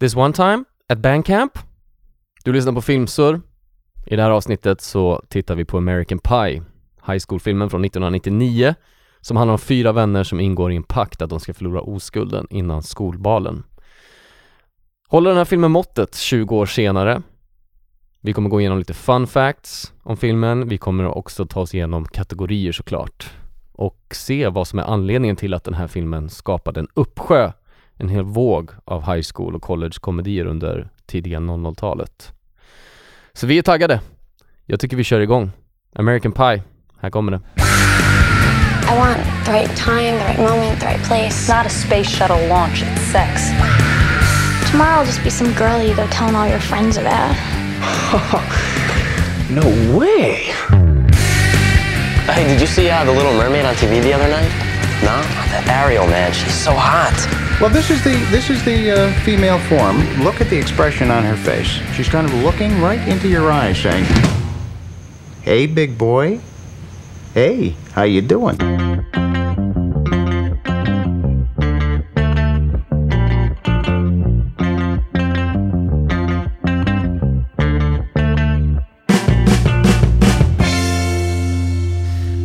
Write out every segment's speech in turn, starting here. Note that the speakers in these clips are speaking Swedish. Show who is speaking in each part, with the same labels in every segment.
Speaker 1: This one time at Bandcamp. Du lyssnar på Filmsur. I det här avsnittet så tittar vi på American Pie, high school-filmen från 1999 som handlar om fyra vänner som ingår i en pakt att de ska förlora oskulden innan skolbalen. Håller den här filmen måttet 20 år senare? Vi kommer gå igenom lite fun facts om filmen. Vi kommer också ta oss igenom kategorier såklart och se vad som är anledningen till att den här filmen skapade en uppsjö, en hel våg av high school och college-komedier under tidiga 00-talet. Så vi är taggade. Jag tycker vi kör igång. American Pie, här kommer den.
Speaker 2: I want the right time, the right moment, the right place.
Speaker 3: It's not a space shuttle launch, it's sex.
Speaker 2: Tomorrow will just be some girl you go telling all your friends about.
Speaker 4: No way!
Speaker 5: Hey, did you see uh, The Little Mermaid on TV the other night? No? That Ariel, man, she's so hot.
Speaker 4: Well, this is the this is the uh, female form. Look at the expression on her face. She's kind of looking right into your eyes, saying, "Hey, big boy. Hey, how you doing?"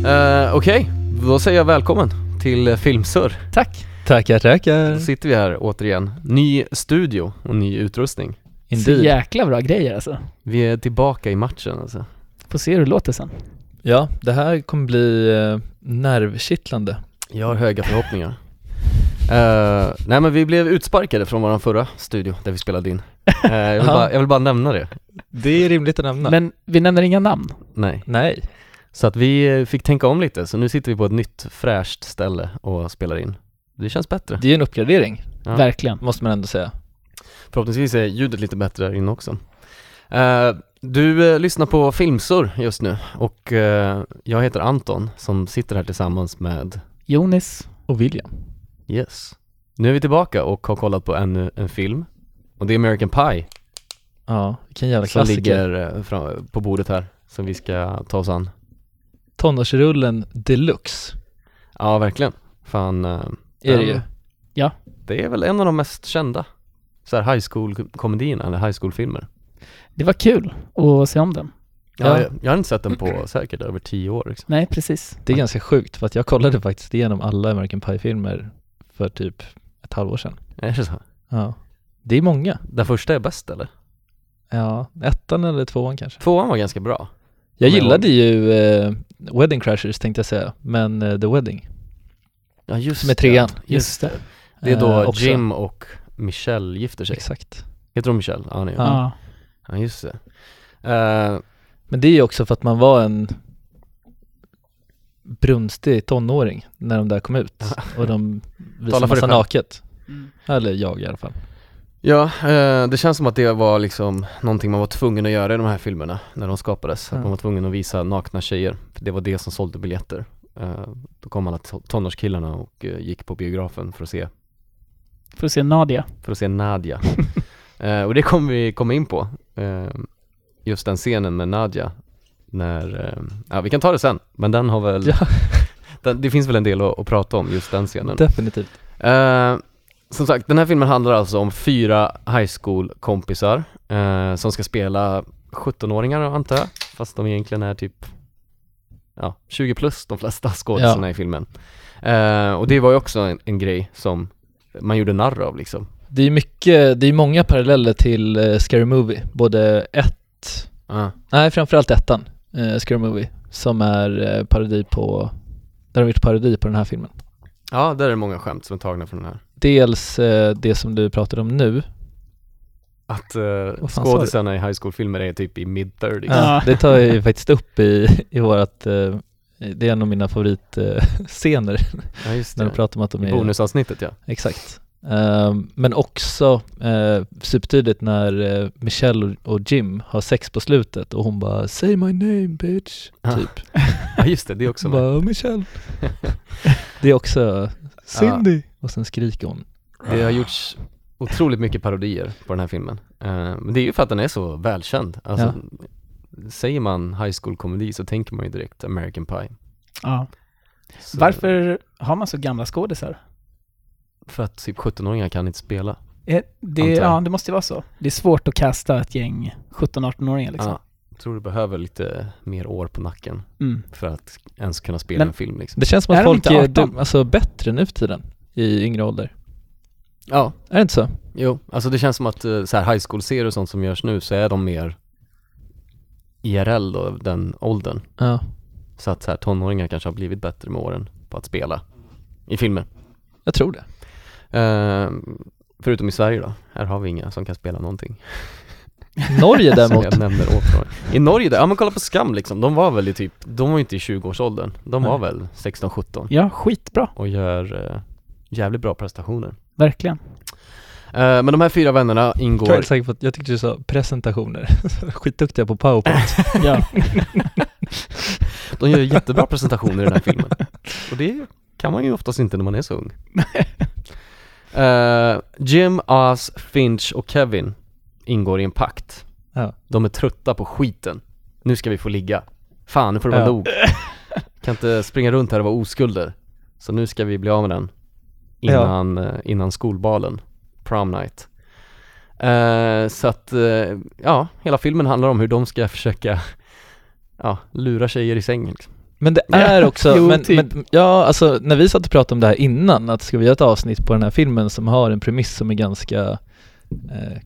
Speaker 1: Eh, Okej, då säger jag välkommen till eh, Filmsur.
Speaker 6: Tack. Tackar, tackar.
Speaker 1: Då sitter vi här återigen. Ny studio och ny utrustning.
Speaker 7: Så jäkla bra grejer alltså.
Speaker 1: Vi är tillbaka i matchen alltså.
Speaker 7: Får se hur det låter sen.
Speaker 6: Ja, det här kommer bli eh, nervkittlande.
Speaker 1: Jag har höga förhoppningar. Eh, nej men vi blev utsparkade från våran förra studio där vi spelade in. Eh, jag, vill
Speaker 6: Ja.
Speaker 1: bara, jag vill bara nämna det.
Speaker 6: Det är rimligt att nämna.
Speaker 7: Men vi nämner inga namn.
Speaker 1: Nej.
Speaker 6: Nej.
Speaker 1: Så att vi eh, fick tänka om lite, så nu sitter vi på ett nytt fräscht ställe och spelar in. Det känns bättre.
Speaker 6: Det är en uppgradering,
Speaker 1: Ja.
Speaker 7: Verkligen.
Speaker 6: måste man ändå säga.
Speaker 1: Förhoppningsvis är ljudet lite bättre där inne också. Eh, du eh, lyssnar på Filmsur just nu och eh, jag heter Anton som sitter här tillsammans med
Speaker 7: Jonis.
Speaker 6: Och William.
Speaker 1: Yes. Nu är vi tillbaka och har kollat på ännu en film och det är American Pie
Speaker 6: Ja, vilken jävla
Speaker 1: som
Speaker 6: klassiker.
Speaker 1: ligger eh, fram, på bordet här som vi ska ta oss an.
Speaker 6: Tonårsrullen deluxe
Speaker 1: Ja, verkligen. Fan, eh,
Speaker 6: är det
Speaker 1: den-
Speaker 6: ju.
Speaker 1: det är väl en av de mest kända så här high school-komedierna eller high school-filmer.
Speaker 7: Det var kul att se om den.
Speaker 1: Ja.
Speaker 6: Ja.
Speaker 1: Jag, jag har inte sett den på säkert över tio år liksom.
Speaker 7: Nej, precis.
Speaker 6: Det är ganska sjukt för att jag kollade faktiskt igenom alla American Pie-filmer för typ ett halvår sedan.
Speaker 1: Är det så?
Speaker 6: Ja. Det är många.
Speaker 1: Den första är bäst eller?
Speaker 6: Ja, ettan eller tvåan kanske.
Speaker 1: Tvåan var ganska bra.
Speaker 6: Jag
Speaker 1: Kommer jag
Speaker 6: gillade ju eh, Wedding Crashers tänkte jag säga, men eh, The Wedding.
Speaker 1: Ja just
Speaker 6: Med trean.
Speaker 1: det. Just
Speaker 7: Just
Speaker 1: det.
Speaker 7: det.
Speaker 1: Det är då
Speaker 6: Eh, också.
Speaker 1: Jim och Michelle gifter sig.
Speaker 6: Exakt.
Speaker 1: Heter de Michelle? Ja, nej.
Speaker 6: Ja.
Speaker 1: ja.
Speaker 7: Ja.
Speaker 1: just det. Eh,
Speaker 6: Men det är ju också för att man var en brunstig tonåring när de där kom ut och de
Speaker 1: Tala
Speaker 6: visade
Speaker 1: för dig
Speaker 6: massa
Speaker 1: själv.
Speaker 6: naket. Eller jag i alla fall.
Speaker 1: ja, eh, det känns som att det var liksom någonting man var tvungen att göra i de här filmerna när de skapades. Att
Speaker 6: Ja.
Speaker 1: man var tvungen att visa nakna tjejer. För det var det som sålde biljetter. Eh, då kom alla to- tonårskillarna och eh, gick på biografen för att se
Speaker 7: Får se Nadia.
Speaker 1: för att se Nadja. Eh, och det kommer vi komma in på. Eh, just den scenen med Nadja. När, eh, ja vi kan ta det sen, men den har väl,
Speaker 6: Ja.
Speaker 1: den, det finns väl en del att, att prata om, just den scenen.
Speaker 6: Definitivt.
Speaker 1: Eh, som sagt, den här filmen handlar alltså om fyra high school-kompisar eh, som ska spela 17-åringar antar jag, fast de egentligen är typ ja, 20 plus de flesta skådisarna
Speaker 6: Ja.
Speaker 1: i filmen. Eh, och det var ju också en, en grej som man gjorde narr av liksom.
Speaker 6: Det är mycket, det är många paralleller till eh, Scary Movie, både ett,
Speaker 1: Ja.
Speaker 6: nej framförallt ettan, eh, Scary Movie, som är eh, parodi på, där de har gjort parodi på den här filmen.
Speaker 1: Ja, där är det många skämt som är tagna från den här.
Speaker 6: Dels eh, det som du pratade om nu,
Speaker 1: Att uh,
Speaker 6: Vad fan sa du?
Speaker 1: skådisarna i high school-filmer är typ i mid-30s.
Speaker 6: Ja,
Speaker 7: Ja.
Speaker 6: Eh, det tar jag ju faktiskt upp i, i vårat, eh, det är en av mina eh, favoritscener
Speaker 1: Ja, just
Speaker 6: när de
Speaker 1: det.
Speaker 6: pratar om att de
Speaker 1: I
Speaker 6: är
Speaker 1: bonusavsnittet ja.
Speaker 6: Exakt. Ehm, men också eh, supertydligt när eh, Michelle och, och Jim har sex på slutet och hon bara “Say my name bitch”
Speaker 1: Ah,
Speaker 6: typ.
Speaker 1: Ja, just det, det är också
Speaker 6: Hon
Speaker 1: med.
Speaker 6: bara “Michelle”. det är också “Cindy” och sen skriker hon.
Speaker 1: Det har gjorts otroligt mycket parodier på den här filmen. Eh, Men det är ju för att den är så välkänd. Alltså, Säger man high school-komedi så tänker man ju direkt American Pie.
Speaker 7: Ja.
Speaker 1: Så-
Speaker 7: Varför har man så gamla skådisar?
Speaker 1: För att typ 17-åringar kan inte spela.
Speaker 7: Eh, Det,
Speaker 1: Antar jag.
Speaker 7: ja, det måste ju vara så. Det är svårt att kasta ett gäng 17-18-åringar liksom.
Speaker 1: Ja. Jag tror du behöver lite mer år på nacken
Speaker 7: Mm.
Speaker 1: för att ens kunna spela
Speaker 7: Men-
Speaker 1: en film liksom.
Speaker 6: Det känns som att
Speaker 7: Är de
Speaker 6: folk
Speaker 7: inte
Speaker 6: är
Speaker 7: 18?
Speaker 6: dum, alltså, bättre nu för tiden i yngre ålder.
Speaker 1: Ja,
Speaker 6: Är det inte så?
Speaker 1: jo. Alltså det känns som att eh, så här high school-serier och sånt som görs nu så är de mer IRL då, den åldern.
Speaker 6: Ja.
Speaker 1: Så att så här, tonåringar kanske har blivit bättre med åren på att spela i filmer.
Speaker 6: Jag tror det.
Speaker 1: Eh, förutom i Sverige då, här har vi inga som kan spela någonting.
Speaker 6: Norge
Speaker 1: Som
Speaker 6: däremot.
Speaker 1: jag nämner återkommande. I Norge där, ja men kolla på Skam liksom, de var väl i typ, de var ju inte i 20-årsåldern, de var väl 16-17
Speaker 7: ja, skitbra.
Speaker 1: och gör eh, jävligt bra prestationer.
Speaker 7: Verkligen.
Speaker 1: Eh, men de här fyra vännerna
Speaker 6: Jag är
Speaker 1: ingår,
Speaker 6: helt säker på att jag tyckte du sa presentationer. Skitduktiga på powerpoint.
Speaker 7: Ja.
Speaker 1: de gör jättebra presentationer i den här filmen. Och det kan man ju oftast inte när man är så ung. Eh, Jim, Oz, Finch och Kevin ingår i en pakt.
Speaker 6: Ja.
Speaker 1: De är trötta på skiten. Nu ska vi få ligga. Fan, nu får det vara
Speaker 6: Ja.
Speaker 1: nog. Kan inte springa runt här och vara oskulder. Så nu ska vi bli av med den. Innan, eh, innan skolbalen. Prom night. Eh, så att, eh, ja, hela filmen handlar om hur de ska försöka ja, lura tjejer i sängen. Liksom.
Speaker 6: Men det är också,
Speaker 7: Jo,
Speaker 6: men,
Speaker 7: typ.
Speaker 6: men, ja alltså när vi satt och pratade om det här innan, att ska vi göra ett avsnitt på den här filmen som har en premiss som är ganska eh,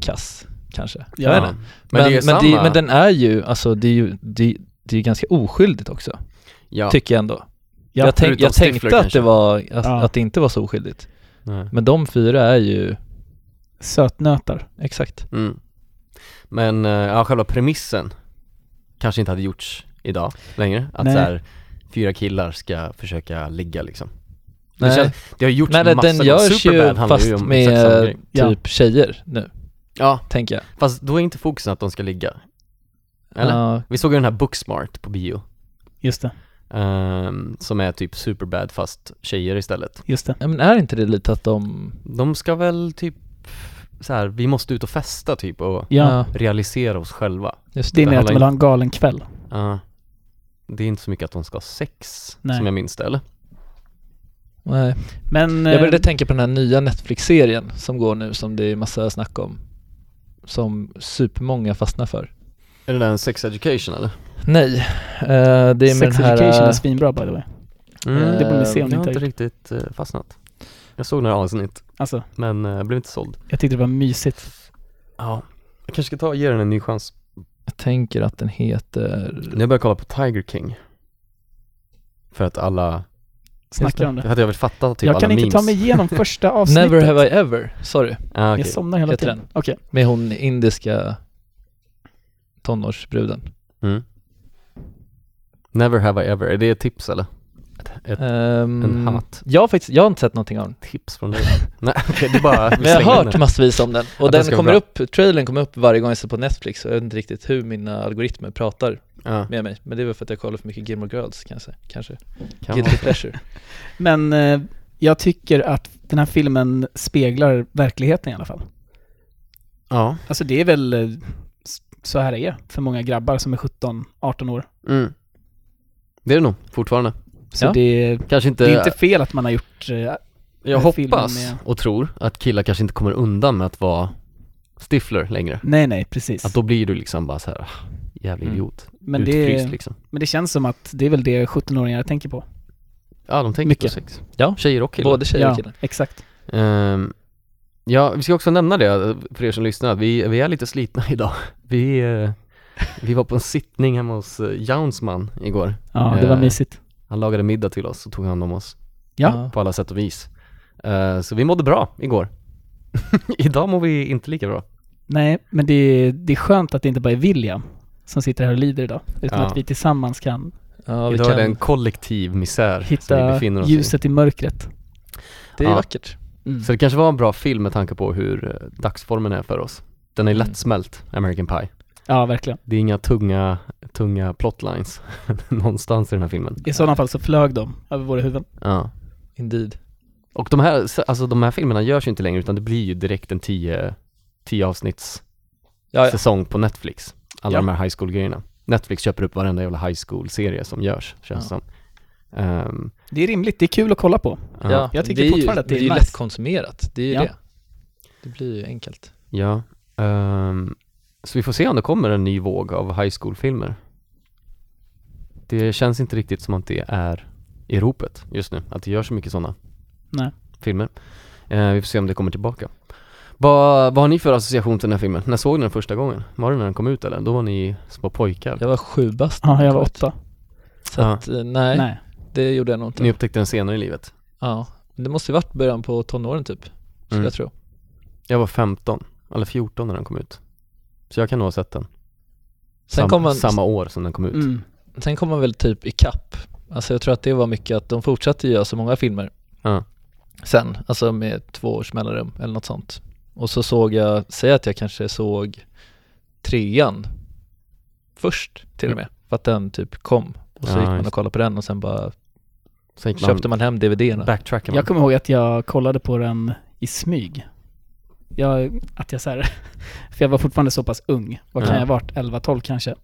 Speaker 6: kass kanske? Jag vet inte.
Speaker 1: Men, det är
Speaker 6: men,
Speaker 1: samma,
Speaker 6: men den är ju, alltså det är ju, det, det är ju ganska oskyldigt också,
Speaker 1: ja,
Speaker 6: tycker jag ändå.
Speaker 7: Ja,
Speaker 6: jag tänk,
Speaker 1: förutom
Speaker 6: jag tänkte
Speaker 1: Stifler
Speaker 6: att
Speaker 1: kanske.
Speaker 6: det, var, att,
Speaker 7: Ja.
Speaker 6: att det inte var så oskyldigt.
Speaker 1: nej.
Speaker 6: Men de fyra är ju,
Speaker 7: Sötnötar.
Speaker 6: exakt.
Speaker 1: Mm. Men eh, ja, själva premissen kanske inte hade gjorts idag längre. Att
Speaker 7: Nej.
Speaker 1: så här, fyra killar ska försöka ligga liksom. Det,
Speaker 6: Nej.
Speaker 1: känns, det har gjorts
Speaker 6: Nej,
Speaker 1: massa
Speaker 6: den- den
Speaker 1: gånger.
Speaker 6: görs ju
Speaker 1: Superbad handlar
Speaker 6: fast
Speaker 1: ju om
Speaker 6: med
Speaker 1: exakt samma grej.
Speaker 6: typ
Speaker 7: grej.
Speaker 6: tjejer nu,
Speaker 1: Ja,
Speaker 6: tänker jag.
Speaker 1: fast då är inte fokusen att de ska ligga. Eller?
Speaker 6: Ja,
Speaker 1: Vi såg ju den här Booksmart på bio.
Speaker 7: Just det.
Speaker 1: ehm, som är typ Superbad fast tjejer istället.
Speaker 7: Just det.
Speaker 6: Ja, men är inte det lite att de,
Speaker 1: De ska väl typ så här, vi måste ut och festa typ och
Speaker 7: Ja.
Speaker 6: ja
Speaker 1: realisera oss själva.
Speaker 6: just
Speaker 7: Det är
Speaker 1: Det
Speaker 7: mer att
Speaker 1: handlar
Speaker 7: de vill ha en galen kväll.
Speaker 1: Ja. det är inte så mycket att de ska ha sex,
Speaker 7: Nej.
Speaker 1: som jag minns det, eller?
Speaker 6: Nej.
Speaker 7: Men...
Speaker 6: Jag började
Speaker 7: eh,
Speaker 6: tänka på den här nya Netflix-serien som går nu som det är massa snack om. Som supermånga fastnar för.
Speaker 1: Är det där en sex education eller?
Speaker 6: Nej, eh, det är med
Speaker 7: Sex
Speaker 6: den här...
Speaker 7: Education är
Speaker 6: eh,
Speaker 7: svinbra by the way.
Speaker 6: Mm.
Speaker 7: Eh, Det borde ni se om ni
Speaker 1: jag har
Speaker 7: inte har
Speaker 1: Eh, inte
Speaker 7: gjort.
Speaker 1: riktigt eh, fastnat. Jag såg några avsnitt,
Speaker 7: Alltså,
Speaker 1: men eh, jag blev inte såld.
Speaker 7: jag tyckte det var mysigt.
Speaker 1: Ja. Jag kanske ska ta och ge den en ny chans.
Speaker 6: jag tänker att den heter...
Speaker 1: Nu börjar jag kolla på Tiger King. För att alla,
Speaker 7: Snackar om
Speaker 1: för
Speaker 7: det.
Speaker 1: att jag vill fatta typ
Speaker 7: jag
Speaker 1: alla
Speaker 7: kan
Speaker 1: memes.
Speaker 7: inte ta mig igenom första avsnittet.
Speaker 6: Never have I ever, sorry.
Speaker 1: Ah, okej.
Speaker 7: Jag somnar hela
Speaker 6: Heter
Speaker 7: tiden. Okej.
Speaker 6: Med hon indiska tonårsbruden.
Speaker 1: mm. Never have I ever, är det ett tips eller? Ett, ett mm.
Speaker 6: Ehm,
Speaker 1: en hat.
Speaker 6: Jag har faktiskt, jag har inte sett någonting av den.
Speaker 1: tips från dig? Nej okej, det är bara vi
Speaker 6: Men jag
Speaker 1: slänger
Speaker 6: har
Speaker 1: in
Speaker 6: hört
Speaker 1: det.
Speaker 6: massvis om den. Och
Speaker 1: Att den
Speaker 6: den
Speaker 1: ska
Speaker 6: kommer
Speaker 1: vara
Speaker 6: upp, trailern kommer upp varje gång jag ser på Netflix och jag vet inte riktigt hur mina algoritmer pratar
Speaker 1: Ja,
Speaker 6: med mig. Men det är väl för att jag kollar för mycket Gilmore Girls kanske. kanske.
Speaker 1: kan vara.
Speaker 6: Guilty pleasure.
Speaker 7: Men eh, jag tycker att den här filmen speglar verkligheten i alla fall.
Speaker 1: Ja.
Speaker 7: Alltså det är väl eh, s- så här det är för många grabbar som är 17-18 år.
Speaker 1: Mm. Det är det nog fortfarande.
Speaker 7: Så
Speaker 6: Ja.
Speaker 7: det,
Speaker 1: Kanske inte,
Speaker 7: det är inte fel att man har gjort... eh,
Speaker 1: jag
Speaker 7: filmen
Speaker 1: hoppas
Speaker 7: med-
Speaker 1: och tror att killar kanske inte kommer undan med att vara stiffler längre.
Speaker 7: Nej, nej, precis.
Speaker 1: Att då blir du liksom bara så här, "Ah, jävla
Speaker 6: Mm.
Speaker 1: idiot.
Speaker 7: men,
Speaker 1: Utfryst
Speaker 7: det,
Speaker 1: liksom.
Speaker 7: men det känns som att det är väl det 17-åringar tänker på.
Speaker 1: Ja, de tänker
Speaker 7: Mycket.
Speaker 1: på sex.
Speaker 6: Ja.
Speaker 1: Tjejer och killar.
Speaker 6: Både tjejer och
Speaker 7: ja,
Speaker 6: killar.
Speaker 7: exakt.
Speaker 1: Ehm, ja, vi ska också nämna det för er som lyssnar, att vi, vi är lite slitna idag. Vi, eh, vi var på en sittning hemma hos eh, Jaunsman igår.
Speaker 7: Ja, det var
Speaker 1: Eh,
Speaker 7: mysigt.
Speaker 1: Han lagade middag till oss och tog hand om oss
Speaker 7: Ja.
Speaker 1: på alla sätt och vis. Eh, så vi mådde bra igår. idag mår vi inte lika bra.
Speaker 7: Nej, men det, är- det är skönt att det inte bara är William som sitter här och lider idag. Utan
Speaker 1: Ja.
Speaker 7: att vi tillsammans kan
Speaker 6: Ja, vi
Speaker 1: Idag
Speaker 6: kan,
Speaker 1: är det en kollektiv misär som vi
Speaker 7: hitta
Speaker 1: befinner oss
Speaker 7: ljuset i mörkret.
Speaker 6: det är
Speaker 1: Ja.
Speaker 6: vackert.
Speaker 7: Mm.
Speaker 1: i. Så det kanske var en bra film med tanke på hur eh, dagsformen är för oss. Den är
Speaker 6: Mm.
Speaker 1: lättsmält, American Pie.
Speaker 7: Ja, verkligen.
Speaker 1: Det är inga tunga, tunga plotlines någonstans i den här filmen.
Speaker 7: I sådana fall så flög de över våra huvuden.
Speaker 1: Ja.
Speaker 6: Indeed.
Speaker 1: Och de här, alltså de här filmerna görs ju inte längre utan det blir ju direkt en 10 10 avsnitts
Speaker 6: Ja, ja.
Speaker 1: säsong på Netflix. Alla
Speaker 7: Ja.
Speaker 1: de här high school-grejerna. Netflix köper upp varenda jävla high school-serie som görs, känns
Speaker 6: Ja.
Speaker 1: som. Ehm,
Speaker 7: Det är rimligt, det är kul att kolla på.
Speaker 1: ja.
Speaker 6: Ja,
Speaker 7: Jag tycker
Speaker 6: det är ju-
Speaker 7: fortfarande att det är
Speaker 6: Det är ju
Speaker 7: nice.
Speaker 6: lättkonsumerat, det är ju
Speaker 7: Ja.
Speaker 6: det. Det blir ju enkelt.
Speaker 1: Ja, ehm, så vi får se om det kommer en ny våg av high school-filmer. Det känns inte riktigt som att det är i ropet just nu, att det gör så mycket sådana
Speaker 7: Nej.
Speaker 1: filmer. Eh, vi får se om det kommer tillbaka. Vad, vad har ni för association till den här filmen? När såg ni den första gången? Var det när den kom ut eller? Då var ni små pojkar.
Speaker 6: Jag var sju bast.
Speaker 7: Ja, jag var åtta.
Speaker 6: Så att, eh, nej,
Speaker 7: Nej.
Speaker 6: det gjorde jag nog
Speaker 1: Ni
Speaker 6: inte.
Speaker 1: upptäckte den senare i livet.
Speaker 6: Ja. Men Det måste ju varit början på tonåren typ, skulle
Speaker 1: Mm.
Speaker 6: jag tro.
Speaker 1: Jag var 15, eller 14 när den kom ut. Så jag kan nog ha sett den.
Speaker 6: Sen
Speaker 1: Sam,
Speaker 6: kom man-
Speaker 1: Samma år som den kom ut.
Speaker 7: Mm.
Speaker 6: Sen kom man väl typ i kapp. Alltså jag tror att det var mycket att de fortsatte göra så många filmer.
Speaker 1: Ja.
Speaker 6: Sen, alltså med två års mellanrum eller något sånt. Och så såg jag, säg att jag kanske såg trean först till och med. För att den typ kom. Och så
Speaker 1: Ja,
Speaker 6: gick man
Speaker 1: just
Speaker 6: och kollade på den och sen bara
Speaker 1: Sen gick
Speaker 6: köpte
Speaker 1: man,
Speaker 6: man hem DVD-erna.
Speaker 1: backtrackade man.
Speaker 7: Jag kommer ihåg att jag kollade på den i smyg. Jag, att jag så här, för jag var fortfarande så pass ung, vad kan
Speaker 1: Ja.
Speaker 7: jag ha varit, 11-12 kanske?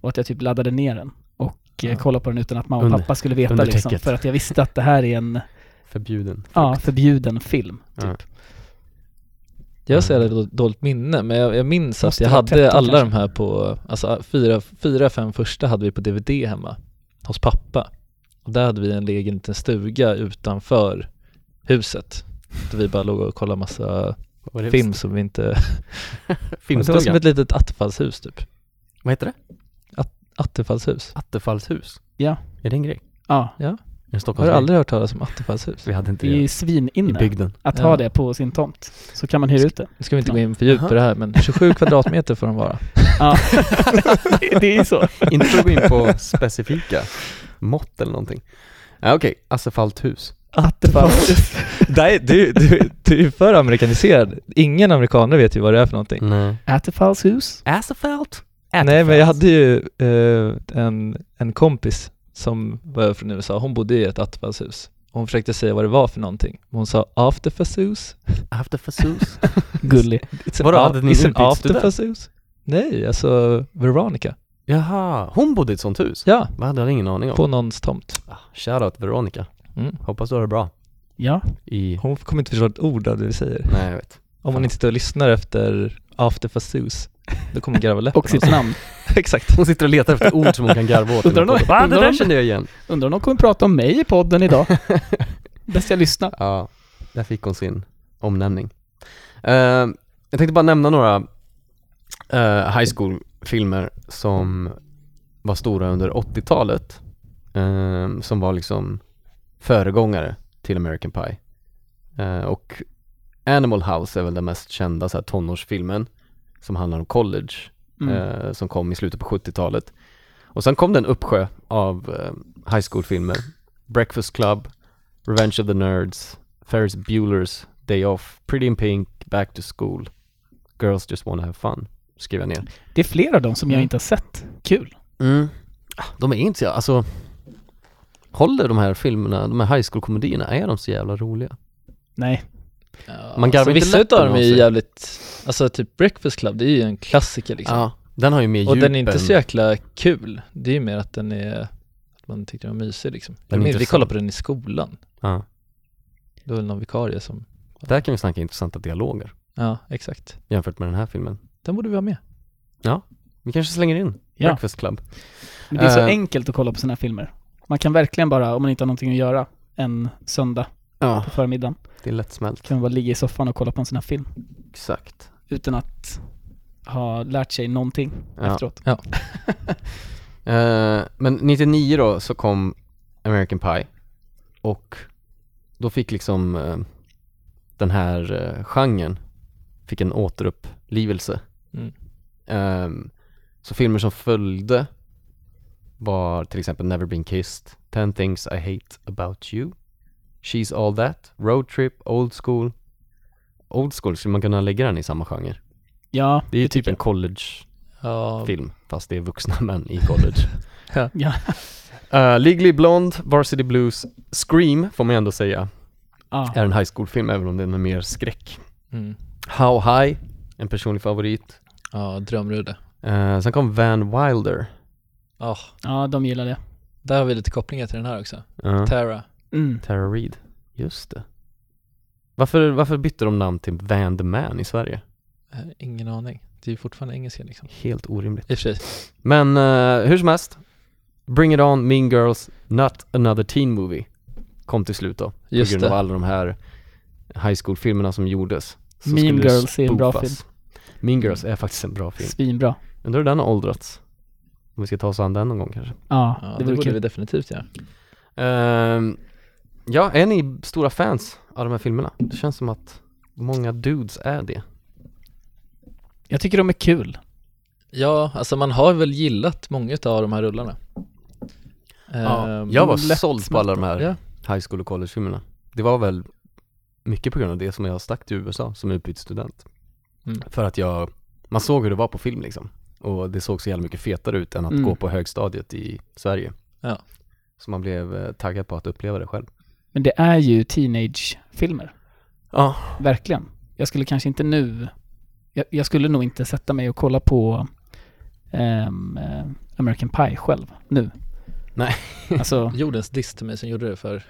Speaker 7: Och att jag typ laddade ner den och eh,
Speaker 6: Ja.
Speaker 7: kollade på den utan att mamma och
Speaker 1: Under-
Speaker 7: pappa skulle veta
Speaker 1: under
Speaker 7: liksom,
Speaker 1: täcket.
Speaker 7: för att jag visste att det här är en
Speaker 1: Förbjuden.
Speaker 7: ja, förbjuden film.
Speaker 1: Ja.
Speaker 7: Typ.
Speaker 6: Jag har så jävla då- dåligt minne, men jag, jag minns att
Speaker 7: Mm. Måste
Speaker 6: jag
Speaker 7: vara
Speaker 6: hade
Speaker 7: 13
Speaker 6: alla
Speaker 7: kanske.
Speaker 6: de här på, alltså fyra, fyra, fem första hade vi på DVD hemma hos pappa. Och där hade vi en egen liten stuga utanför huset. Där vi bara låg och kollade massa
Speaker 1: Vad var det?
Speaker 6: film som vi inte... Det var som
Speaker 1: Filmstugan.
Speaker 6: ett litet attefallshus typ.
Speaker 1: Vad heter det?
Speaker 6: Attefallshus.
Speaker 1: Attefallshus.
Speaker 7: Ja.
Speaker 1: Är det en grej?
Speaker 7: Ja,
Speaker 1: I
Speaker 6: Har
Speaker 1: Stockholm?
Speaker 6: du aldrig hört talas om attefallshus?
Speaker 1: Vi hade inte
Speaker 7: det är ju
Speaker 1: det i
Speaker 7: svininne
Speaker 1: bygden.
Speaker 7: att
Speaker 6: Ja.
Speaker 7: ha det på sin tomt. Så kan man hyra ut det.
Speaker 6: Nu ska vi inte gå in för djupt på det här, men 27 kvadratmeter får de vara.
Speaker 7: Ja. det, det är ju så.
Speaker 1: inte för att gå in på specifika mått eller någonting. Ja, Okej, asfalthus.
Speaker 7: Attefallshus.
Speaker 6: Nej, du, du, du är för amerikaniserad. Ingen amerikaner vet ju vad det är för någonting.
Speaker 1: Nej.
Speaker 7: Attefallshus.
Speaker 1: Asfalt?
Speaker 6: Nej men jag hade ju eh, en, en kompis som var från USA, hon bodde i ett attefallshus. Hon försökte säga vad det var för någonting. Hon sa afterfallshus.
Speaker 1: Afterfallshus?
Speaker 7: Gullig.
Speaker 6: It's an
Speaker 1: Vadå,
Speaker 6: af-
Speaker 1: hade ni
Speaker 6: it's an
Speaker 1: utbytesstudent?
Speaker 6: afterfallshus? Nej, alltså Veronica.
Speaker 1: Jaha, hon bodde i ett sånt hus?
Speaker 6: Ja,
Speaker 1: Vad hade jag ingen aning om.
Speaker 6: på någons tomt.
Speaker 1: Ah, Shoutout Veronica.
Speaker 6: Mm.
Speaker 1: Hoppas du har det bra.
Speaker 7: Ja,
Speaker 1: I...
Speaker 6: Hon kommer inte förstå ett ord av det vi säger.
Speaker 1: Nej, jag vet.
Speaker 6: Om hon inte sitter och lyssnar efter afterfallshus, då kommer hon garva läppen.
Speaker 7: och sitt namn.
Speaker 6: Exakt.
Speaker 1: Hon sitter och letar efter ord som hon kan garva åt. i
Speaker 7: Undrar
Speaker 1: den här
Speaker 7: om-
Speaker 1: podden. Va, det
Speaker 7: undrar
Speaker 1: där
Speaker 7: om-
Speaker 1: kände jag igen.
Speaker 7: Undrar om de kommer prata om mig i podden idag? Bäst jag lyssnar.
Speaker 1: Ja, där fick hon sin omnämning. Eh, jag tänkte bara nämna några eh, high school-filmer som var stora under 80-talet. eh, som var liksom föregångare till American Pie. Eh, och Animal House är väl den mest kända så här, tonårsfilmen som handlar om college
Speaker 7: Mm.
Speaker 1: eh, som kom i slutet på 70-talet. Och sen kom det en uppsjö av eh, high school-filmer. Breakfast Club, Revenge of the Nerds, Ferris Bueller's Day Off, Pretty in Pink, Back to School, Girls Just Wanna Have Fun, skrev jag ner.
Speaker 7: Det är flera av dem som jag inte har sett. Kul.
Speaker 1: Mm. Ah, De är inte så, jä- alltså Håller de här filmerna, de här high school-komedierna, är de så jävla roliga?
Speaker 7: Nej.
Speaker 1: Man garvar
Speaker 6: alltså,
Speaker 1: inte
Speaker 6: vissa
Speaker 1: läppen
Speaker 6: utav dem är
Speaker 1: av
Speaker 6: ju
Speaker 1: sig.
Speaker 6: jävligt, alltså typ Breakfast Club, det är ju en klassiker liksom.
Speaker 1: Ja, den har ju mer
Speaker 6: Och
Speaker 1: djup
Speaker 6: den är inte
Speaker 1: än-
Speaker 6: så jäkla kul. Det är ju mer att den är, att man tyckte den var mysig liksom.
Speaker 1: Den är
Speaker 6: Jag minns, vi
Speaker 1: intressant.
Speaker 6: kollade på den i skolan.
Speaker 1: Ja.
Speaker 6: Det var väl någon vikarie som,
Speaker 1: Där kan vi snacka intressanta dialoger
Speaker 6: ja exakt.
Speaker 1: jämfört med den här filmen.
Speaker 6: Den borde vi ha med.
Speaker 1: Vi kanske slänger in
Speaker 7: Ja.
Speaker 1: Breakfast Club.
Speaker 7: Men det är så
Speaker 1: Eh.
Speaker 7: enkelt att kolla på såna här filmer. Man kan verkligen bara, om man inte har någonting att göra en söndag
Speaker 1: Ja,
Speaker 7: på förmiddagen,
Speaker 1: det är lättsmält.
Speaker 7: kan man bara ligga i soffan och kolla på en sån här film.
Speaker 1: Exakt.
Speaker 7: Utan att ha lärt sig någonting
Speaker 1: Ja.
Speaker 7: efteråt.
Speaker 1: Eh, men 99 då så kom American Pie och då fick liksom eh, den här uh, genren fick en återupplivelse.
Speaker 6: Mm.
Speaker 1: Ehm, så filmer som följde var till exempel Never Been Kissed, Ten Things I Hate About You, She's All That, Road Trip, Old School. Old School, skulle man kunna lägga den i samma genre?
Speaker 7: Ja,
Speaker 1: Det är ju typ
Speaker 7: tycker
Speaker 1: en collegefilm,
Speaker 6: Ja,
Speaker 1: fast det är vuxna män i college.
Speaker 7: Ja.
Speaker 1: Uh, Legally Blonde, Varsity Blues, Scream får man ändå säga
Speaker 7: ja.
Speaker 1: är en high school-film även om den är mer skräck.
Speaker 6: mm.
Speaker 1: How High, en personlig favorit.
Speaker 6: ja Drömrudde.
Speaker 1: Eh, sen kom Van Wilder.
Speaker 6: Ah,
Speaker 7: ja, de gillar det.
Speaker 6: Där har vi lite kopplingar till den här också.
Speaker 1: Ja.
Speaker 6: Tara.
Speaker 7: Mm.
Speaker 1: eh, Tara Reid. Just det. Varför, varför bytte de namn till Van the Man i Sverige?
Speaker 6: Eh, ingen aning. Det är ju fortfarande engelska liksom.
Speaker 1: Helt orimligt.
Speaker 6: I och för sig.
Speaker 1: Men eh, hur som helst, Bring It On, Mean Girls, Not Another Teen Movie kom till slut då. på
Speaker 6: Just
Speaker 1: grund
Speaker 6: det.
Speaker 1: av alla de här high school-filmerna som gjordes. Så
Speaker 7: Mean
Speaker 1: skulle det
Speaker 7: Girls är en bra
Speaker 1: spoofas. Mean Girls är faktiskt en bra film.
Speaker 7: Svinbra.
Speaker 1: Undrar hur den har åldrats? Om vi ska ta oss an den någon gång kanske.
Speaker 7: Ja,
Speaker 6: Ja,
Speaker 7: det
Speaker 6: det,
Speaker 7: vore
Speaker 6: borde vi
Speaker 7: kul.
Speaker 6: definitivt göra.
Speaker 1: Ehm, ja, är ni stora fans av de här filmerna? Det känns som att många dudes är det.
Speaker 7: Jag tycker de är kul.
Speaker 6: Ja, alltså man har väl gillat många av de här rullarna. Ehm,
Speaker 1: jag var
Speaker 7: lätt
Speaker 1: såld på alla de här
Speaker 6: Ja.
Speaker 1: high school och college-filmerna. Det var väl mycket på grund av det som jag stack till USA som utbytesstudent.
Speaker 6: Mm.
Speaker 1: För att jag, man såg hur det var på film liksom. Och det såg så jävla mycket fetare ut än att
Speaker 7: Mm.
Speaker 1: gå på högstadiet i Sverige.
Speaker 6: Ja.
Speaker 1: Så man blev eh, taggad på att uppleva det själv.
Speaker 7: Men det är ju teenage-filmer.
Speaker 1: Ja,
Speaker 7: Verkligen. Jag skulle kanske inte nu... Jag, jag skulle nog inte sätta mig och kolla på ehm, eh, American Pie själv nu.
Speaker 1: Nej.
Speaker 7: Alltså,
Speaker 6: Jordens diss till mig som gjorde det för...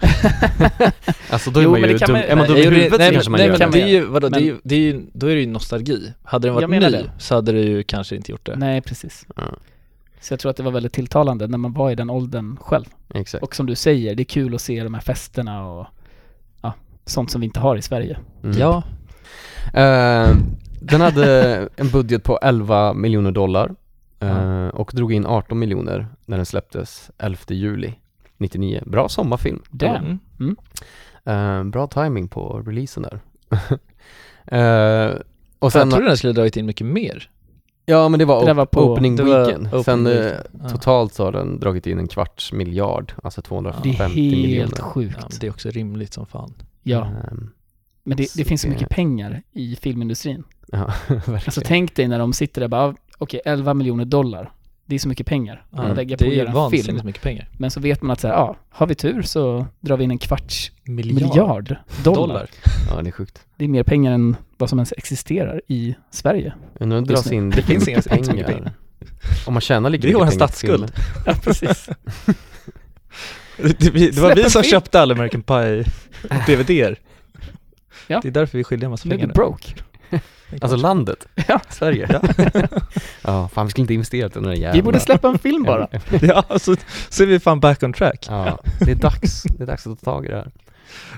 Speaker 1: alltså då är
Speaker 7: Jo,
Speaker 1: man
Speaker 7: men
Speaker 1: ju
Speaker 7: det kan
Speaker 1: dum,
Speaker 7: man-
Speaker 1: är man dum i
Speaker 6: Jag gjorde-
Speaker 1: huvudet
Speaker 6: nej,
Speaker 1: så kanske man
Speaker 6: nej,
Speaker 1: gör
Speaker 6: men
Speaker 1: det.
Speaker 6: det. är ju, vadå, det är
Speaker 7: Men-
Speaker 6: ju, det är ju, då är det ju nostalgi. Hade
Speaker 7: Jag
Speaker 6: den varit ny
Speaker 7: menar det.
Speaker 6: så hade det ju kanske inte gjort det.
Speaker 7: nej precis.
Speaker 1: Ja,
Speaker 7: Så jag tror att det var väldigt tilltalande när man var i den åldern själv.
Speaker 1: exakt.
Speaker 7: Och som du säger, det är kul att se de här festerna och ja, sånt som vi inte har i Sverige.
Speaker 1: Mm.
Speaker 6: Ja,
Speaker 1: Eh, den hade en budget på 11 miljoner dollar eh, och drog in 18 miljoner när den släpptes 11 juli 99. Bra sommarfilm.
Speaker 7: Damn.
Speaker 6: Mm.
Speaker 1: Eh, bra timing på releasen där. Eh, och sen,
Speaker 6: jag trodde den skulle ha dragit in mycket mer.
Speaker 1: ja men det var,
Speaker 7: Det där
Speaker 1: op-
Speaker 7: var på-
Speaker 1: opening
Speaker 6: det var
Speaker 1: weekend.
Speaker 6: opening
Speaker 1: sen eh,
Speaker 6: weekend. Ja.
Speaker 1: totalt så har den dragit in en kvarts miljard, alltså
Speaker 7: Det
Speaker 1: 250
Speaker 7: är helt
Speaker 1: miljoner.
Speaker 6: Ja, men
Speaker 7: sjukt.
Speaker 6: det är också rimligt som fan.
Speaker 7: Ja,
Speaker 1: Ehm,
Speaker 7: men det,
Speaker 1: så
Speaker 7: det finns så
Speaker 1: det-
Speaker 7: mycket pengar i filmindustrin.
Speaker 1: ja, verkligen.
Speaker 7: Alltså tänk dig när de sitter där bara, ah, okej 11 miljoner dollar. Det är så mycket pengar
Speaker 6: Ja,
Speaker 7: att lägga
Speaker 6: Det
Speaker 7: på att
Speaker 6: är
Speaker 7: göra en
Speaker 6: vansinnigt
Speaker 7: film.
Speaker 6: mycket pengar.
Speaker 7: Men så vet man att så här, ja, har vi tur så drar vi in en kvarts miljard, dollar.
Speaker 6: dollar.
Speaker 1: ja det är sjukt.
Speaker 7: Det är mer pengar än vad som ens existerar i Sverige.
Speaker 1: Undrar om det
Speaker 7: Just
Speaker 1: dras
Speaker 7: nu.
Speaker 1: in lika
Speaker 6: finns
Speaker 1: mycket
Speaker 6: inte så mycket
Speaker 1: pengar. Om man tjänar lika
Speaker 6: Det är
Speaker 1: mycket
Speaker 6: vår
Speaker 1: pengar på
Speaker 6: statsskuld.
Speaker 1: filmen.
Speaker 7: Ja, precis.
Speaker 6: Det, det, vi- det var
Speaker 7: Släpp
Speaker 6: vi
Speaker 7: en
Speaker 6: som
Speaker 7: film.
Speaker 6: köpte alla American Pie-DVD-er.
Speaker 7: Ja.
Speaker 6: Det är därför vi skiljer en massa
Speaker 7: Nu är vi
Speaker 6: pengar
Speaker 7: broke.
Speaker 1: Alltså landet?
Speaker 7: Ja.
Speaker 1: Sverige? Ja. fan vi skulle inte investerat i den där jävla...
Speaker 7: Vi borde släppa en film bara.
Speaker 6: Ja, så, så är vi fan back on track.
Speaker 1: Ja, det är dags. Det är dags att ta tag i det här.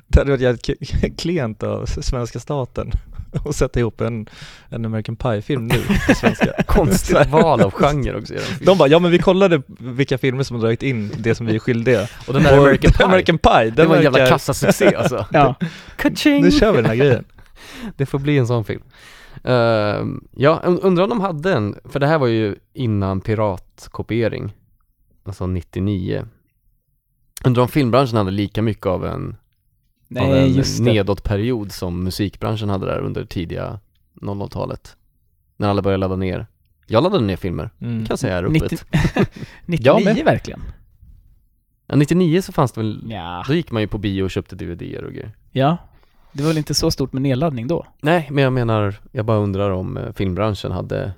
Speaker 6: Det hade varit jävligt k- klent av s- svenska staten att sätta ihop en, en American Pie-film nu på svenska.
Speaker 1: Konstigt val av genre också. gör
Speaker 6: De bara, ja men vi kollade vilka filmer som har dragit in det som vi är skyldiga.
Speaker 1: och den där American Pie,
Speaker 6: American Pie, den
Speaker 1: det var en jävla
Speaker 6: verkar-
Speaker 1: kassasuccé alltså.
Speaker 7: Ja.
Speaker 6: Nu kör vi den här grejen.
Speaker 1: Det får bli en sån film. Ehm, ja, und- undrar om de hade en, för det här var ju innan piratkopiering, alltså 99. Undrar om filmbranschen hade lika mycket av en, av
Speaker 7: Nej,
Speaker 1: en
Speaker 7: just det.
Speaker 1: nedåtperiod som musikbranschen hade där under tidiga 00-talet. När alla började ladda ner. Jag laddade ner filmer,
Speaker 6: Mm.
Speaker 1: kan jag säga här öppet.
Speaker 7: 90
Speaker 1: Jag med.
Speaker 7: 99 verkligen.
Speaker 1: Ja, 99 så fanns det väl,
Speaker 7: Ja.
Speaker 1: då gick man ju på bio och köpte DVDer och grejer.
Speaker 7: ja. Det var väl inte så stort med nedladdning då?
Speaker 1: Nej, men jag menar, jag bara undrar om eh, filmbranschen hade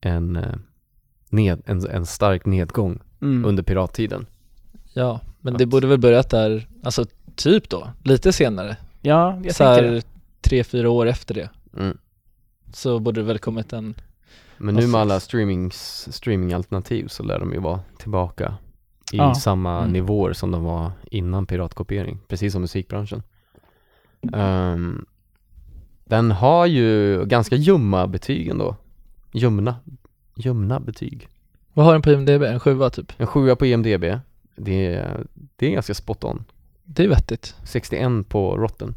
Speaker 1: en, eh, ned, en, en stark nedgång
Speaker 7: Mm.
Speaker 1: under pirattiden.
Speaker 6: Ja, men
Speaker 1: Att-
Speaker 6: det borde väl börjat där, alltså typ då, lite senare.
Speaker 7: Ja, jag
Speaker 6: Så
Speaker 7: tänkte det.
Speaker 6: här tre, fyra år efter det.
Speaker 1: Mm.
Speaker 6: Så borde det väl kommit en,
Speaker 1: Men nu med
Speaker 6: Precis.
Speaker 1: alla streamings, streamingalternativ så lär de ju vara tillbaka i
Speaker 7: Ja.
Speaker 1: samma
Speaker 6: Mm.
Speaker 1: nivåer som de var innan piratkopiering, precis som musikbranschen. Ehm, den har ju ganska ljumma betyg ändå. Ljumna, ljumna betyg.
Speaker 6: vad har den på IMDB? En sjua typ?
Speaker 1: En sjua på IMDB. Det är, det är ganska spot on.
Speaker 6: Det är vettigt.
Speaker 1: 61 på Rotten.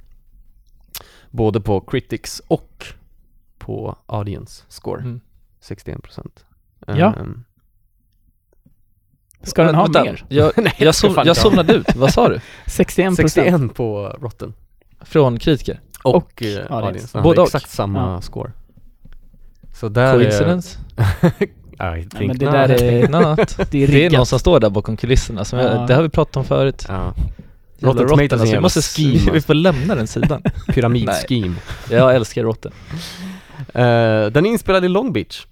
Speaker 1: Både på critics och på audience score.
Speaker 6: Mm.
Speaker 1: 61 procent. Ehm,
Speaker 7: Ja. Ska den ha
Speaker 6: Vänta,
Speaker 7: mer?
Speaker 6: Jag,
Speaker 1: Nej,
Speaker 6: jag,
Speaker 1: ska
Speaker 6: som,
Speaker 1: fan
Speaker 6: jag
Speaker 1: inte ha.
Speaker 6: somnade ut, vad sa du?
Speaker 7: 61 procent.
Speaker 1: 61 på Rotten.
Speaker 6: Från kritiker?
Speaker 1: Och,
Speaker 7: Och
Speaker 1: eh,
Speaker 7: audience.
Speaker 1: audience. Den
Speaker 6: Både
Speaker 1: hade
Speaker 6: och.
Speaker 1: Exakt samma score. Så där
Speaker 6: Coincidence?
Speaker 1: Är, I think
Speaker 7: Nej, men det
Speaker 1: not.
Speaker 7: där är,
Speaker 6: Think not.
Speaker 7: det är
Speaker 6: Det är någon
Speaker 7: riggat.
Speaker 6: som står där bakom kulisserna, som
Speaker 7: Ja.
Speaker 6: jag, det har vi pratat om förut.
Speaker 1: Ja,
Speaker 6: Jävla
Speaker 1: Rotten
Speaker 6: råttorna,
Speaker 1: Tomatoes är en
Speaker 6: alltså, vi
Speaker 1: jävla
Speaker 6: måste s-
Speaker 1: scheme, alltså.
Speaker 6: Vi får lämna den sidan. Nej.
Speaker 1: pyramidscheme.
Speaker 6: Jag älskar råttor.
Speaker 1: Eh, den är inspelad i Long Beach.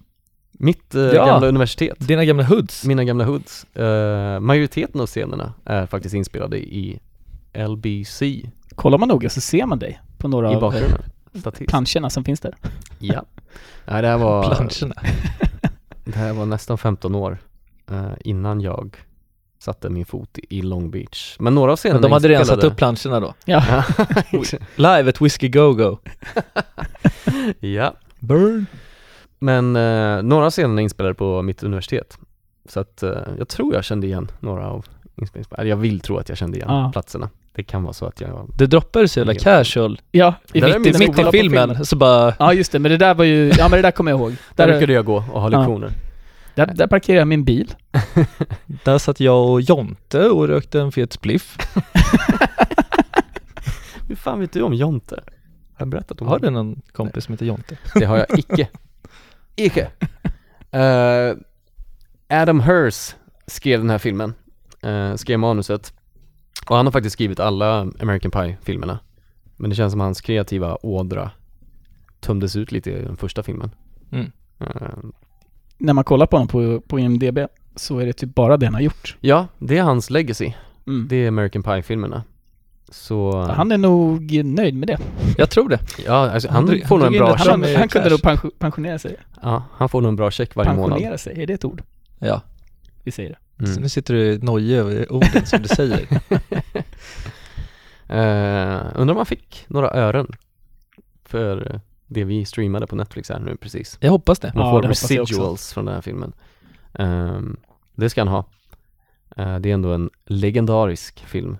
Speaker 1: Mitt eh,
Speaker 6: Ja.
Speaker 1: gamla universitet,
Speaker 6: Dina gamla hoods.
Speaker 1: mina gamla hoods. Eh, majoriteten av scenerna är faktiskt inspelade i LBC i
Speaker 7: Kollar man noga så ser man dig på några av eh,
Speaker 1: bakgrunden. Statist.
Speaker 7: planscherna som finns där.
Speaker 1: Ja. Nej, det här var,
Speaker 6: Planscherna.
Speaker 1: det här var nästan 15 år eh, innan jag satte min fot i Long Beach. Men några av scenerna
Speaker 6: Men de hade redan satt
Speaker 1: inspelade-
Speaker 6: upp planscherna då.
Speaker 7: Ja.
Speaker 6: Live at Whiskey Go Go.
Speaker 1: ja.
Speaker 6: Burn.
Speaker 1: Men eh, några av scenerna är inspelade på mitt universitet. Så att eh, jag tror jag kände igen några av inspelningarna. Eller jag vill tro att jag kände igen
Speaker 7: Ja.
Speaker 1: platserna. Det kan vara så att jag...
Speaker 6: Det droppade så jävla
Speaker 1: Helt.
Speaker 6: casual.
Speaker 7: ja.
Speaker 1: Där är
Speaker 6: Mitt,
Speaker 1: mina
Speaker 6: mitt i
Speaker 1: skolor på
Speaker 6: filmen så bara,
Speaker 7: Ja just det, men det där var ju, ja men det där kommer jag ihåg.
Speaker 1: Där
Speaker 7: Där,
Speaker 1: brukade jag gå och ha
Speaker 7: Ja.
Speaker 1: lektioner.
Speaker 7: där, där parkerade jag min bil.
Speaker 6: där satt jag och Jonte och rökte en fet spliff.
Speaker 1: Hur fan vet du om Jonte? Har jag berättat om
Speaker 6: Har
Speaker 1: honom?
Speaker 6: du någon kompis som heter Jonte?
Speaker 1: Det har jag icke. icke. Eh, Adam Hirst skrev den här filmen, eh, skrev manuset. Och han har faktiskt skrivit alla American Pie-filmerna. Men det känns som hans kreativa ådra tömdes ut lite i den första filmen.
Speaker 6: Mm.
Speaker 1: Eh,
Speaker 7: När man kollar på honom på, på IMDB så är det typ bara det han har gjort.
Speaker 1: ja, det är hans legacy.
Speaker 7: Mm.
Speaker 1: Det är American Pie-filmerna. Så
Speaker 7: Han är nog nöjd med det.
Speaker 6: Jag tror det.
Speaker 1: ja, alltså, han,
Speaker 6: drog-
Speaker 1: får nog
Speaker 6: drog
Speaker 1: en
Speaker 6: in
Speaker 1: bra
Speaker 6: ett
Speaker 1: check.
Speaker 7: Han,
Speaker 6: med
Speaker 7: han kunde
Speaker 6: cash.
Speaker 7: nog pension- pensionera sig.
Speaker 1: Ja, han får nog en bra check varje månad.
Speaker 7: Pensionera sig, är det ett ord?
Speaker 6: Ja.
Speaker 7: Vi säger det.
Speaker 6: Så
Speaker 1: Mm.
Speaker 6: nu sitter du nojig över orden som du säger.
Speaker 1: Eh, undrar om han fick några ören för eh, det vi streamade på Netflix här nu precis.
Speaker 6: Jag hoppas det.
Speaker 1: Man
Speaker 7: Ja,
Speaker 1: får
Speaker 7: det hoppas jag också.
Speaker 1: residuals från den här filmen. Ehm, det ska han ha. Eh, det är ändå en legendarisk film.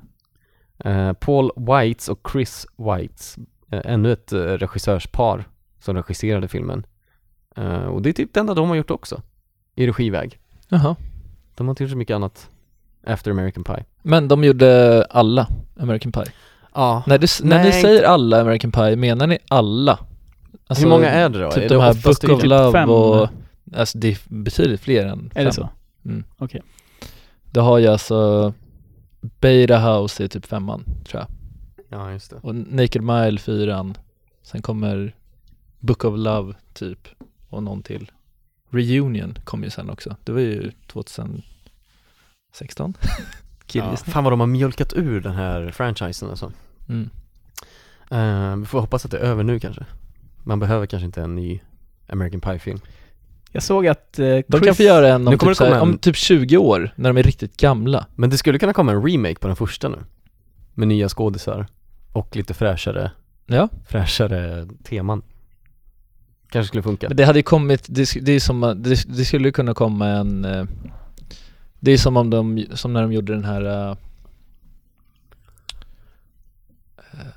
Speaker 1: Eh, Paul Whites och Chris Whites, eh, ännu ett eh, regissörspar som regisserade filmen. Eh, och det är typ det enda de har gjort också, i regiväg.
Speaker 6: Jaha.
Speaker 1: De har inte gjort så mycket annat efter American Pie.
Speaker 6: Men de gjorde alla American Pie.
Speaker 1: Ja.
Speaker 6: När, du, s- när ni
Speaker 1: Nej,
Speaker 6: säger alla American Pie, menar ni alla? Alltså,
Speaker 1: Hur många är det då?
Speaker 6: Typ
Speaker 1: är
Speaker 6: de
Speaker 1: det
Speaker 6: här
Speaker 1: oftast
Speaker 6: Book of
Speaker 1: i typ-
Speaker 6: Love
Speaker 7: fem?
Speaker 6: och... Alltså det är betydligt fler än
Speaker 7: Är
Speaker 6: fem.
Speaker 7: det så?
Speaker 6: Då har jag alltså... Beta House är typ femman, tror jag.
Speaker 1: Ja, just det.
Speaker 6: Och Naked Mile fyran. Sen kommer Book of Love, typ. Och någon till. Reunion kom ju sen också. Det var ju 2016.
Speaker 1: Ja.
Speaker 6: Killgissning.
Speaker 1: Fan vad de har mjölkat ur den här franchisen alltså.
Speaker 6: Mm.
Speaker 1: Eh, vi får hoppas att det är över nu kanske. Man behöver kanske inte en ny American Pie-film.
Speaker 7: Jag såg att eh, Chris,
Speaker 6: De kan få göra en
Speaker 1: Nu
Speaker 6: om
Speaker 1: kommer
Speaker 6: typ,
Speaker 1: det
Speaker 6: så här,
Speaker 1: komma en-
Speaker 6: om typ 20 år, när de är riktigt gamla.
Speaker 1: Men det skulle kunna komma en remake på den första nu. Med nya skådisar och lite fräschare,
Speaker 6: Ja.
Speaker 1: fräschare teman. Kanske skulle funka.
Speaker 6: Men det hade ju kommit, det, sk- det är som, att- det, det skulle ju kunna komma en eh, Det är som om de, som när de gjorde den här eh,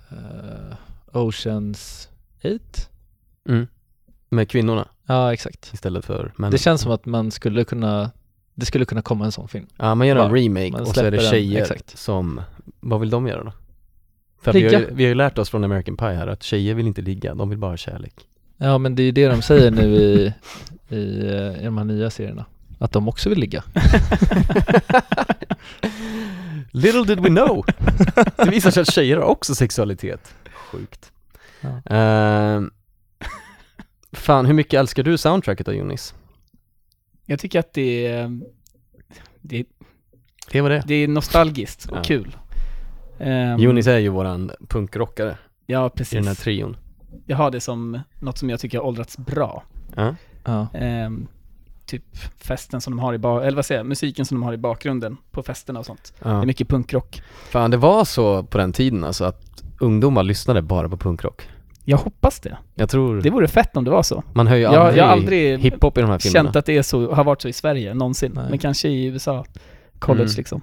Speaker 6: eh, Oceans 8?
Speaker 1: Mm. Med kvinnorna
Speaker 6: Ja, exakt.
Speaker 1: istället för männen.
Speaker 6: Det känns som att man skulle kunna Det skulle kunna komma en sån film.
Speaker 1: Ja, man gör en
Speaker 6: Bara,
Speaker 1: remake
Speaker 6: man
Speaker 1: och så är det
Speaker 6: släpper den,
Speaker 1: tjejer
Speaker 6: exakt.
Speaker 1: som, vad vill de göra då? För vi har, ju,
Speaker 6: Ligga.
Speaker 1: vi har ju lärt oss från American Pie här att tjejer vill inte ligga, de vill bara ha kärlek.
Speaker 6: Ja, men det är ju det de säger nu i, i, eh, i de här nya serierna. Att de också vill ligga.
Speaker 1: Little did we know! Det visar sig att tjejer har också sexualitet. Sjukt.
Speaker 6: Ja.
Speaker 1: Ehm, fan, hur mycket älskar du soundtracket då Jonis?
Speaker 7: jag tycker att det är, det, är-
Speaker 1: Det var det.
Speaker 7: det är nostalgiskt och
Speaker 1: Ja.
Speaker 7: kul. Ehm,
Speaker 1: Jonis är ju våran punkrockare
Speaker 7: Ja,
Speaker 1: i den här
Speaker 7: precis.
Speaker 1: trion.
Speaker 7: Jag har det som något som jag tycker har åldrats bra.
Speaker 1: Ja.
Speaker 6: Ja.
Speaker 7: Ehm, typ festen som de har i ba- eller vad säger jag, musiken som de har i bakgrunden på festerna och sånt. Det är
Speaker 1: Ja.
Speaker 7: mycket punkrock.
Speaker 1: Fan, det var så på den tiden alltså att ungdomar lyssnade bara på punkrock.
Speaker 7: Jag hoppas det.
Speaker 1: Jag tror,
Speaker 7: Det vore fett om det var så.
Speaker 1: man hör ju
Speaker 7: Jag, jag,
Speaker 1: aldrig,
Speaker 7: har aldrig
Speaker 1: hiphop i de här filmerna.
Speaker 7: känt att det är så, har varit så i Sverige någonsin.
Speaker 6: Nej.
Speaker 7: Men kanske i USA, college
Speaker 1: Mm.
Speaker 7: liksom.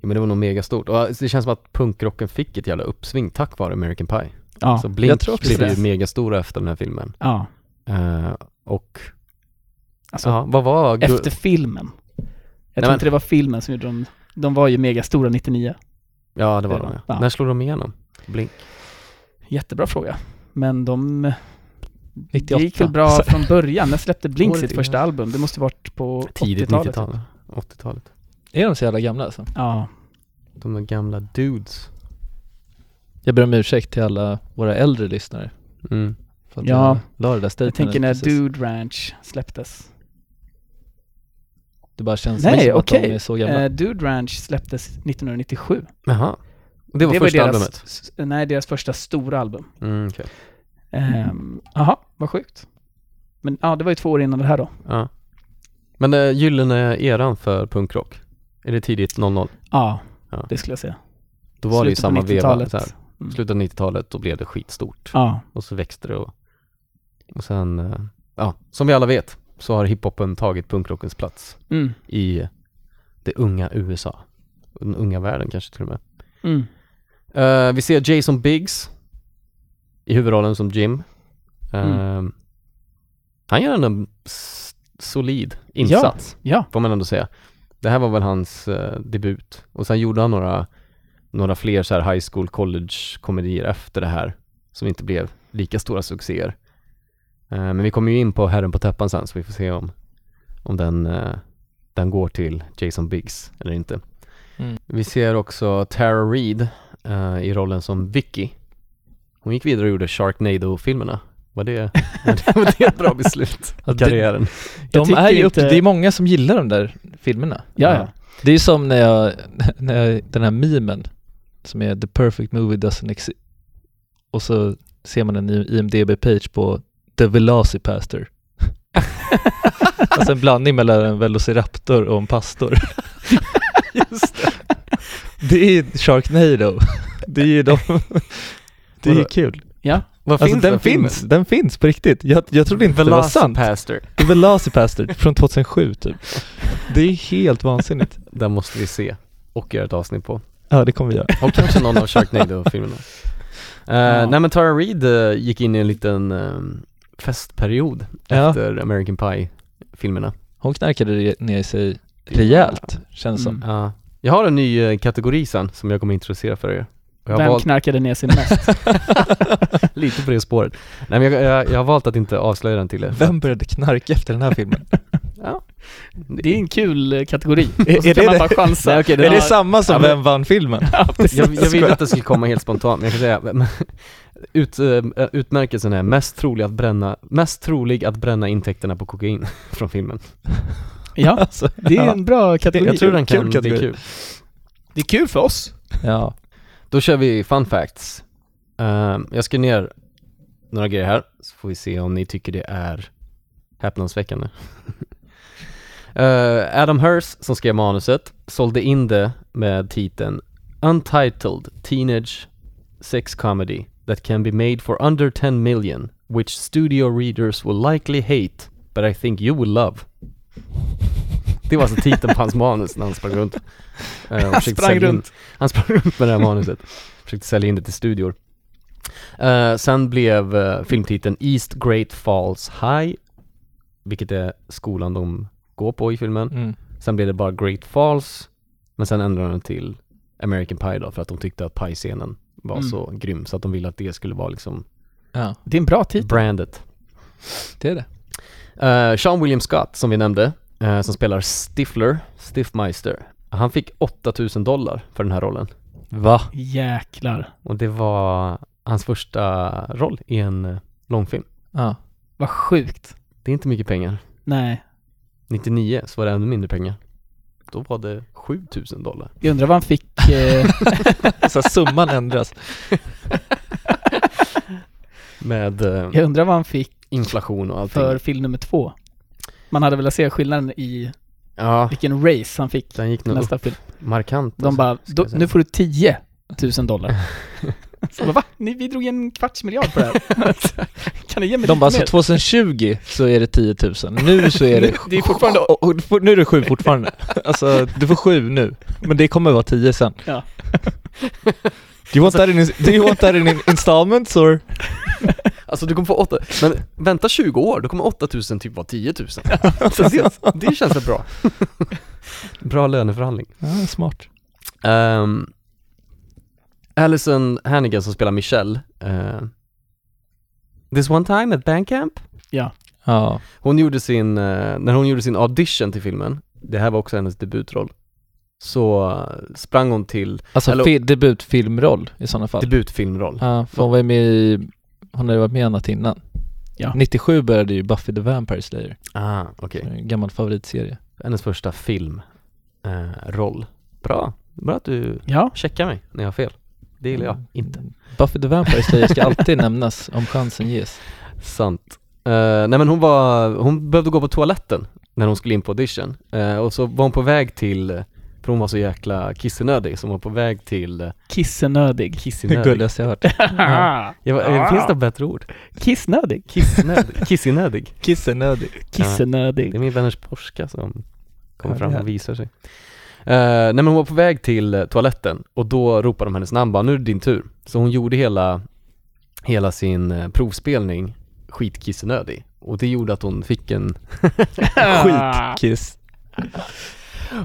Speaker 1: Ja, men det var nog megastort. Och alltså, det känns som att punkrocken fick ett jävla uppsving tack vare American Pie.
Speaker 7: Ja.
Speaker 1: Så Blink
Speaker 6: jag tror också
Speaker 1: blev
Speaker 6: det.
Speaker 1: ju megastora efter den här filmen.
Speaker 7: ja.
Speaker 1: Eh, och
Speaker 7: Alltså,
Speaker 1: ja, vad var gu-
Speaker 7: efter filmen. Jag
Speaker 1: men-
Speaker 7: tror inte det var filmen som gjorde dem, de var ju megastora 99.
Speaker 1: Ja, det var
Speaker 7: Det
Speaker 1: de
Speaker 7: var-
Speaker 1: ja.
Speaker 7: ja.
Speaker 1: När slog de igenom? Blink?
Speaker 7: Jättebra fråga. Men de... Det
Speaker 6: 98.
Speaker 7: gick väl bra från början. När släppte Blink
Speaker 1: Året
Speaker 7: sitt
Speaker 1: innan.
Speaker 7: första album? Det måste varit på typ.
Speaker 1: Tidigt
Speaker 7: 80-talet.
Speaker 1: 90-tal? 80-talet.
Speaker 6: Är de så jävla gamla alltså?
Speaker 7: Ja.
Speaker 1: De där gamla dudes.
Speaker 6: Jag ber om ursäkt till alla våra äldre lyssnare.
Speaker 1: Mm.
Speaker 6: För att
Speaker 7: Ja.
Speaker 6: jag la det där
Speaker 7: Jag tänker när
Speaker 6: precis.
Speaker 7: Dude Ranch släpptes.
Speaker 6: Det bara känns
Speaker 7: Nej,
Speaker 6: som att
Speaker 7: okej.
Speaker 6: de är så gamla.
Speaker 7: Eh, Dude Ranch släpptes 1997.
Speaker 1: Jaha. Det var första
Speaker 7: deras,
Speaker 1: albumet?
Speaker 7: s- Nej, deras första stora album.
Speaker 1: Mm, okej. Mm.
Speaker 7: Ehm, Jaha, vad sjukt. Men ja, det var ju två år innan det här då.
Speaker 1: ja. Men eh, gyllene eran för punkrock? Är det tidigt 00?
Speaker 7: Ja,
Speaker 1: Ja.
Speaker 7: det skulle jag säga.
Speaker 1: Då var det ju
Speaker 7: Slutet på
Speaker 1: samma veva.
Speaker 7: 90-talet.
Speaker 1: Så här.
Speaker 7: Mm.
Speaker 1: Slutet av 90-talet, då blev det skitstort.
Speaker 7: Ja,
Speaker 1: Och så växte det och, och sen, eh, ja, som vi alla vet så har hiphopen tagit punkrockens plats
Speaker 7: mm,
Speaker 1: i det unga USA. Den unga världen kanske till och med.
Speaker 7: mm.
Speaker 1: Eh, vi ser Jason Biggs i huvudrollen som Jim. Eh, Han gör ändå en s- solid insats,
Speaker 7: ja.
Speaker 1: får man ändå säga. Det här var väl hans eh, debut och sen gjorde han några, några fler så här high school college-komedier efter det här som inte blev lika stora succéer. Eh, men vi kommer ju in på Herren på täppan sen så vi får se om, om den, eh, den går till Jason Biggs eller inte.
Speaker 6: Mm.
Speaker 1: Vi ser också Tara Reid eh, i rollen som Vicky. Hon gick vidare och gjorde Sharknado-filmerna. Var det, var det ett bra beslut i
Speaker 6: det-
Speaker 1: karriären?
Speaker 7: Jag
Speaker 6: de
Speaker 7: tycker
Speaker 6: är ju upp,
Speaker 7: inte-
Speaker 6: det är många som gillar de där filmerna.
Speaker 7: Ja, ja.
Speaker 6: Det är ju som när jag, när jag, den här memen som är “The perfect movie doesn't exist” och så ser man en IMDB-page på “The Velocipaster”. alltså en blandning mellan en velociraptor och en pastor. Just det. det är ju Sharknado. Det är ju de... Det är ju
Speaker 1: Vadå?
Speaker 6: kul.
Speaker 1: Vad
Speaker 6: Alltså den,
Speaker 1: filmen?
Speaker 6: finns, den finns på riktigt. Jag, jag trodde inte det var sant.
Speaker 1: Velocipaster.
Speaker 6: The Velocipaster från 2007 typ. Det är helt vansinnigt.
Speaker 1: Den måste vi se och göra ett avsnitt på.
Speaker 6: Ja, det kommer vi göra.
Speaker 1: Och kanske någon av Sharknado-filmerna. Eh,
Speaker 7: Ja.
Speaker 1: Nej men Tara Reid eh, gick in i en liten eh, festperiod
Speaker 6: Ja.
Speaker 1: efter American Pie-filmerna.
Speaker 6: Hon knarkade re- ner sig rejält, känns som.
Speaker 7: Mm.
Speaker 1: Ja. Jag har en ny eh, kategori sen som jag kommer introducera för er. Och jag har
Speaker 7: Vem
Speaker 1: valt-
Speaker 7: knarkade ner sig mest?
Speaker 1: Lite på det spåret. Nej men jag, jag, jag har valt att inte avslöja den till er.
Speaker 6: Vem började knarka efter den här filmen?
Speaker 7: Det är en kul eh, kategori.
Speaker 6: Är-
Speaker 7: Och så
Speaker 6: är
Speaker 7: kan
Speaker 6: det
Speaker 7: man bara
Speaker 6: det?
Speaker 7: chansa.
Speaker 1: Nej, okej, det
Speaker 6: Är
Speaker 1: var-
Speaker 6: det samma som
Speaker 1: Ja, men-
Speaker 6: Vem vann filmen?
Speaker 7: Ja, precis.
Speaker 1: Jag, jag ville att det skulle komma helt spontant, men jag kan säga, men- ut, eh, utmärkelsen är mest trolig att bränna, mest trolig att bränna intäkterna på kokain från filmen.
Speaker 7: Ja,
Speaker 6: Alltså,
Speaker 7: det är en bra kategori.
Speaker 1: Jag tror den kan
Speaker 6: Kul
Speaker 1: bli
Speaker 6: kategori.
Speaker 1: kul.
Speaker 7: Det är kul för oss.
Speaker 6: ja.
Speaker 1: Då kör vi fun facts. Ehm, jag ska ner några grejer här, så får vi se om ni tycker det är häpnadsväckande. Eh, Adam Hirst, som skrev manuset, sålde in det med titeln Untitled Teenage Sex Comedy That Can Be Made For Under 10 Million Which Studio Readers Will Likely Hate But I Think You Will Love. Det var alltså titeln på hans manus när han sprang runt. eh, och
Speaker 7: Han
Speaker 1: försökte
Speaker 7: sprang
Speaker 1: sälja in-
Speaker 7: runt.
Speaker 1: Han sprang runt med det här manuset. Försökte sälja in det till studior. Eh, sen blev eh, filmtiteln East Great Falls High, vilket är skolan de går på i filmen.
Speaker 6: Mm.
Speaker 1: Sen blev det bara Great Falls, men sen ändrade de till American Pie då, för att de tyckte att Pie-scenen var
Speaker 7: Mm.
Speaker 1: så grym, så att de ville att det skulle vara liksom
Speaker 6: ja,
Speaker 7: Det är en bra titel.
Speaker 1: brandet.
Speaker 6: det är det.
Speaker 1: Eh, Sean William Scott, som vi nämnde, eh, som spelar Stifler, Stiffmeister, han fick 8000 dollar för den här rollen.
Speaker 6: Va?
Speaker 7: Jäklar.
Speaker 1: Och det var hans första roll i en eh, långfilm.
Speaker 6: Ja.
Speaker 7: Vad sjukt.
Speaker 1: Det är inte mycket pengar.
Speaker 7: Nej,
Speaker 1: 99 så var det ännu mindre pengar. Då var det 7000 dollar.
Speaker 7: jag undrar vad han fick. Eh,
Speaker 6: Så här, summan ändras.
Speaker 1: Med eh,
Speaker 7: jag undrar vad han fick
Speaker 1: inflation och allting.
Speaker 7: för film nummer två. Man hade velat se skillnaden i
Speaker 1: Ja,
Speaker 7: vilken race han fick
Speaker 1: den gick
Speaker 7: till
Speaker 1: nog
Speaker 7: nästa
Speaker 1: upp
Speaker 7: film.
Speaker 1: markant. alltså.
Speaker 7: De bara,
Speaker 1: ska
Speaker 7: då,
Speaker 1: jag säga.
Speaker 7: nu får du 10 000 dollar. Så bara, va? Ni, vi drog en kvarts miljard på det här. kan ni ge mig
Speaker 6: De
Speaker 7: lite mer?
Speaker 6: bara, så 2020 så är det 10 000, nu så är det...
Speaker 7: Det är fortfarande-
Speaker 6: Och- och du får- nu är det sju fortfarande. Alltså, du får sju nu, men det kommer vara 10 sen.
Speaker 7: Ja.
Speaker 6: Do you want that in, do you want that in installments or?
Speaker 1: Alltså du kommer få 8, men vänta 20 år, då kommer 8000 typ vara 10 000. Så det, det känns väl bra. bra löneförhandling.
Speaker 6: Ja, smart.
Speaker 1: Um, Allison Hannigan som spelar Michelle. eh, This one time at Bandcamp.
Speaker 6: Ja.
Speaker 1: Hon gjorde sin, eh, när hon gjorde sin audition till filmen, det här var också hennes debutroll, så eh, sprang hon till
Speaker 6: Alltså
Speaker 1: Eller-
Speaker 6: fi- debutfilmroll i sådana fall.
Speaker 1: debutfilmroll.
Speaker 6: Ja, för hon var ju med i, hon hade varit med i annat innan.
Speaker 7: Ja.
Speaker 8: 97 började ju Buffy the Vampire Slayer,
Speaker 1: Ah, okej.
Speaker 8: en gammal favoritserie.
Speaker 1: Hennes första filmroll. Bra. Bra att du
Speaker 7: Ja,
Speaker 1: checkar mig när jag har fel. Det gillar
Speaker 6: Mm.
Speaker 1: jag inte.
Speaker 8: Buffy the Vampire Slayer ska alltid nämnas om chansen ges.
Speaker 1: Sant. Eh, nej men hon var, hon behövde gå på toaletten när hon skulle in på audition. Eh, och så var hon på väg till, för hon var så jäkla kissenödig, så hon var på väg till eh,
Speaker 7: kissenödig.
Speaker 8: Det
Speaker 1: kissenödig.
Speaker 8: gulligaste jag hört.
Speaker 1: Jag var, eh, Finns det något bättre ord?
Speaker 7: Kissnödig?
Speaker 1: Kissenödig. kissenödig.
Speaker 8: Kissenödig.
Speaker 7: Kissenödig.
Speaker 1: Det är min vänners Porska som kommer
Speaker 8: Ja,
Speaker 1: fram
Speaker 8: det är-
Speaker 1: och visar sig. Eh, nej men hon var på väg till eh, toaletten och då ropade de hennes namn bara, nu är det din tur. Så hon gjorde hela, hela sin eh, provspelning skitkissenödig. Och det gjorde att hon fick en
Speaker 8: Kiss.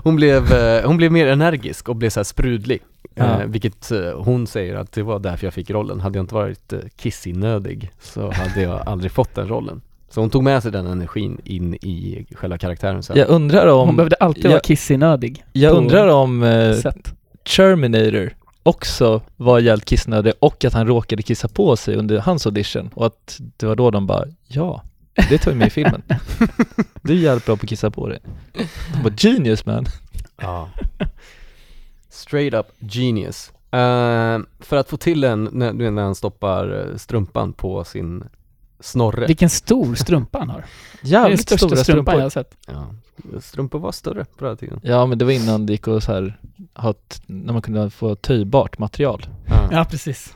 Speaker 1: Hon blev, eh, hon blev mer energisk och blev så här sprudlig.
Speaker 8: Ja.
Speaker 1: Eh, vilket eh, hon säger att det var därför jag fick rollen. Hade jag inte varit eh, kissinödig så hade jag aldrig fått den rollen. Så hon tog med sig den energin in i själva karaktären sen.
Speaker 8: Jag undrar
Speaker 7: Hon
Speaker 8: om,
Speaker 7: behövde alltid
Speaker 8: Ja.
Speaker 7: vara kissinödig.
Speaker 8: jag
Speaker 7: på
Speaker 8: undrar om eh,
Speaker 7: Sätt.
Speaker 8: Terminator också var jävligt kissnödig och att han råkade kissa på sig under hans audition och att det var då de bara ja, det tar vi med i filmen. Du är jävligt bra på att kissa på dig. De bara genius man.
Speaker 1: Ja. Straight up genius. Eh, för att få till en, när, du vet när han stoppar eh, strumpan på sin snorre.
Speaker 7: Vilken stor strumpa han har. Det är den
Speaker 8: Jävligt
Speaker 7: största
Speaker 8: stora
Speaker 7: alltså. strumpan
Speaker 8: strumpor.
Speaker 7: jag har sett.
Speaker 1: Ja. Strumpor var större på den här tiden.
Speaker 8: Ja men det var innan det gick att så här, ha ett, när man kunde få töjbart material.
Speaker 1: Ja.
Speaker 7: Ja, precis.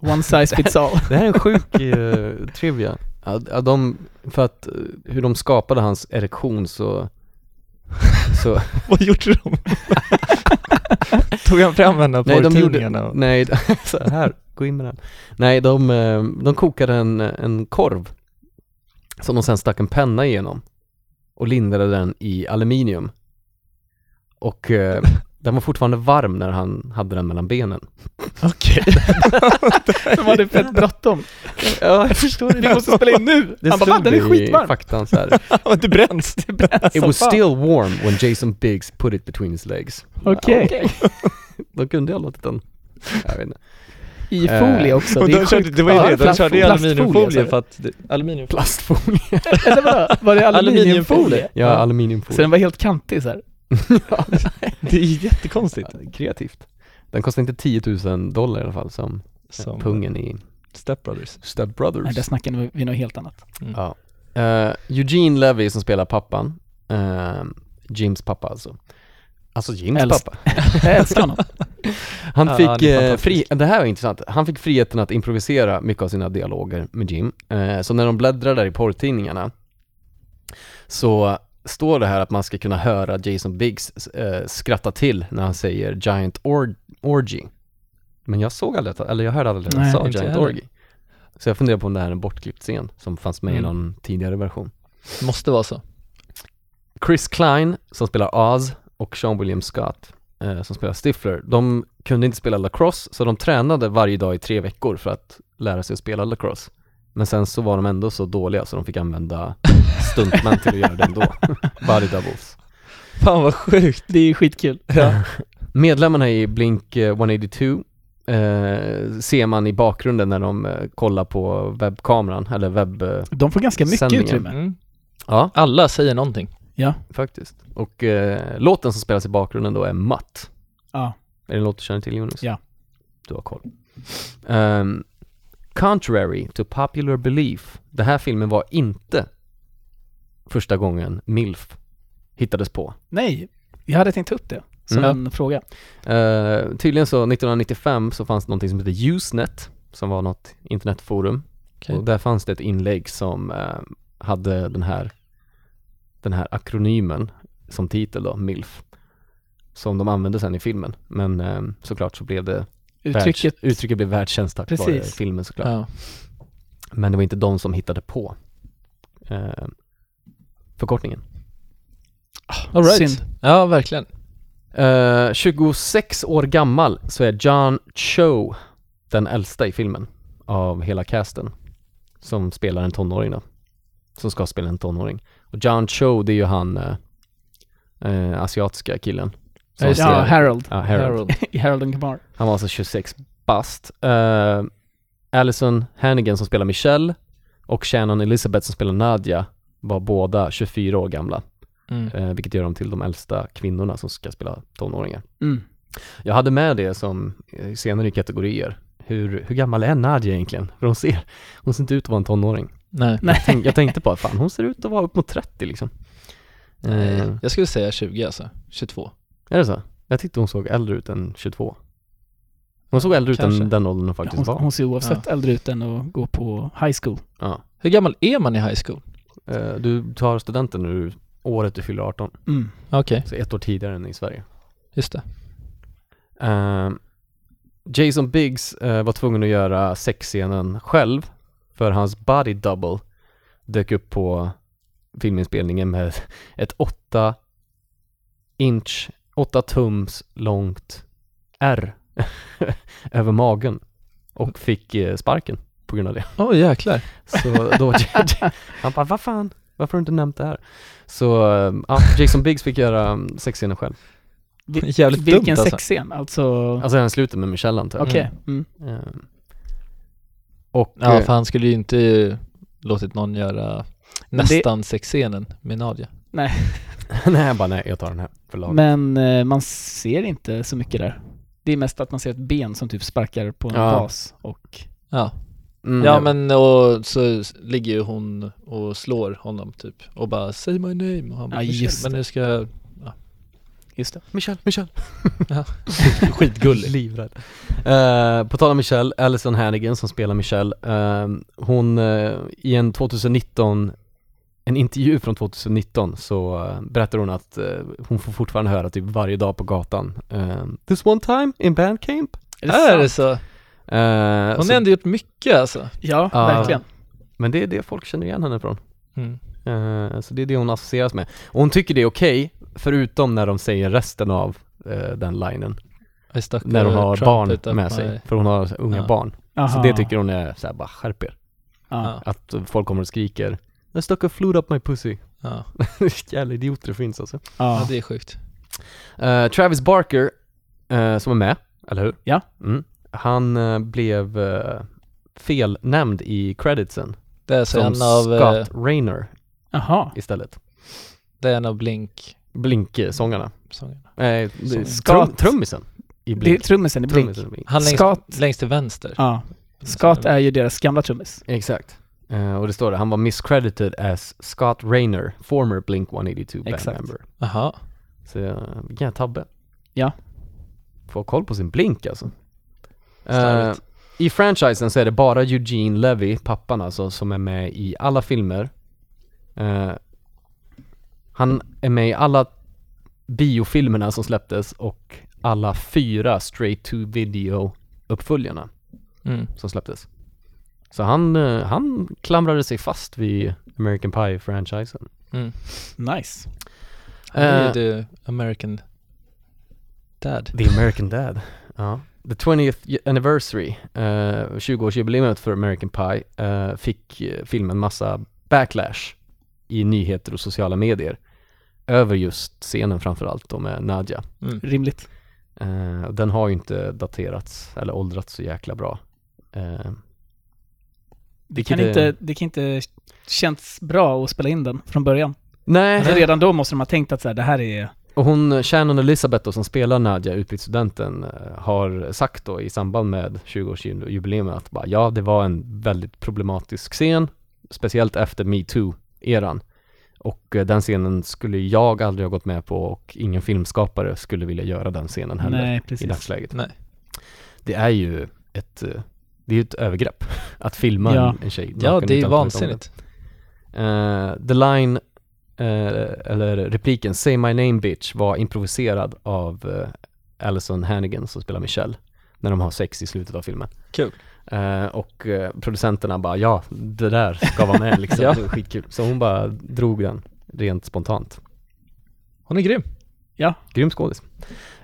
Speaker 7: One size fits all.
Speaker 1: Det här är en sjuk eh, trivia. Ja, d- ja, de, för att eh, hur de skapade hans erektion så, så
Speaker 8: Vad gjorde de? Tog han fram henne på
Speaker 1: nej de
Speaker 8: tidningarna?
Speaker 1: gjorde, nej, så här, gå in med den. Nej, de, eh, de kokade en, en korv som de sen stack en penna igenom och lindade den i aluminium. Och eh, den var fortfarande varm när han hade den mellan benen.
Speaker 8: Okej.
Speaker 7: De hade fett bråttom.
Speaker 1: Ja, jag förstår
Speaker 7: Vi måste spela in nu! Han bara, "Va, den är skitvarm!
Speaker 1: faktan så här.
Speaker 8: Okay. det bränns. Det bränns.
Speaker 1: It was
Speaker 7: fan.
Speaker 1: still warm when Jason Biggs put it between his legs.
Speaker 7: Okej.
Speaker 1: Då kunde jag låtit den. Jag vet inte.
Speaker 7: I folie
Speaker 1: Eh,
Speaker 7: också.
Speaker 8: Och
Speaker 7: Det är
Speaker 8: de körde,
Speaker 7: sjukt.
Speaker 8: det var ju
Speaker 7: Ja,
Speaker 8: det, de
Speaker 7: plast-
Speaker 8: körde ju
Speaker 7: plastfolie,
Speaker 8: aluminiumfolie
Speaker 7: sa
Speaker 8: för att... det- Aluminiumfolie.
Speaker 1: Plastfolie.
Speaker 7: du. Eller vadå? Var det aluminiumfolie?
Speaker 1: Ja,
Speaker 7: Så
Speaker 1: aluminiumfolie.
Speaker 7: den var helt kantig så här.
Speaker 8: Det är ju jättekonstigt.
Speaker 1: Kreativt. Den kostar inte 10 000 dollar i alla fall som,
Speaker 8: Som
Speaker 1: pungen i
Speaker 8: Step Brothers.
Speaker 1: Step Brothers.
Speaker 7: Nej, där snackade vi något helt annat.
Speaker 1: Ja. Eh, Eugene Levy som spelar pappan, eh, Jims pappa alltså. Alltså Jims
Speaker 7: Äldst.
Speaker 1: pappa.
Speaker 7: Jag älskar honom.
Speaker 1: Han
Speaker 8: Ja,
Speaker 1: fick,
Speaker 8: han är
Speaker 1: eh, fri,
Speaker 8: fantastisk.
Speaker 1: det här var intressant, han fick friheten att improvisera mycket av sina dialoger med Jim. Eh, så när de bläddrar där i porrtidningarna så står det här att man ska kunna höra Jason Biggs eh, skratta till när han säger Giant or- Orgy. Men jag såg aldrig, att, eller jag hörde aldrig att han
Speaker 7: Nej,
Speaker 1: sa
Speaker 8: inte jag
Speaker 1: Giant
Speaker 8: heller.
Speaker 1: Orgy. Så jag funderar på om det här är en bortklippt scen som fanns med i
Speaker 8: Mm.
Speaker 1: någon tidigare version.
Speaker 8: Måste vara så.
Speaker 1: Chris Klein som spelar Oz och Sean William Scott eh, som spelar Stifler, de kunde inte spela lacrosse så de tränade varje dag i tre veckor för att lära sig att spela lacrosse. Men sen så var de ändå så dåliga så de fick använda stuntmän till att göra det ändå. Body doubles.
Speaker 8: Fan vad sjukt.
Speaker 7: Det är skitkul.
Speaker 1: Medlemmarna i Blink eh, 182 eh, ser man i bakgrunden när de eh, kollar på webbkameran, eller webb... Eh,
Speaker 7: De får ganska mycket
Speaker 1: Sändningen.
Speaker 7: utrymme.
Speaker 8: Mm.
Speaker 1: ja,
Speaker 8: Alla säger någonting.
Speaker 1: faktiskt. Och eh, låten som spelas i bakgrunden då är Mutt.
Speaker 7: Ja.
Speaker 1: Är det en låt du känner till Jonas?
Speaker 7: Ja.
Speaker 1: Du har koll. Ehm, contrary to popular belief, den här filmen var inte första gången MILF hittades på.
Speaker 7: Nej, jag hade tänkt ta upp det som
Speaker 1: Mm.
Speaker 7: en fråga.
Speaker 1: Ehm, tydligen så 1995 så fanns det någonting som hette Usenet, som var något internetforum.
Speaker 8: Okej.
Speaker 1: Och där fanns det ett inlägg som eh, hade den här, den här akronymen som titel då, MILF. Som de använde sen i filmen. Men ehm, såklart så blev det
Speaker 7: Uttrycket,
Speaker 1: Världs, uttrycket blev världstjänst tack vare
Speaker 7: Precis.
Speaker 1: filmen såklart.
Speaker 8: Ja.
Speaker 1: Men det var inte de som hittade på eh, förkortningen.
Speaker 8: All right.
Speaker 7: synd.
Speaker 8: Ja, verkligen.
Speaker 1: Eh, 26 år gammal så är John Cho den äldsta i filmen av hela casten. Som spelar en tonåring då. Som ska spela en tonåring. Och John Cho det är ju han eh, eh, asiatiska killen. Som
Speaker 7: Eh, Ja,
Speaker 1: spelar-
Speaker 7: Harold.
Speaker 1: ja, Harold.
Speaker 7: I Harold and Kumar.
Speaker 1: Han Eh, var alltså 26 bast. Uh, Allison Hannigan som spelar Michelle och Shannon Elizabeth som spelar Nadja var båda 24 år gamla,
Speaker 6: Mm.
Speaker 1: eh, vilket gör dem till de äldsta kvinnorna som ska spela tonåringar.
Speaker 7: Mm.
Speaker 1: Jag hade med det som eh, senare i kategorier. Hur, hur gammal är Nadja egentligen? För hon ser, hon ser inte ut att vara en tonåring.
Speaker 6: Nej.
Speaker 1: Jag, tänk, jag tänkte bara, fan hon ser ut att vara upp mot 30 liksom. Eh,
Speaker 6: Nej, Jag skulle säga 20 alltså, 22.
Speaker 1: är det så? Jag tyckte hon såg äldre ut än 22. Hon såg äldre ut
Speaker 6: Kanske.
Speaker 1: än den åldern hon
Speaker 7: Ja,
Speaker 1: faktiskt
Speaker 7: hon,
Speaker 1: var.
Speaker 7: hon ser oavsett äldre ut än att gå på high school.
Speaker 1: Ja.
Speaker 6: Hur gammal är man i high school?
Speaker 1: Eh, du tar studenten nu året du fyller 18,
Speaker 7: Mm.
Speaker 6: Okej,
Speaker 1: så ett år tidigare än i Sverige.
Speaker 6: just det.
Speaker 1: Eh, Jason Biggs eh, var tvungen att göra sexscenen själv, för hans body double dök upp på filminspelningen med ett 8 inch, 8 tums långt R över magen och fick eh, sparken på grund av det.
Speaker 6: Åh jäklar.
Speaker 1: Så då var J- han bara, vad fan, varför har du inte nämnt det här? Så eh, ja, Jason Biggs fick göra mm, sexscenen själv.
Speaker 7: Vi-
Speaker 6: Jävligt
Speaker 7: Vilken
Speaker 6: dumt alltså.
Speaker 7: sexscen, alltså.
Speaker 1: Alltså den slutar med Michelle antar jag.
Speaker 7: Okej. Mm.
Speaker 1: Eh, Och
Speaker 6: Ja,
Speaker 1: eh,
Speaker 6: för han skulle ju inte eh, låtit någon göra
Speaker 7: Men det-
Speaker 6: nästan sexscenen med Nadja.
Speaker 1: nej, jag bara nej, jag tar den här för laget.
Speaker 7: Men eh, man ser inte så mycket där. Det är mest att man ser ett ben som typ sparkar på en
Speaker 1: Ja.
Speaker 7: bas och...
Speaker 6: Ja,
Speaker 1: Mm,
Speaker 6: ja
Speaker 1: jag-
Speaker 6: men och så s- ligger ju hon och slår honom typ och bara say my name och han bara,
Speaker 7: Ja,
Speaker 6: "Ursäkta,
Speaker 7: just
Speaker 6: men
Speaker 7: det.
Speaker 6: nu ska jag
Speaker 7: Just det.
Speaker 1: Michelle, Michelle.
Speaker 6: skitgullig.
Speaker 1: Livrädd. Eh, på tal om Michelle, Alison Hannigan som spelar Michelle, ehm, hon eh, i en 2019, en intervju från 2019 så eh, berättar hon att eh, hon får fortfarande höra typ varje dag på gatan, ehm, this one time in bandcamp.
Speaker 7: Är det
Speaker 6: Är
Speaker 7: sant?
Speaker 6: det så?
Speaker 1: Eh,
Speaker 6: Hon
Speaker 1: så-
Speaker 6: har ändå gjort mycket alltså.
Speaker 7: Ja,
Speaker 1: Ja.
Speaker 7: verkligen.
Speaker 1: Men det är det folk känner igen henne från.
Speaker 6: Mm.
Speaker 1: Eh, så det är det hon associeras med. Och hon tycker det är okej, förutom när de säger resten av eh, den linen.
Speaker 6: I stuck
Speaker 1: När hon
Speaker 6: the
Speaker 1: har
Speaker 6: trumpet
Speaker 1: barn
Speaker 6: up
Speaker 1: med
Speaker 6: my-
Speaker 1: sig, för hon har unga
Speaker 6: Ja.
Speaker 1: barn. Så
Speaker 7: Aha.
Speaker 1: det tycker hon är såhär bara, skärp er.
Speaker 7: Ja.
Speaker 1: Att folk kommer och skriker I stuck a flute up my pussy.
Speaker 6: Ja.
Speaker 1: Jävla idioter det finns alltså.
Speaker 6: ja,
Speaker 7: Ja.
Speaker 6: det är sjukt.
Speaker 1: Eh, Travis Barker, eh, som är med, eller hur?
Speaker 7: Ja.
Speaker 1: Mm. Han eh, blev eh, felnämnd i creditsen
Speaker 6: Det är, så
Speaker 1: som
Speaker 6: en av, eh,
Speaker 1: Scott Raynor
Speaker 7: Jaha.
Speaker 1: istället.
Speaker 6: det är en av Blink-sångerna.
Speaker 1: Blink-sångarna. Eh, det-
Speaker 7: Scott-
Speaker 1: trum, trummisen i
Speaker 7: Det är
Speaker 1: Blink.
Speaker 7: trummisen i Blink.
Speaker 1: Trummisen i Blink.
Speaker 6: Han längst,
Speaker 7: Scott.
Speaker 6: längst till vänster.
Speaker 7: Ja. Scott är ju deras gamla trummis.
Speaker 1: Exakt. Eh, och det står det, han var miscredited as Scott Raynor, former Blink 182 band
Speaker 7: Exakt.
Speaker 1: member.
Speaker 6: Jaha.
Speaker 1: Så eh, vilken jävla tabbe.
Speaker 7: Ja.
Speaker 1: Få koll på sin blink alltså. Eh,
Speaker 6: Slarvigt.
Speaker 1: I franchisen så är det bara Eugene Levy, pappan alltså, som är med i alla filmer. Eh, han är med i alla biofilmerna som släpptes och alla fyra straight to video uppföljarna
Speaker 6: Mm.
Speaker 1: som släpptes. Så han, eh, han klamrade sig fast vid American Pie-franchisen.
Speaker 7: Nice.
Speaker 6: Han är
Speaker 1: Eh,
Speaker 6: ju the American dad.
Speaker 1: The American Dad. Ja. The 20th anniversary, eh, 20-årsjubileet för American Pie, eh, fick eh, filmen massa backlash i nyheter och sociala medier över just scenen framförallt då med Nadja.
Speaker 6: Mm.
Speaker 7: Rimligt.
Speaker 1: Eh, och den har ju inte daterats eller åldrats så jäkla bra. Eh,
Speaker 7: Det kan,
Speaker 1: Vilket är-
Speaker 7: inte, det kan inte känts bra att spela in den från början.
Speaker 1: nej,
Speaker 7: Alltså redan då måste de ha tänkt att så här, det här är...
Speaker 1: Och hon, Shannon Elizabeth då, som spelar Nadja, utbytesstudenten, eh, har sagt då i samband med 20-årsjubileet att bara, ja, det var en väldigt problematisk scen, speciellt efter metoo-eran. Och eh, den scenen skulle jag aldrig ha gått med på och ingen filmskapare skulle vilja göra den scenen heller
Speaker 7: Nej,
Speaker 1: i
Speaker 7: precis.
Speaker 1: dagsläget.
Speaker 6: Nej.
Speaker 1: Det är ju ett, eh, det är ju ett övergrepp att filma
Speaker 7: Ja.
Speaker 1: en- en tjej naken
Speaker 6: Ja, det
Speaker 1: utan att
Speaker 6: är
Speaker 1: veta om det.
Speaker 6: vansinnigt.
Speaker 1: Eh, the line, eh, eller repliken “Say my name bitch” var improviserad av eh, Alison Hannigan som spelar Michelle när de har sex i slutet av filmen.
Speaker 6: Kul.
Speaker 1: Eh, och eh, producenterna bara “Ja, det där ska vara med liksom,
Speaker 6: Ja.
Speaker 1: det är skitkul”. Så hon bara drog den rent spontant.
Speaker 6: Hon är grym.
Speaker 1: Grym skådis.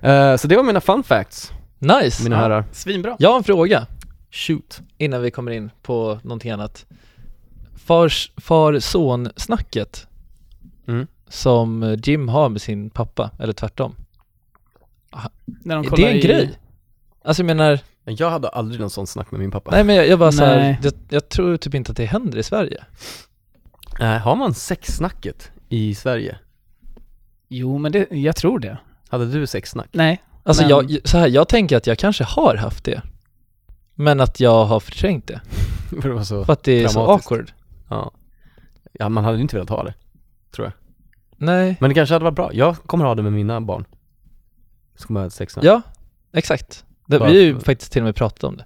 Speaker 1: Eh, så det var mina fun facts,
Speaker 6: Nice!
Speaker 1: mina herrar.
Speaker 7: Svinbra.
Speaker 6: Jag har en fråga
Speaker 1: Shoot.
Speaker 6: innan vi kommer in på någonting annat. Fars, far-son-snacket
Speaker 1: Mm.
Speaker 6: som Jim har med sin pappa, eller tvärtom.
Speaker 7: När de
Speaker 6: Är
Speaker 7: kollar
Speaker 6: det en
Speaker 7: i-
Speaker 6: grej? Alltså jag menar,
Speaker 1: Men jag hade aldrig någon sån snack med min pappa.
Speaker 6: Nej men jag, jag bara så
Speaker 7: Nej.
Speaker 6: här, jag, jag tror typ inte att det händer i Sverige.
Speaker 1: Nej. Eh, Har man sexsnacket i Sverige?
Speaker 7: Jo, men det, jag tror det.
Speaker 1: Hade du sexsnack?
Speaker 7: Nej.
Speaker 6: Alltså
Speaker 7: Men-
Speaker 6: jag, så här, jag tänker att jag kanske har haft det. Men att jag har förträngt det.
Speaker 1: För det var så...
Speaker 6: För att det är så
Speaker 1: Traumatiskt.
Speaker 6: awkward.
Speaker 1: Ja. Ja, man hade ju inte velat ha det.
Speaker 6: Nej,
Speaker 1: Men det kanske hade varit bra. Jag kommer ha det med mina barn. Så kommer jag ha ett sexsnack.
Speaker 6: ja, exakt. Det, vi har ju
Speaker 1: Varför?
Speaker 6: faktiskt till och med pratat om det.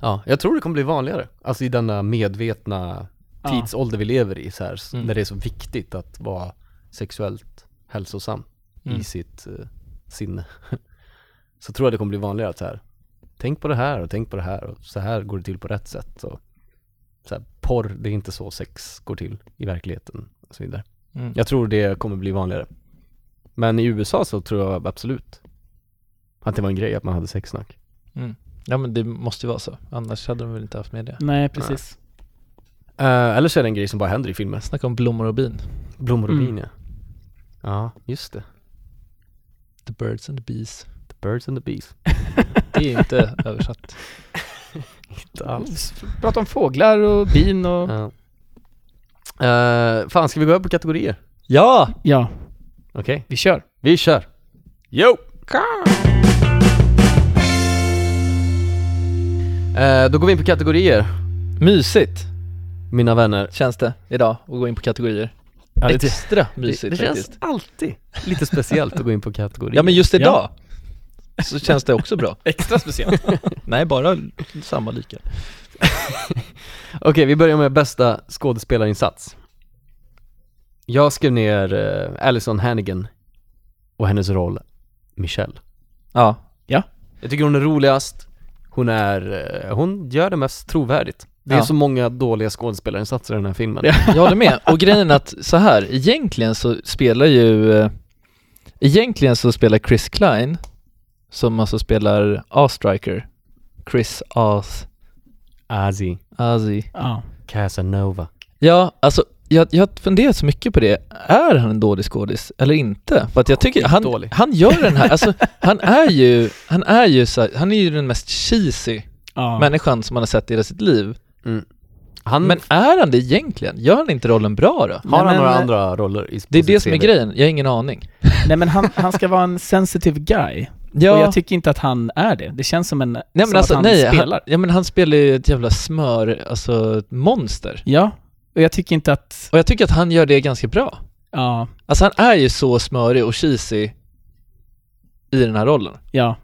Speaker 1: Ja, jag tror det kommer bli vanligare. Alltså i denna medvetna
Speaker 7: Ja.
Speaker 1: tidsålder vi lever i så här, s-
Speaker 6: Mm.
Speaker 1: när det är så viktigt att vara sexuellt hälsosam i sitt eh, sinne. så tror jag det kommer bli vanligare att så här, tänk på det här och tänk på det här och så här går det till på rätt sätt. Och, så här, porr, det är inte så sex går till i verkligheten och så vidare.
Speaker 6: Mm.
Speaker 1: Jag tror det kommer bli vanligare. Men i USA så tror jag absolut att det var en grej att man hade sexsnack.
Speaker 6: Ja men det måste ju vara så, annars hade de väl inte haft med det.
Speaker 7: Nej, precis.
Speaker 1: Eh, eller så är det en grej som bara händer i filmer.
Speaker 6: Snacka om blommor och bin.
Speaker 1: Blommor och
Speaker 7: Mm.
Speaker 1: bin ja. Ja, just det.
Speaker 6: The birds and the bees.
Speaker 1: The birds and the bees.
Speaker 6: Det är ju inte översatt.
Speaker 1: Inte alls.
Speaker 7: Prata om fåglar och bin och...
Speaker 1: Ja. Eh, fan, ska vi gå över på kategorier?
Speaker 6: Ja!
Speaker 7: Ja,
Speaker 1: Okej,
Speaker 7: vi kör.
Speaker 1: vi kör. Jo! Eh, då går vi in på kategorier,
Speaker 6: Mysigt
Speaker 1: mina vänner.
Speaker 6: känns det idag att gå in på kategorier.
Speaker 1: det-
Speaker 6: Extra mysigt
Speaker 1: det
Speaker 6: faktiskt.
Speaker 1: känns alltid lite speciellt att gå in på kategorier.
Speaker 6: Ja men just idag så känns det också bra.
Speaker 1: extra speciellt.
Speaker 6: Nej, bara samma lika.
Speaker 1: Okej, vi börjar med bästa skådespelarinsats. Jag skrev ner eh, Allison Hannigan och hennes roll Michelle.
Speaker 6: Ja.
Speaker 1: Jag tycker hon är roligast, hon är, eh, hon gör det mest trovärdigt. Det är
Speaker 6: Ja.
Speaker 1: så många dåliga skådespelarinsatser i den här filmen.
Speaker 6: Jag håller med. Och grejen är att så här, egentligen så spelar ju... eh, Egentligen så spelar Chris Klein, som alltså spelar A-Striker, Chris Oz,
Speaker 1: Azzy,
Speaker 6: Azzy.
Speaker 7: Ja.
Speaker 1: Casanova.
Speaker 6: Ja, alltså jag, jag har funderat så mycket på det. Är han en dålig skådis eller inte? För att jag tycker han,
Speaker 1: Skitdålig.
Speaker 6: han gör den här, alltså han är ju, han är ju så här, han är ju den mest cheesy
Speaker 7: ja.
Speaker 6: människan som man har sett i hela sitt liv.
Speaker 1: Han,
Speaker 6: Men är han det egentligen? Gör han inte rollen bra då?
Speaker 1: har han
Speaker 7: Nej, men-
Speaker 1: några andra roller i
Speaker 6: Det är
Speaker 1: på sitt
Speaker 6: det som är
Speaker 1: CV?
Speaker 6: grejen, jag har ingen aning.
Speaker 7: eh, Nej men han, han ska vara en sensitive guy. Och jag tycker inte att han är det. Det känns som en...
Speaker 6: nej
Speaker 7: som
Speaker 6: men alltså,
Speaker 7: att han
Speaker 6: nej,
Speaker 7: spelar.
Speaker 6: han, ja men han spelar ju ett jävla smör, alltså ett monster.
Speaker 7: Ja. Och jag tycker inte att...
Speaker 6: Och jag tycker att han gör det ganska bra.
Speaker 7: Ja.
Speaker 6: Alltså han är ju så smörig och cheesy i den här rollen.
Speaker 7: Ja.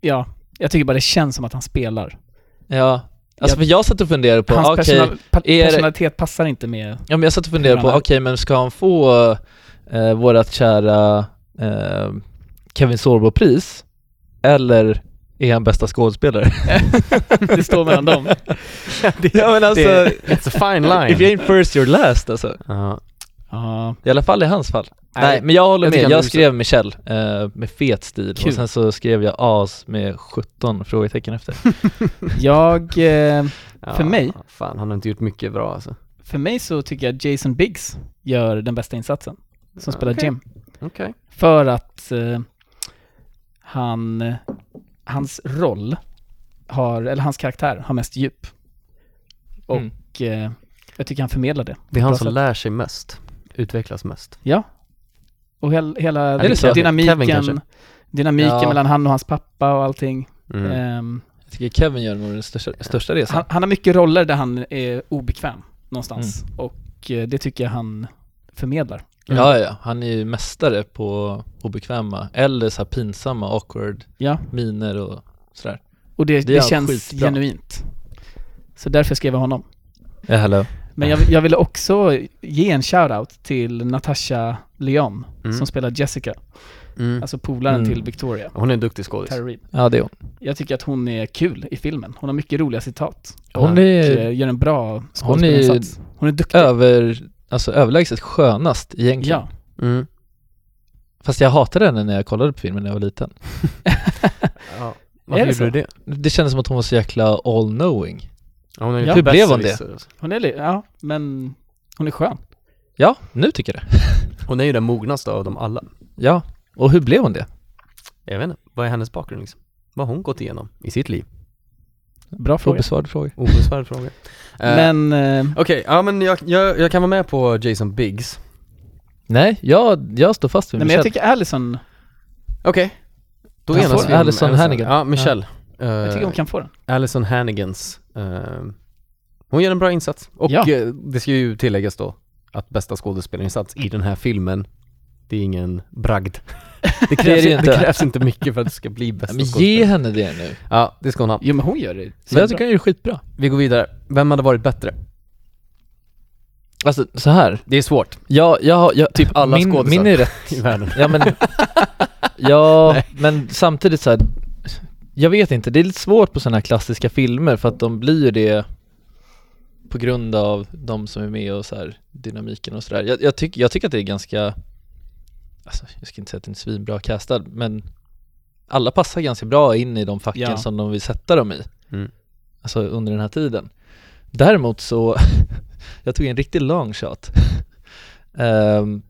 Speaker 7: Ja. Jag tycker bara det känns som att han spelar.
Speaker 6: Ja, alltså
Speaker 7: Jag-
Speaker 6: för jag satt och funderade på,
Speaker 7: Hans
Speaker 6: okej,
Speaker 7: personal, pa-
Speaker 6: är det-
Speaker 7: personalitet passar inte med...
Speaker 6: ja, men jag satt och funderade på,
Speaker 7: Hur han
Speaker 6: okej
Speaker 7: är.
Speaker 6: men ska han få eh, vårat kära eh, Kevin Sorbo-pris? Eller är han bästa skådespelare?
Speaker 7: Det står mellan dem.
Speaker 6: ja men alltså,
Speaker 1: det, It's a fine
Speaker 6: if you
Speaker 1: line.
Speaker 6: ain't first you're last alltså.
Speaker 1: Ja.
Speaker 7: Ja.
Speaker 6: I alla fall i hans fall.
Speaker 1: Nej,
Speaker 6: Nej, men jag håller
Speaker 1: jag tycker han
Speaker 6: med, jag
Speaker 1: lyser.
Speaker 6: skrev Michelle eh, med fet stil
Speaker 7: Kul.
Speaker 6: och sen så skrev jag as med 17 frågetecken efter.
Speaker 7: Jag... Eh,
Speaker 1: Ja,
Speaker 7: För mig?
Speaker 1: Fan, han har inte gjort mycket bra alltså.
Speaker 7: för mig så tycker jag Jason Biggs gör den bästa insatsen. Som spelar
Speaker 1: Okej.
Speaker 7: Jim.
Speaker 1: Okej.
Speaker 7: För att eh, han, hans roll har, eller hans karaktär har mest djup. Och
Speaker 6: Mm.
Speaker 7: eh, jag tycker han förmedlar det.
Speaker 1: Det är han
Speaker 7: Bra
Speaker 1: som
Speaker 7: sätt.
Speaker 1: lär sig mest, utvecklas mest.
Speaker 7: Ja. Och hel, hela liksom
Speaker 1: det så? Kevin kanske?
Speaker 7: dynamiken, dynamiken
Speaker 6: Ja.
Speaker 7: mellan han och hans pappa och allting.
Speaker 1: Mm.
Speaker 6: Eh,
Speaker 7: Ehm,
Speaker 6: Jag tycker Kevin gör nog den största, största resan.
Speaker 7: han, han har mycket roller där han är obekväm någonstans.
Speaker 1: Mm.
Speaker 7: Och eh, det tycker jag han förmedlar.
Speaker 6: Ja, ja, han är ju mästare på obekväma eller så här pinsamma, awkward
Speaker 7: Ja.
Speaker 6: miner och sådär.
Speaker 7: Och det,
Speaker 6: Det är
Speaker 7: det känns
Speaker 6: skitbra.
Speaker 7: genuint. Så därför skrev jag honom.
Speaker 6: Ja, hello.
Speaker 7: Men jag, jag ville också ge en shout-out till Natasha Leon
Speaker 1: Mm.
Speaker 7: som spelar Jessica,
Speaker 1: Mm.
Speaker 7: alltså polaren
Speaker 6: Mm.
Speaker 7: till Victoria.
Speaker 1: Hon är en duktig skådis.
Speaker 7: Tara Reid.
Speaker 6: Ja, det är hon.
Speaker 7: Jag tycker att hon är kul i filmen. Hon har mycket roliga citat
Speaker 6: Hon
Speaker 7: och
Speaker 6: är
Speaker 7: eh, gör en bra
Speaker 6: hon är ju
Speaker 7: skådespelarinsats. Hon, är duktig.
Speaker 6: över, alltså överlägset skönast egentligen.
Speaker 7: Ja.
Speaker 1: Mm.
Speaker 6: Fast jag hatade henne när jag kollade på filmen när jag var liten.
Speaker 1: Ja. Varför
Speaker 7: Är det
Speaker 1: gjorde
Speaker 7: så?
Speaker 1: du det?
Speaker 6: Det kändes som att hon var så jäkla all-knowing.
Speaker 1: Ja, hon är
Speaker 7: Ja.
Speaker 1: inte
Speaker 6: Hur blev hon
Speaker 1: besserwisser, alltså.
Speaker 7: Hon är li- ja, men hon är skön.
Speaker 6: Ja, nu tycker jag det.
Speaker 1: Hon är ju den mognaste av dem alla.
Speaker 6: Ja, och hur blev hon det?
Speaker 1: Jag vet inte, vad är hennes bakgrund liksom? Vad har hon gått igenom i sitt liv?
Speaker 7: Bra fråga.
Speaker 6: Obesvarad fråga.
Speaker 1: Obesvarad fråga. Eh,
Speaker 7: Men eh,
Speaker 1: Okej, ja men jag, jag, jag kan vara med på Jason Biggs.
Speaker 6: Nej, jag, jag står fast vid
Speaker 7: Nej, men jag
Speaker 6: Michelle.
Speaker 7: tycker Allison,
Speaker 1: Okej. Då
Speaker 7: Jag
Speaker 1: enas
Speaker 7: får
Speaker 1: vi om
Speaker 6: Alison Hannigan.
Speaker 1: Ja, Michelle.
Speaker 7: jag tycker
Speaker 1: Eh,
Speaker 7: hon kan få den.
Speaker 1: Alison Hannigans. eh, hon gör en bra insats. Och
Speaker 7: Ja.
Speaker 1: eh, det ska ju tilläggas då att bästa skådespelarinsats i den här filmen, det är ingen bragd. Det
Speaker 6: Det är
Speaker 1: krävs,
Speaker 6: det ju
Speaker 1: det
Speaker 6: inte.
Speaker 1: krävs inte mycket för att det ska bli bästa
Speaker 6: men ge
Speaker 1: skådespelare.
Speaker 6: henne det nu.
Speaker 1: Ja, det ska hon ha.
Speaker 7: Jo men hon gör det.
Speaker 6: Men jag tycker hon gör skitbra.
Speaker 1: Vi går vidare. Vem hade varit bättre?
Speaker 6: Alltså så här.
Speaker 1: Det är svårt
Speaker 6: Jag, jag, jag,
Speaker 1: Typ alla
Speaker 6: min,
Speaker 1: skådisar.
Speaker 6: min är rätt.
Speaker 1: i världen.
Speaker 6: Ja men, ja, men samtidigt så här, jag vet inte, det är lite svårt på sådana här klassiska filmer för att de blir ju det på grund av de som är med och så här, dynamiken och sådär. Jag, jag, tyck, jag tycker att det är ganska, alltså, jag ska inte säga att den är svinbra castad, men alla passar ganska bra in i de facken
Speaker 7: Ja.
Speaker 6: som de vill sätta dem i.
Speaker 1: Mm.
Speaker 6: Alltså under den här tiden. Däremot så, jag tog en riktig long shot. Ehm,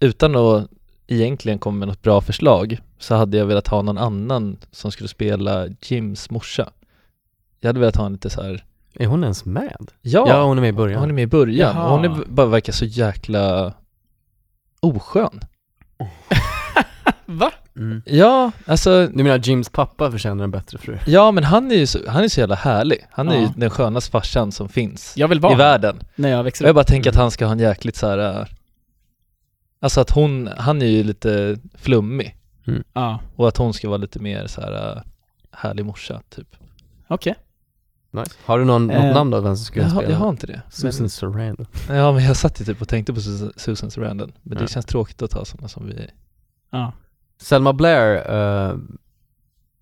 Speaker 6: utan att egentligen komma med något bra förslag så hade jag velat ha någon annan som skulle spela Jims morsa. Jag hade velat ha en lite så här.
Speaker 1: Är hon ens med?
Speaker 6: ja,
Speaker 1: Ja, hon är med i början.
Speaker 6: hon är med i början och hon
Speaker 7: Jaha.
Speaker 6: är, bara verkar så jäkla oskön.
Speaker 7: Va?
Speaker 1: Mm.
Speaker 6: Ja, alltså,
Speaker 1: Du menar Jims pappa förtjänar en bättre fru?
Speaker 6: ja men han är ju så, han är så jävla härlig. Han är ju
Speaker 7: Ja.
Speaker 6: den skönaste farsan som finns
Speaker 7: Jag vill
Speaker 6: i
Speaker 7: vara hon
Speaker 6: världen.
Speaker 7: när jag
Speaker 6: Och
Speaker 7: växer
Speaker 6: jag
Speaker 7: upp.
Speaker 6: bara tänker
Speaker 1: Mm.
Speaker 6: att han ska ha en jäkligt så här. äh, alltså att hon, han är ju lite flummig
Speaker 7: Ja,
Speaker 6: och att hon ska vara lite mer så här äh, härlig morsa typ.
Speaker 7: okej.
Speaker 1: Nice. Har du någon, något
Speaker 7: Eh,
Speaker 1: namn då, vem som skulle
Speaker 6: Jag har,
Speaker 1: spela?
Speaker 6: jag har inte det.
Speaker 1: Susan Sarandon.
Speaker 6: Men, ja men jag satt ju typ och tänkte på Susan, Susan Sarandon, men det
Speaker 1: Ja.
Speaker 6: känns tråkigt att ta sådana som vi
Speaker 7: Ja.
Speaker 1: Selma Blair eh,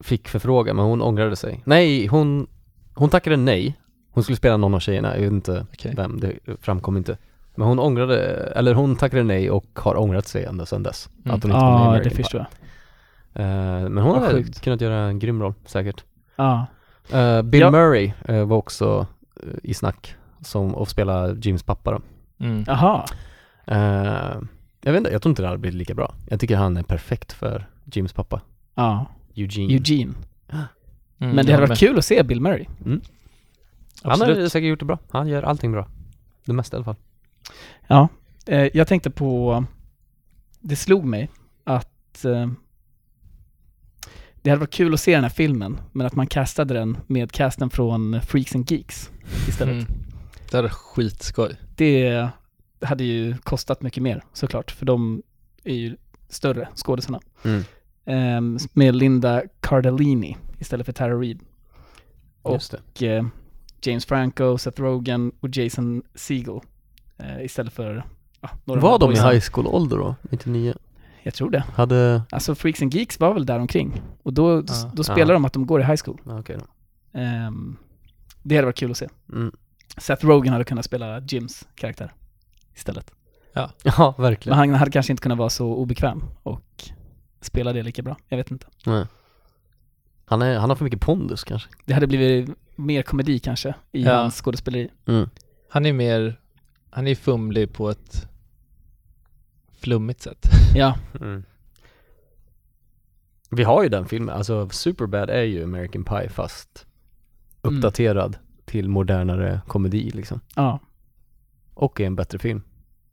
Speaker 1: fick förfrågan men hon ångrade sig. Nej, hon, hon tackade nej. Hon skulle spela någon av tjejerna, jag vet inte
Speaker 6: Okej.
Speaker 1: vem, det framkom inte. Men hon ångrade, eller hon tackade nej och har ångrat sig ända sedan dess.
Speaker 6: Mm.
Speaker 1: Att hon inte kom med i
Speaker 7: Ja, Ah, det
Speaker 1: American
Speaker 7: förstår jag.
Speaker 1: Pie. Eh, men hon
Speaker 7: Vad
Speaker 1: hade
Speaker 7: sjukt.
Speaker 1: kunnat göra en grym roll, säkert.
Speaker 7: Ja.
Speaker 1: Eh, Bill
Speaker 7: Ja.
Speaker 1: Murray eh, var också eh, i snack som, och spela Jims pappa då.
Speaker 6: Mm.
Speaker 7: Jaha.
Speaker 1: Eh, jag vet inte, jag tror inte det hade blivit lika bra. Jag tycker han är perfekt för Jims pappa,
Speaker 7: Ja.
Speaker 1: Eugene.
Speaker 7: Eugene.
Speaker 6: Mm,
Speaker 7: Men det
Speaker 6: jag
Speaker 7: hade
Speaker 6: med.
Speaker 7: varit kul att se Bill Murray.
Speaker 1: Han
Speaker 6: Absolut.
Speaker 1: har säkert gjort det bra. Han gör allting bra. Det mesta i alla fall.
Speaker 7: Eh, jag tänkte på, det slog mig att eh, det hade varit kul att se den här filmen, men att man castade den med casten från Freaks and Geeks istället.
Speaker 6: Mm. Det hade varit skitskoj.
Speaker 7: Det hade ju kostat mycket mer såklart, för de är ju större, skådisarna.
Speaker 1: Mm.
Speaker 7: Ehm, med Linda Cardellini istället för Tara Reid.
Speaker 1: Just det.
Speaker 7: och eh, James Franco, Seth Rogen och Jason Segel eh, istället för ja, några
Speaker 1: Var
Speaker 7: av
Speaker 1: de i
Speaker 7: boysen.
Speaker 1: high school-ålder då? 99?
Speaker 7: Jag tror det.
Speaker 1: Hade...
Speaker 7: Alltså Freaks and Geeks var väl där omkring och då,
Speaker 6: Ja.
Speaker 7: då spelar
Speaker 1: Ja.
Speaker 7: de att de går i high school.
Speaker 1: Ja, okej då.
Speaker 7: Ehm, det hade varit kul att se.
Speaker 1: Mm.
Speaker 7: Seth Rogen hade kunnat spela Jims karaktär istället.
Speaker 1: Ja,
Speaker 7: Men
Speaker 1: verkligen.
Speaker 7: han hade kanske inte kunnat vara så obekväm och spela det lika bra. Jag vet inte.
Speaker 1: Nej. Han, är, han har för mycket pondus kanske.
Speaker 7: Det hade blivit mer komedi kanske i
Speaker 6: Ja.
Speaker 7: hans skådespeleri.
Speaker 6: Han är mer, han är fumlig på ett flummigt sätt.
Speaker 7: Ja,
Speaker 1: Mm. Vi har ju den filmen, alltså Superbad är ju American Pie fast
Speaker 7: Mm.
Speaker 1: uppdaterad till modernare komedi liksom.
Speaker 7: ja.
Speaker 1: Och är en bättre film,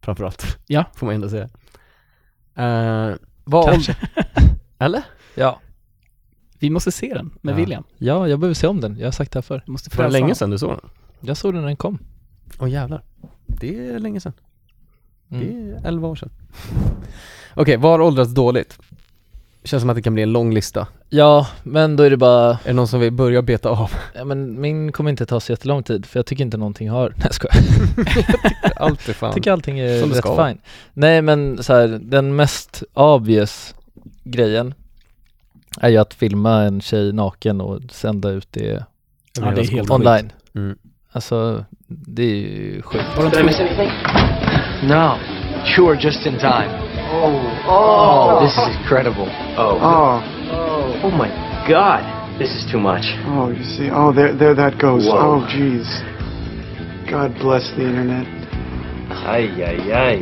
Speaker 1: framförallt.
Speaker 7: Ja.
Speaker 1: Får man ändå säga. Eh, vad
Speaker 7: Kanske.
Speaker 1: Eller?
Speaker 6: Ja.
Speaker 7: Vi måste se den med
Speaker 1: Ja.
Speaker 7: William.
Speaker 6: Ja, jag behöver se om den. Jag har sagt det här förr.
Speaker 7: Vi måste
Speaker 1: Var det
Speaker 7: frälsa
Speaker 1: länge
Speaker 7: honom.
Speaker 1: sedan du såg den?
Speaker 6: Jag såg den när den kom.
Speaker 1: Åh jävlar. Det är länge sedan.
Speaker 6: Mm.
Speaker 1: Det är 11 år sedan. Okej, var åldras dåligt? Känns som att det kan bli en lång lista.
Speaker 6: Ja, men då är det bara,
Speaker 1: Är det någon som vill börja beta av?
Speaker 6: ja, men min kommer inte ta så jättelång tid för jag tycker inte någonting har, nej jag skojar.
Speaker 1: Allt är fan.
Speaker 6: Jag tycker allting är
Speaker 1: Som det ska
Speaker 6: rätt
Speaker 1: vara.
Speaker 6: fine. Nej men så här, den mest obvious grejen är ju att filma en tjej naken och sända ut det
Speaker 7: Ja, det är helt
Speaker 6: online.
Speaker 1: Mm.
Speaker 6: Alltså, det är ju sjukt.
Speaker 5: No. You were just in time. Oh. Oh, this is incredible. Oh.
Speaker 9: Oh,
Speaker 5: Oh my god. This is too much.
Speaker 9: oh, you see. Oh, there, there that goes.
Speaker 5: Whoa.
Speaker 9: Oh, jeez. God bless the internet.
Speaker 5: Ay, ay, ay.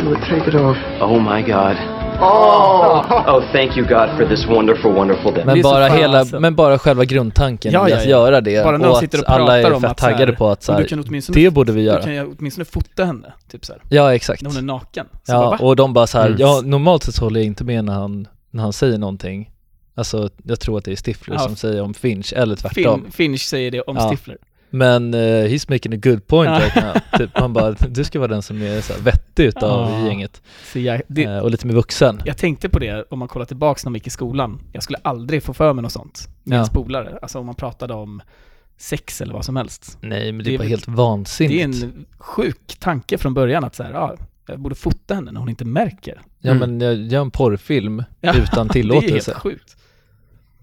Speaker 9: Do it, take it off.
Speaker 5: Oh my god. Oh, thank you, God, for this wonderful, wonderful day.
Speaker 7: Det
Speaker 6: Men
Speaker 7: är så
Speaker 6: bara,
Speaker 7: fan,
Speaker 6: hela,
Speaker 7: alltså.
Speaker 6: men bara själva grundtanken
Speaker 7: Ja,
Speaker 6: i
Speaker 7: ja,
Speaker 6: att
Speaker 7: ja.
Speaker 6: göra det
Speaker 7: Bara när de
Speaker 6: och
Speaker 7: sitter
Speaker 6: att
Speaker 7: och
Speaker 6: alla
Speaker 7: pratar
Speaker 6: är
Speaker 7: om
Speaker 6: fett
Speaker 7: att så här,
Speaker 6: taggade på att så
Speaker 7: men du
Speaker 6: här,
Speaker 7: kan åtminstone-
Speaker 6: det borde vi
Speaker 7: Då
Speaker 6: göra.
Speaker 7: kan jag åtminstone fota henne, typ så här.
Speaker 6: Ja exakt.
Speaker 7: När hon är naken. Så bara,
Speaker 6: Ja
Speaker 7: va?
Speaker 6: och de bara så här,
Speaker 1: Mm.
Speaker 6: ja normalt sett så håller jag inte med när han, när han säger någonting. Alltså jag tror att det är Stifler
Speaker 7: Ja.
Speaker 6: som säger om Finch eller tvärtom.
Speaker 7: Fin, Finch säger det om
Speaker 6: Ja.
Speaker 7: Stifler.
Speaker 6: Men eh, he's making a good point
Speaker 7: Ja.
Speaker 6: right now. Typ, man bara, du ska vara den som är så här, vettig utav
Speaker 7: Ja.
Speaker 6: gänget.
Speaker 7: Så jag, det,
Speaker 6: Eh, och lite mer vuxen.
Speaker 7: jag tänkte på det om man kollar tillbaks när man gick i skolan. Jag skulle aldrig få för mig något sånt med
Speaker 6: Ja.
Speaker 7: ens polare. Alltså om man pratade om sex eller vad som helst.
Speaker 6: Nej men
Speaker 7: Det
Speaker 6: det
Speaker 7: är
Speaker 6: är Typ bara
Speaker 7: väl-
Speaker 6: helt
Speaker 7: Det är
Speaker 6: vansinnigt.
Speaker 7: en sjuk tanke från början att så här, ja, jag borde fota henne när hon inte märker.
Speaker 6: Ja
Speaker 1: Mm.
Speaker 6: men jag gör en porrfilm
Speaker 7: Ja,
Speaker 6: utan
Speaker 7: Det är
Speaker 6: tillåtelse.
Speaker 7: helt sjukt.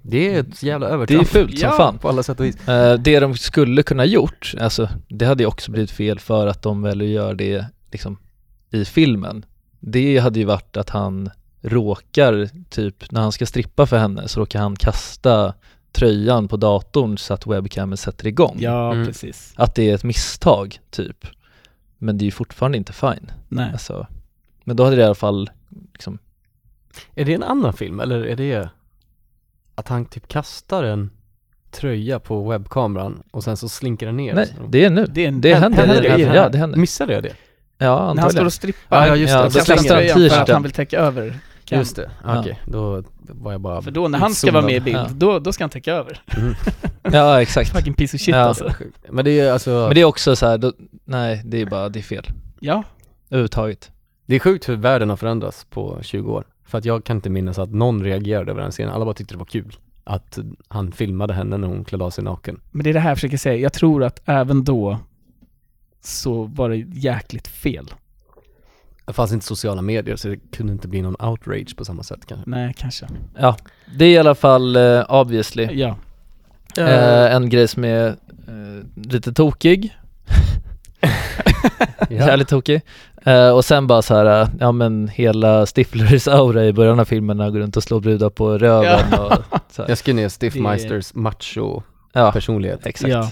Speaker 1: Det är ett jävla
Speaker 6: Det är
Speaker 1: övertramp
Speaker 6: fult som
Speaker 7: Ja.
Speaker 6: fan.
Speaker 1: på alla sätt och vis.
Speaker 6: Eh, det de skulle kunna gjort, alltså det hade ju också blivit fel för att de väljer att göra det liksom i filmen. Det hade ju varit att han råkar, typ när han ska strippa för henne så råkar han kasta tröjan på datorn så att webcamen sätter igång.
Speaker 7: Ja,
Speaker 1: Mm.
Speaker 7: precis.
Speaker 6: Att det är ett misstag, typ. Men det är ju fortfarande inte fine.
Speaker 7: Nej.
Speaker 6: Alltså, men då hade det i alla fall liksom,
Speaker 1: Är det en annan film eller är det att han typ kastar en tröja på webbkameran och sen så slinker den ner?
Speaker 6: nej, det är nu.
Speaker 7: Det är en-
Speaker 6: det händer.
Speaker 7: händer det i den
Speaker 6: ja,
Speaker 7: här?
Speaker 6: det händer.
Speaker 1: Missade jag det?
Speaker 6: Ja,
Speaker 7: När han står
Speaker 6: antagligen.
Speaker 7: och strippar,
Speaker 1: Ja, ja, just det.
Speaker 6: ja,
Speaker 1: Och
Speaker 6: då
Speaker 1: så
Speaker 7: kastar
Speaker 6: kastar
Speaker 7: han
Speaker 6: han
Speaker 1: slänger
Speaker 7: tröjan för att
Speaker 6: t-shirten.
Speaker 7: han vill täcka över.
Speaker 1: det.
Speaker 7: kan-
Speaker 1: Just det, okej.
Speaker 6: Ja.
Speaker 1: Då var jag bara...
Speaker 7: För då när han ska vara med i bild,
Speaker 6: Ja.
Speaker 7: då, då ska han täcka över.
Speaker 6: Ja, exakt.
Speaker 7: Fucking piece of shit
Speaker 6: Ja.
Speaker 7: alltså.
Speaker 1: Men det är alltså...
Speaker 6: Men det är också så här, då, nej det är bara, det är fel.
Speaker 7: Ja,
Speaker 6: Överhuvudtaget.
Speaker 1: Det är sjukt hur världen har förändrats på 20 år. För att jag kan inte minnas att någon reagerade över den scenen. Alla bara tyckte det var kul. Att han filmade henne när hon klädde av sig naken.
Speaker 7: men det är det här jag försöker säga. Jag tror att även då så var det jäkligt fel.
Speaker 1: Det fanns inte sociala medier så det kunde inte bli någon outrage på samma sätt kanske.
Speaker 7: Nej, kanske.
Speaker 6: Ja, det är i alla fall eh, obviously
Speaker 7: Ja.
Speaker 6: eh, en grej som är eh, lite tokig, jävligt tokig. Eh, och sen bara så här, eh, ja men hela Stiflers aura i början av filmen när han går runt och slår brudar på röven och så här.
Speaker 1: Jag skrev ner Stiffmeisters macho-personlighet.
Speaker 6: Ja, exakt.
Speaker 7: ja.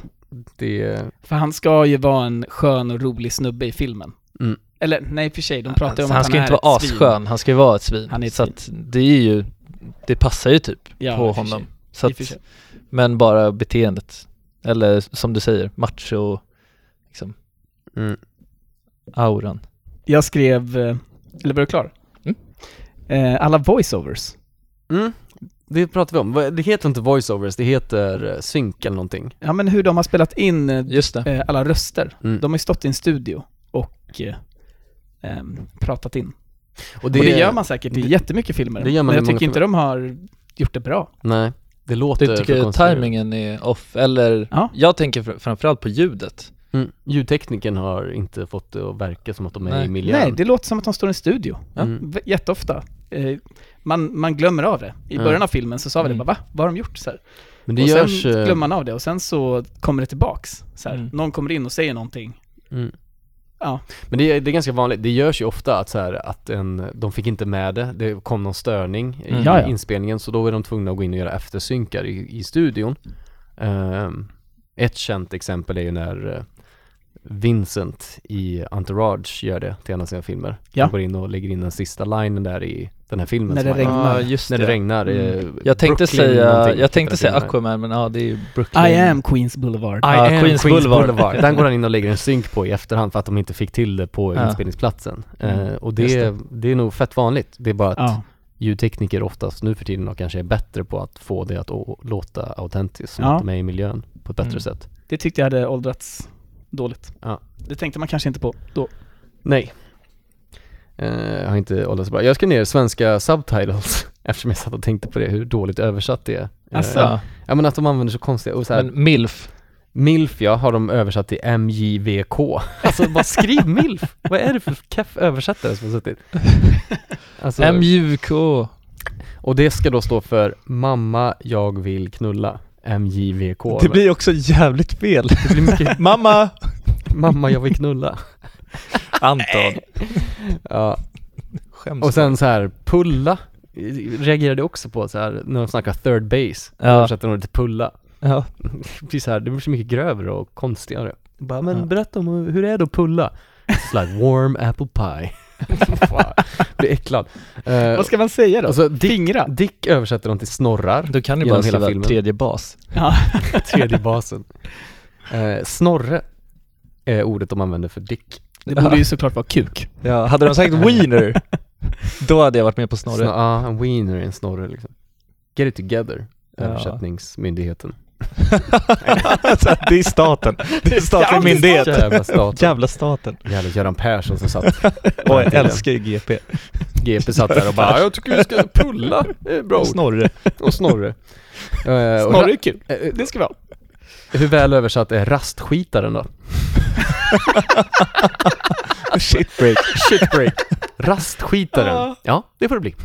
Speaker 1: Det är...
Speaker 7: För han ska ju vara en skön och rolig snubbe i filmen.
Speaker 1: Mm.
Speaker 7: Eller nej, i och för sig, de pratar ju om
Speaker 6: Alltså, han
Speaker 7: att
Speaker 6: ska
Speaker 7: han
Speaker 6: ju
Speaker 7: är
Speaker 6: inte vara
Speaker 7: ett svin.
Speaker 6: asskön, han ska ju vara ett svin.
Speaker 7: Han är ett
Speaker 6: så
Speaker 7: svin.
Speaker 6: att det är ju, det passar ju typ
Speaker 7: Ja, i
Speaker 6: på
Speaker 7: och för
Speaker 6: honom.
Speaker 7: sig.
Speaker 6: Så
Speaker 7: I och för
Speaker 6: att,
Speaker 7: sig.
Speaker 6: men bara beteendet. Eller som du säger, macho, liksom,
Speaker 1: Mm.
Speaker 6: auran.
Speaker 7: Jag skrev, eh, eller var du klar?
Speaker 6: Mm.
Speaker 7: Eh, alla voiceovers.
Speaker 1: Mm. Det pratar vi om. Vad- Det heter inte voiceovers, det heter eh, sync eller någonting.
Speaker 7: Ja men hur de har spelat in eh,
Speaker 6: Just det.
Speaker 7: eh, alla röster.
Speaker 1: Mm.
Speaker 7: De har ju stått i en studio och eh, ehm, pratat in.
Speaker 1: Och
Speaker 7: och det gör man säkert i
Speaker 1: det-
Speaker 7: jättemycket filmer.
Speaker 1: det gör man
Speaker 7: men
Speaker 1: i
Speaker 7: jag
Speaker 1: många
Speaker 7: tycker inte de har gjort det bra.
Speaker 1: Nej, det låter
Speaker 6: Du
Speaker 1: för
Speaker 6: tycker
Speaker 1: konstruerat.
Speaker 6: tajmingen är off, eller
Speaker 7: Ja.
Speaker 6: jag tänker fr- framförallt på ljudet.
Speaker 1: Mm. Ljudtekniken har inte fått det att verka som att de är
Speaker 6: Nej.
Speaker 1: i miljön.
Speaker 7: Nej, det låter som att de står i en studio.
Speaker 1: Ja. Mm.
Speaker 7: V- Jätteofta. Eh, man, man glömmer av det. I
Speaker 1: Ja.
Speaker 7: början av filmen så sa vi det
Speaker 6: Mm.
Speaker 7: bara va? Vad har de gjort? Så här.
Speaker 1: Men det
Speaker 7: och
Speaker 1: görs...
Speaker 7: sen
Speaker 1: eh,
Speaker 7: glömmer man av det och sen så kommer det tillbaks. Så här.
Speaker 6: Mm.
Speaker 7: Någon kommer in och säger någonting.
Speaker 1: Mm.
Speaker 7: Ja.
Speaker 1: Men det är, det är ganska vanligt, det görs ju ofta att så här, att en, de fick inte med det, det kom någon störning i
Speaker 6: Mm.
Speaker 7: Ja, ja.
Speaker 1: inspelningen så då är de tvungna att gå in och göra eftersynkar i, i studion. Ehm, ett känt exempel är ju när eh, Vincent i Entourage gör det till en av sina filmer.
Speaker 7: Ja.
Speaker 1: Han går in och lägger in den sista linen där i den här filmen.
Speaker 7: När
Speaker 1: som
Speaker 7: det
Speaker 1: han-
Speaker 7: regnar.
Speaker 6: Ja, just
Speaker 1: När det regnar. eh,
Speaker 6: Mm. Jag tänkte
Speaker 1: Brooklyn
Speaker 6: säga,
Speaker 1: någonting
Speaker 6: jag
Speaker 1: heter
Speaker 6: tänkte säga
Speaker 1: filmen.
Speaker 6: Aquaman men ja det är ju Brooklyn.
Speaker 7: I am Queens Boulevard.
Speaker 1: Mm. I
Speaker 6: Ja,
Speaker 1: am Queens
Speaker 6: Queens
Speaker 1: Boulevard.
Speaker 6: Boulevard.
Speaker 1: Den går han in och lägger en synk på i efterhand för att de inte fick till det på
Speaker 6: Ja.
Speaker 1: inspelningsplatsen.
Speaker 6: Mm,
Speaker 1: Eh, och det,
Speaker 6: just
Speaker 1: det. är nog fett vanligt. Det är bara att
Speaker 7: Ja.
Speaker 1: ljudtekniker oftast nu för tiden och kanske är bättre på att få det att å- låta autentiskt, som
Speaker 7: Ja.
Speaker 1: att de är i miljön på ett bättre
Speaker 6: Mm.
Speaker 1: sätt.
Speaker 7: Det tyckte jag hade åldrats dåligt.
Speaker 1: Ja.
Speaker 7: Det tänkte man kanske inte på då.
Speaker 1: Nej. Eh, jag har inte åldrats så bra. Jag skrev ner svenska subtitles eftersom jag satt och tänkte på det, hur dåligt översatt det är. Eh,
Speaker 7: Asså.
Speaker 6: Ja,
Speaker 1: Ja men att de använder så konstiga, och så här,
Speaker 6: men milf.
Speaker 1: milf ja, har de översatt till MJVK. Alltså bara skriv milf! Vad är det för keff översättare som har suttit? Alltså,
Speaker 6: MJK.
Speaker 1: och det ska då stå för mamma, jag vill knulla. MJVK. men-
Speaker 6: också jävligt fel.
Speaker 1: det blir mycket
Speaker 6: Mamma!
Speaker 1: mamma, jag vill knulla.
Speaker 6: Anton.
Speaker 1: Ja.
Speaker 6: Skäms.
Speaker 1: Och sen så här, pulla. Reagerade också på så här, när de snackar third base.
Speaker 6: Ja.
Speaker 1: Ja. Översatte de det till pulla.
Speaker 6: ja.
Speaker 1: Det blir så här, det blir så mycket grövre och konstigare. Bara, men
Speaker 6: Ja.
Speaker 1: berätta om hur det är då att pulla. It's like warm apple pie. Fan, Blir äcklad. Eh,
Speaker 7: Vad ska man säga då?
Speaker 1: alltså, Dick,
Speaker 7: Fingra?
Speaker 1: Dick översätter dem till snorrar,
Speaker 6: Då kan du
Speaker 1: Genom
Speaker 6: bara
Speaker 1: hela
Speaker 6: skriva
Speaker 1: filmen.
Speaker 6: tredje bas.
Speaker 7: Ja.
Speaker 1: tredje basen. Eh, snorre är ordet de använder för Dick.
Speaker 7: Det borde ju såklart vara kuk.
Speaker 6: Ja, hade de sagt wiener, då hade jag varit med på
Speaker 1: Snorre.
Speaker 6: snorre.
Speaker 1: Ja, ah, en wiener är en snorre liksom. Get it together,
Speaker 6: Ja.
Speaker 1: översättningsmyndigheten.
Speaker 6: Så det är staten. Det är statlig myndighet.
Speaker 1: Jävla stat.
Speaker 6: Jävla staten.
Speaker 1: Jävla Göran Persson som satt,
Speaker 6: Och jag älskar ju GP.
Speaker 1: GP satt där och bara jag tycker vi ska pulla, det är bra ord.
Speaker 6: Snorre.
Speaker 1: Och snorre. Eh, och
Speaker 7: Snorre är kul.
Speaker 1: ra- eh,
Speaker 7: Det ska vi ha.
Speaker 1: Hur väl översatt är rastskitaren då?
Speaker 6: Oh, Shit break.
Speaker 1: Shitbreak. Rastskitaren.
Speaker 7: Ja.
Speaker 1: Ja, det får det bli.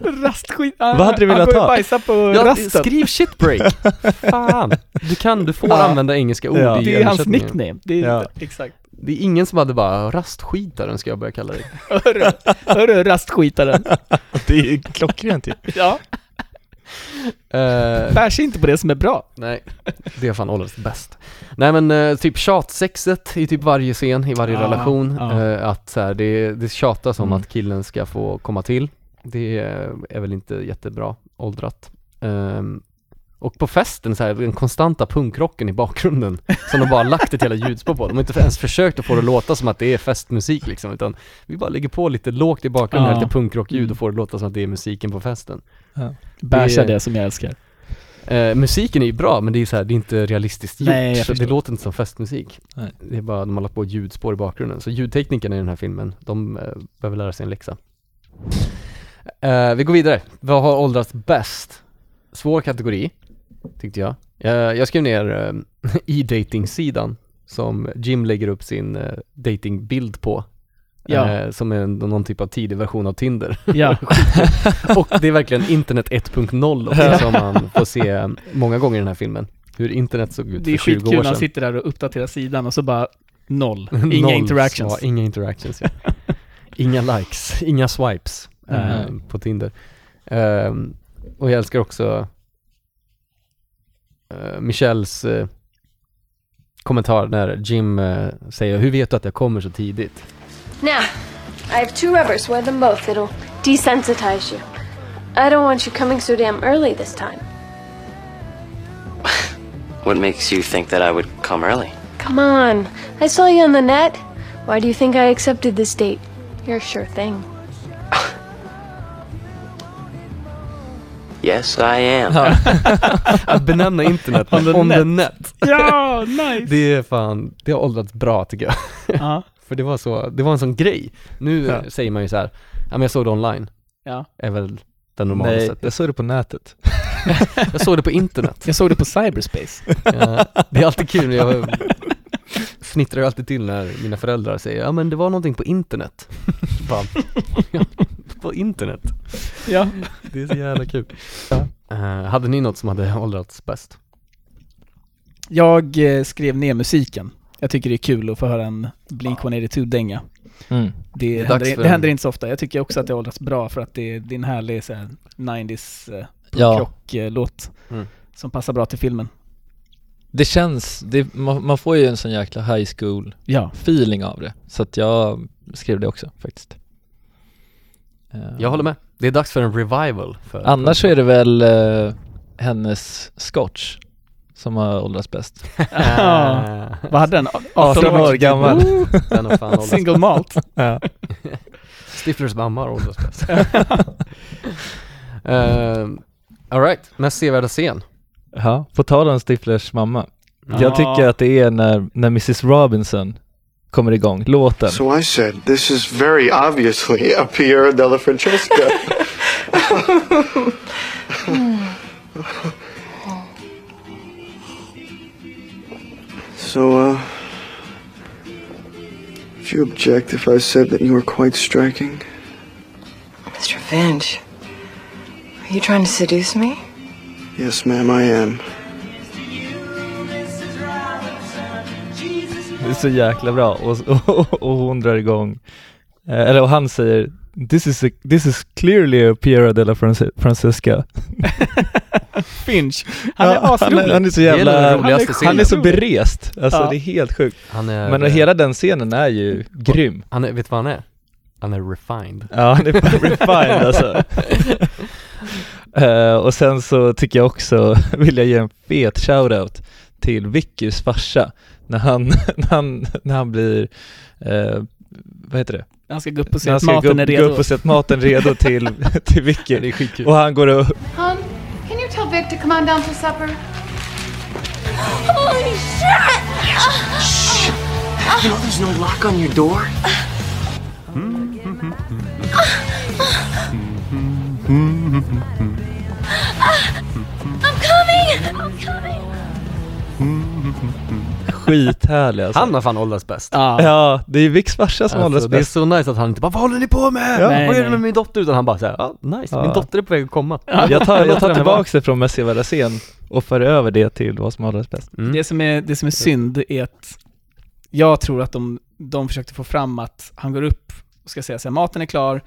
Speaker 7: Rastskit. Vad
Speaker 6: hade du velat
Speaker 7: Han går
Speaker 6: ha?
Speaker 7: ju bajsa på
Speaker 1: Ja,
Speaker 7: rasten.
Speaker 1: skriv shitbreak. Fan. Du kan, du får
Speaker 7: Ja.
Speaker 1: använda engelska ord
Speaker 6: Ja.
Speaker 1: i
Speaker 7: Det är hans
Speaker 1: översättningen.
Speaker 7: nickname. Det är,
Speaker 6: Ja.
Speaker 7: Exakt.
Speaker 1: Det är ingen som hade bara rastskitaren ska jag börja kalla dig.
Speaker 7: Hörru, hörru rastskitaren.
Speaker 6: Det är ju klockrent ju.
Speaker 7: Ja,
Speaker 1: Eh,
Speaker 7: bär sig inte på det som är bra.
Speaker 1: nej, det är fan åldrats bäst. Nej men eh, typ tjatsexet i typ varje scen, i varje
Speaker 7: Ja,
Speaker 1: relation.
Speaker 7: ja.
Speaker 1: Eh, att så här, det, det tjatas om
Speaker 6: Mm.
Speaker 1: att killen ska få komma till. Det eh, är väl inte jättebra åldrat. Ehm, och på festen så här, den konstanta punkrocken i bakgrunden som de bara lagt ett hela ljudspår på. De har inte ens försökt att få det att låta som att det är festmusik liksom, utan vi bara lägger på lite lågt i bakgrunden,
Speaker 7: Ja.
Speaker 1: lite punkrockljud och får det att låta som att det är musiken på festen.
Speaker 7: Bärsa
Speaker 1: Det-
Speaker 7: det som jag älskar.
Speaker 1: Eh, musiken är ju bra men det är så här, det är inte realistiskt gjort.
Speaker 7: Nej, jag
Speaker 1: så det
Speaker 7: förstår.
Speaker 1: låter inte som festmusik.
Speaker 6: Nej.
Speaker 1: Det är bara, de har lagt på ljudspår i bakgrunden. Så ljudteknikerna i den här filmen, de eh, behöver lära sig en läxa. Eh, vi går vidare. Vad har åldrats bäst? Svår kategori, tyckte jag. jag jag skrev ner eh, e-dating-sidan som Jim lägger upp sin eh, datingbild på.
Speaker 7: Ja.
Speaker 1: Eh, som är en, någon typ av tidig version av Tinder.
Speaker 7: Ja,
Speaker 1: Och det är verkligen internet 1.0 också, som man får se många gånger i den här filmen. Hur internet såg ut
Speaker 7: det är
Speaker 1: för 20
Speaker 7: skitkul
Speaker 1: år
Speaker 7: när han
Speaker 1: sedan.
Speaker 7: sitter där och uppdaterar sidan och så bara noll. Inga
Speaker 1: Noll
Speaker 7: interactions.
Speaker 1: svar, inga interactions, ja. Inga likes, inga swipes eh,
Speaker 7: Mm-hmm.
Speaker 6: Mm.
Speaker 1: på Tinder. Ehm, och jag älskar också eh, Michelles eh, kommentar när Jim eh, säger ”Hur vet du att jag kommer så tidigt?”
Speaker 10: Now, I have two rubbers. Wear them both. It'll desensitize you. I don't want you coming so damn early this time.
Speaker 5: What makes you think that I would come early?
Speaker 10: Come on. I saw you on the net. Why do you think I accepted this date? You're a sure thing.
Speaker 5: Yes, I am.
Speaker 1: Att benämna internet on the, net.
Speaker 7: Ja, nice!
Speaker 1: Det är fan, det har åldrats bra tycker jag.
Speaker 7: Ja,
Speaker 1: För det var så, det var en sån grej. Nu
Speaker 7: Ja.
Speaker 1: säger man ju så här, ja men jag såg det online,
Speaker 7: ja.
Speaker 1: är väl den normala
Speaker 6: Nej,
Speaker 1: sättet.
Speaker 6: jag såg det på nätet.
Speaker 1: Jag såg det på internet.
Speaker 7: Jag såg det på cyberspace.
Speaker 1: Ja, det är alltid kul, när jag fnittrar ju alltid till när mina föräldrar säger, ja men det var någonting på internet. Bara, "Ja, på internet?
Speaker 7: Ja.
Speaker 1: Det är så jävla kul. Eh, hade ni något som hade åldrats bäst?
Speaker 7: Jag eh, skrev ner musiken. Jag tycker det är kul att få höra en Blink-182-dänga.
Speaker 6: Mm.
Speaker 7: Det,
Speaker 1: är dags
Speaker 7: händer,
Speaker 1: för
Speaker 7: det
Speaker 1: en-
Speaker 7: händer inte så ofta. Jag tycker också att det har åldrats bra för att det, det är en härlig så här, 90s eh,
Speaker 6: Ja,
Speaker 7: krocklåt
Speaker 1: Mm.
Speaker 7: som passar bra till filmen.
Speaker 6: det känns, det, man, man får ju en sån jäkla high school
Speaker 7: Ja.
Speaker 6: feeling av det. Så att jag skrev det också faktiskt. Eh,
Speaker 1: Jag håller med. Det är dags för en revival. För
Speaker 6: Annars så är det väl eh, hennes scotch som har åldrats bäst.
Speaker 1: Eh,
Speaker 7: Vad hade den?
Speaker 6: 18 år gammal.
Speaker 1: Den har fan åldrats
Speaker 7: Single malt.
Speaker 1: Stiflers mamma har åldrats bäst. Ehm, Alright, mest sevärda scen.
Speaker 6: Ja, på tal om Stiflers mamma.
Speaker 7: Ja.
Speaker 6: Jag tycker att det är när, när Mrs Robinson kommer igång, låten.
Speaker 11: So I said, this is very obviously a Pierre della Francesca. so, uh, would you object if I said that you were quite striking?
Speaker 12: Mr. Finch, are you trying to seduce me?
Speaker 11: Yes, ma'am, I am.
Speaker 6: Det är så jäkla bra och, och, och hon drar igång, eh, eller och han säger This is, a, this is clearly a Piera della Frances- Francesca.
Speaker 7: Finch. Han är
Speaker 6: Ja, han, är-
Speaker 7: asrolig.
Speaker 6: han är så
Speaker 1: är nog
Speaker 6: jävla,
Speaker 1: den
Speaker 6: han,
Speaker 1: roligaste
Speaker 6: är, han är så
Speaker 7: scenen.
Speaker 6: berest. Alltså
Speaker 7: Ja.
Speaker 6: det är Mm. helt sjukt.
Speaker 1: Han är,
Speaker 6: Men hela den scenen är ju grym.
Speaker 1: han är, vet du vad han är? Han är refined.
Speaker 6: Ja, han är fan refined alltså. Eh, och sen så tycker jag också, vill jag ge en fet shoutout till Vickys farsa när han, när han, när han blir, eh, vad heter det?
Speaker 7: Han ska gå upp och se
Speaker 6: När han
Speaker 7: att
Speaker 6: ska
Speaker 7: maten
Speaker 6: gå,
Speaker 7: är
Speaker 6: upp-
Speaker 7: redo.
Speaker 6: gå upp och se att maten är redo till, till Vicky.
Speaker 1: Det är skitkul.
Speaker 6: Och han går och,
Speaker 13: Hon, can you tell Vic to come on down for supper?
Speaker 3: Holy shit! Shh!
Speaker 14: You know there's no lock on your door?
Speaker 3: I'm coming! I'm coming!
Speaker 6: skithärlig alltså.
Speaker 1: Han har fan åldrats bäst.
Speaker 6: Ja, ja det är Vicks farsa som
Speaker 1: Alltså,
Speaker 6: åldras
Speaker 1: det är
Speaker 6: bäst.
Speaker 1: så nice att han inte bara 'Vad håller ni på med?
Speaker 6: Ja.
Speaker 1: Vad
Speaker 6: Nej,
Speaker 1: gör du
Speaker 6: nej.
Speaker 1: med min dotter?' Utan han bara såhär, ah, nice, min
Speaker 6: Ja.
Speaker 1: dotter är på väg att komma
Speaker 6: Jag tar, jag
Speaker 1: låter
Speaker 6: tar
Speaker 1: henne vara.
Speaker 6: tillbaka det från Messi Veracen och för över det till vad som åldras bäst.
Speaker 1: Mm.
Speaker 7: Det, som är, det som är synd är att jag tror att de, de försökte få fram att han går upp och ska säga så här, maten är klar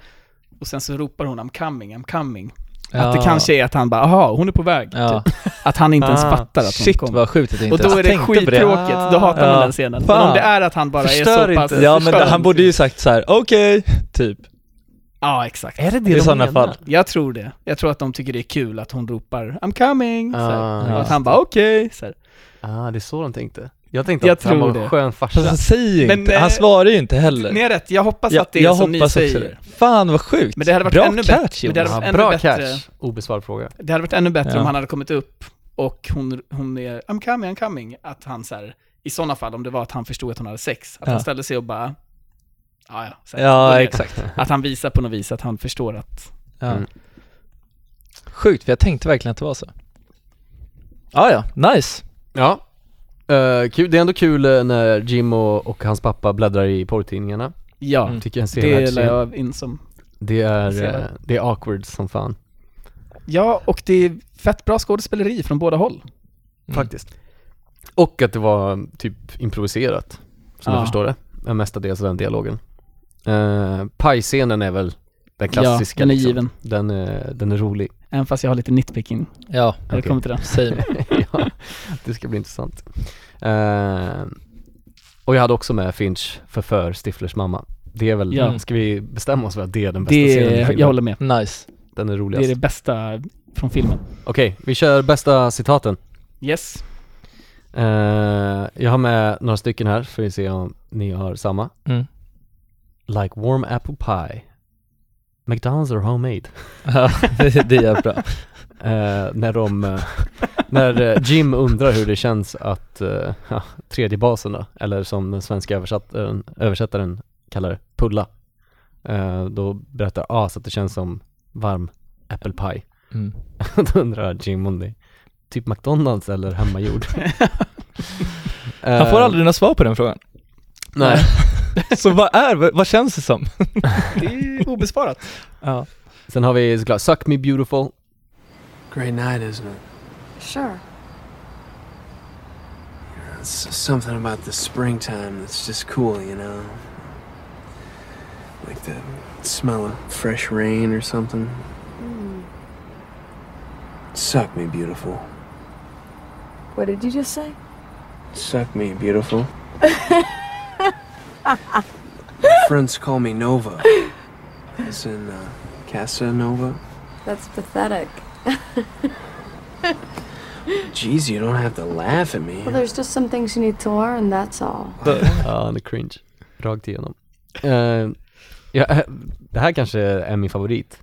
Speaker 7: och sen så ropar hon I'm coming, I'm coming. Att det
Speaker 6: Ja.
Speaker 7: kanske är att han bara, aha, hon är på väg.
Speaker 6: Ja.
Speaker 7: Typ. Att han inte ens
Speaker 6: Ah,
Speaker 7: fattar att hon
Speaker 6: shit,
Speaker 7: kommer.
Speaker 6: vad sjukt att jag
Speaker 7: Och
Speaker 6: inte
Speaker 7: då är
Speaker 6: ens
Speaker 7: det
Speaker 6: tänkte på det.
Speaker 7: skittråkigt, då hatar man
Speaker 6: Ah,
Speaker 7: den scenen. Men
Speaker 6: fan.
Speaker 7: om det är att han bara
Speaker 6: Förstör
Speaker 7: är så pass...
Speaker 6: inte. Ja, men
Speaker 7: förstör
Speaker 6: han
Speaker 7: inte.
Speaker 6: borde ju sagt så här: okej, typ.
Speaker 7: Ja, exakt.
Speaker 1: Är det det
Speaker 6: I
Speaker 1: de
Speaker 6: sådana
Speaker 1: menar?
Speaker 6: fall.
Speaker 7: Jag tror det. Jag tror att de tycker det är kul att hon ropar I'm coming! Så här.
Speaker 1: Ah,
Speaker 7: och att
Speaker 1: just
Speaker 7: han bara okej! så här.
Speaker 1: Ah, det är så de tänkte. Jag tänkte
Speaker 7: Jag
Speaker 1: att han
Speaker 7: tror
Speaker 1: var
Speaker 7: det.
Speaker 1: en skön
Speaker 6: Fast
Speaker 1: farsa.
Speaker 6: han säger ju
Speaker 7: Men,
Speaker 6: inte,
Speaker 7: eh,
Speaker 6: han svarar ju inte heller.
Speaker 7: Ni har rätt, jag hoppas
Speaker 6: Ja,
Speaker 7: att det är
Speaker 6: jag
Speaker 7: som ni
Speaker 6: hoppas också
Speaker 7: säger.
Speaker 6: det. Fan vad sjukt!
Speaker 7: Men det hade varit
Speaker 6: Bra
Speaker 7: ännu
Speaker 6: catch,
Speaker 7: bättre. Men det hade
Speaker 6: Jonas.
Speaker 7: varit
Speaker 1: Ja, bra
Speaker 7: ännu bättre.
Speaker 1: catch. Obesvarad fråga.
Speaker 7: Det hade varit ännu bättre
Speaker 6: Ja.
Speaker 7: om han hade kommit upp och hon, hon är I'm coming, I'm coming. Att han så här, i sådana fall, om det var att han förstod att hon hade sex, att
Speaker 6: Ja.
Speaker 7: han ställde sig och bara Ja, ja. så här,
Speaker 6: Ja,
Speaker 7: gå ner."
Speaker 6: exakt.
Speaker 7: Att han visar på något vis att han förstår att
Speaker 6: Ja.
Speaker 1: Mm.
Speaker 6: Sjukt, för jag tänkte verkligen att det var så. Ah, ja, nice.
Speaker 1: Ja. Eh, kul. Det är ändå kul eh, när Jim och, och hans pappa bläddrar i porrtidningarna.
Speaker 7: ja,
Speaker 1: Tycker jag är en
Speaker 7: Mm. det
Speaker 1: sevärd
Speaker 7: la
Speaker 1: scen.
Speaker 7: jag in som
Speaker 1: Det är,
Speaker 7: Sevärd.
Speaker 1: eh, det är awkward som fan.
Speaker 7: Ja, och det är fett bra skådespeleri från båda håll.
Speaker 6: Mm.
Speaker 7: Mm.
Speaker 1: Faktiskt. Och att det var mm, typ improviserat, som
Speaker 7: Ja.
Speaker 1: jag förstår det. Eh, Mestadels den dialogen. Uh, pajscenen är väl den klassiska.
Speaker 7: den är
Speaker 1: liksom.
Speaker 7: given.
Speaker 1: Den är, den är rolig.
Speaker 7: Även fast jag har lite nitpicking
Speaker 6: Ja,
Speaker 7: när det
Speaker 1: Okej.
Speaker 7: kommer till den.
Speaker 6: same.
Speaker 1: ja, det ska bli intressant. Eh, och jag hade också med Finch förför Stiflers mamma. Det är väl,
Speaker 7: Ja.
Speaker 1: ska vi bestämma oss för att det är den bästa
Speaker 7: Det
Speaker 1: scenen i
Speaker 7: är,
Speaker 1: filmen?
Speaker 7: jag håller med.
Speaker 6: Nice.
Speaker 1: Den är
Speaker 7: Det är
Speaker 1: roligast.
Speaker 7: det bästa från filmen.
Speaker 1: Okej, vi kör bästa citaten.
Speaker 7: Yes.
Speaker 1: Eh, jag har med några stycken här, får vi se om ni har samma.
Speaker 6: Mm.
Speaker 1: Like warm apple pie. McDonalds are homemade.
Speaker 6: Ja, det, det är bra.
Speaker 1: Eh, när de, eh, när eh, Jim undrar hur det känns att, uh, ja, tredje basen då, eller som den svenska översättaren, översättaren kallar det, pulla. Eh, då berättar As att det känns som varm apple pie.
Speaker 6: Mm.
Speaker 1: då undrar Jim om det är typ McDonalds eller hemmagjord.
Speaker 7: Eh.
Speaker 6: Han får aldrig några svar på den frågan.
Speaker 1: Nej.
Speaker 6: Så vad är, vad känns det som?
Speaker 7: Det är obesvarat.
Speaker 6: Ja.
Speaker 1: Sen har vi såklart Suck Me Beautiful.
Speaker 14: Great night, isn't it?
Speaker 15: Sure.
Speaker 14: It's something about the springtime that's just cool, you know? Like the smell of fresh rain or something. Suck me, beautiful.
Speaker 15: What did you just say?
Speaker 14: Suck me, beautiful. Friends call me Nova. As in, uh, Casanova.
Speaker 15: That's pathetic.
Speaker 14: Jeez, you don't have to laugh at me.
Speaker 10: Well, there's just some things you need to learn, that's all.
Speaker 1: Ja, han är cringe. Rakt igenom. Eh, ja, eh, det här kanske är min favorit.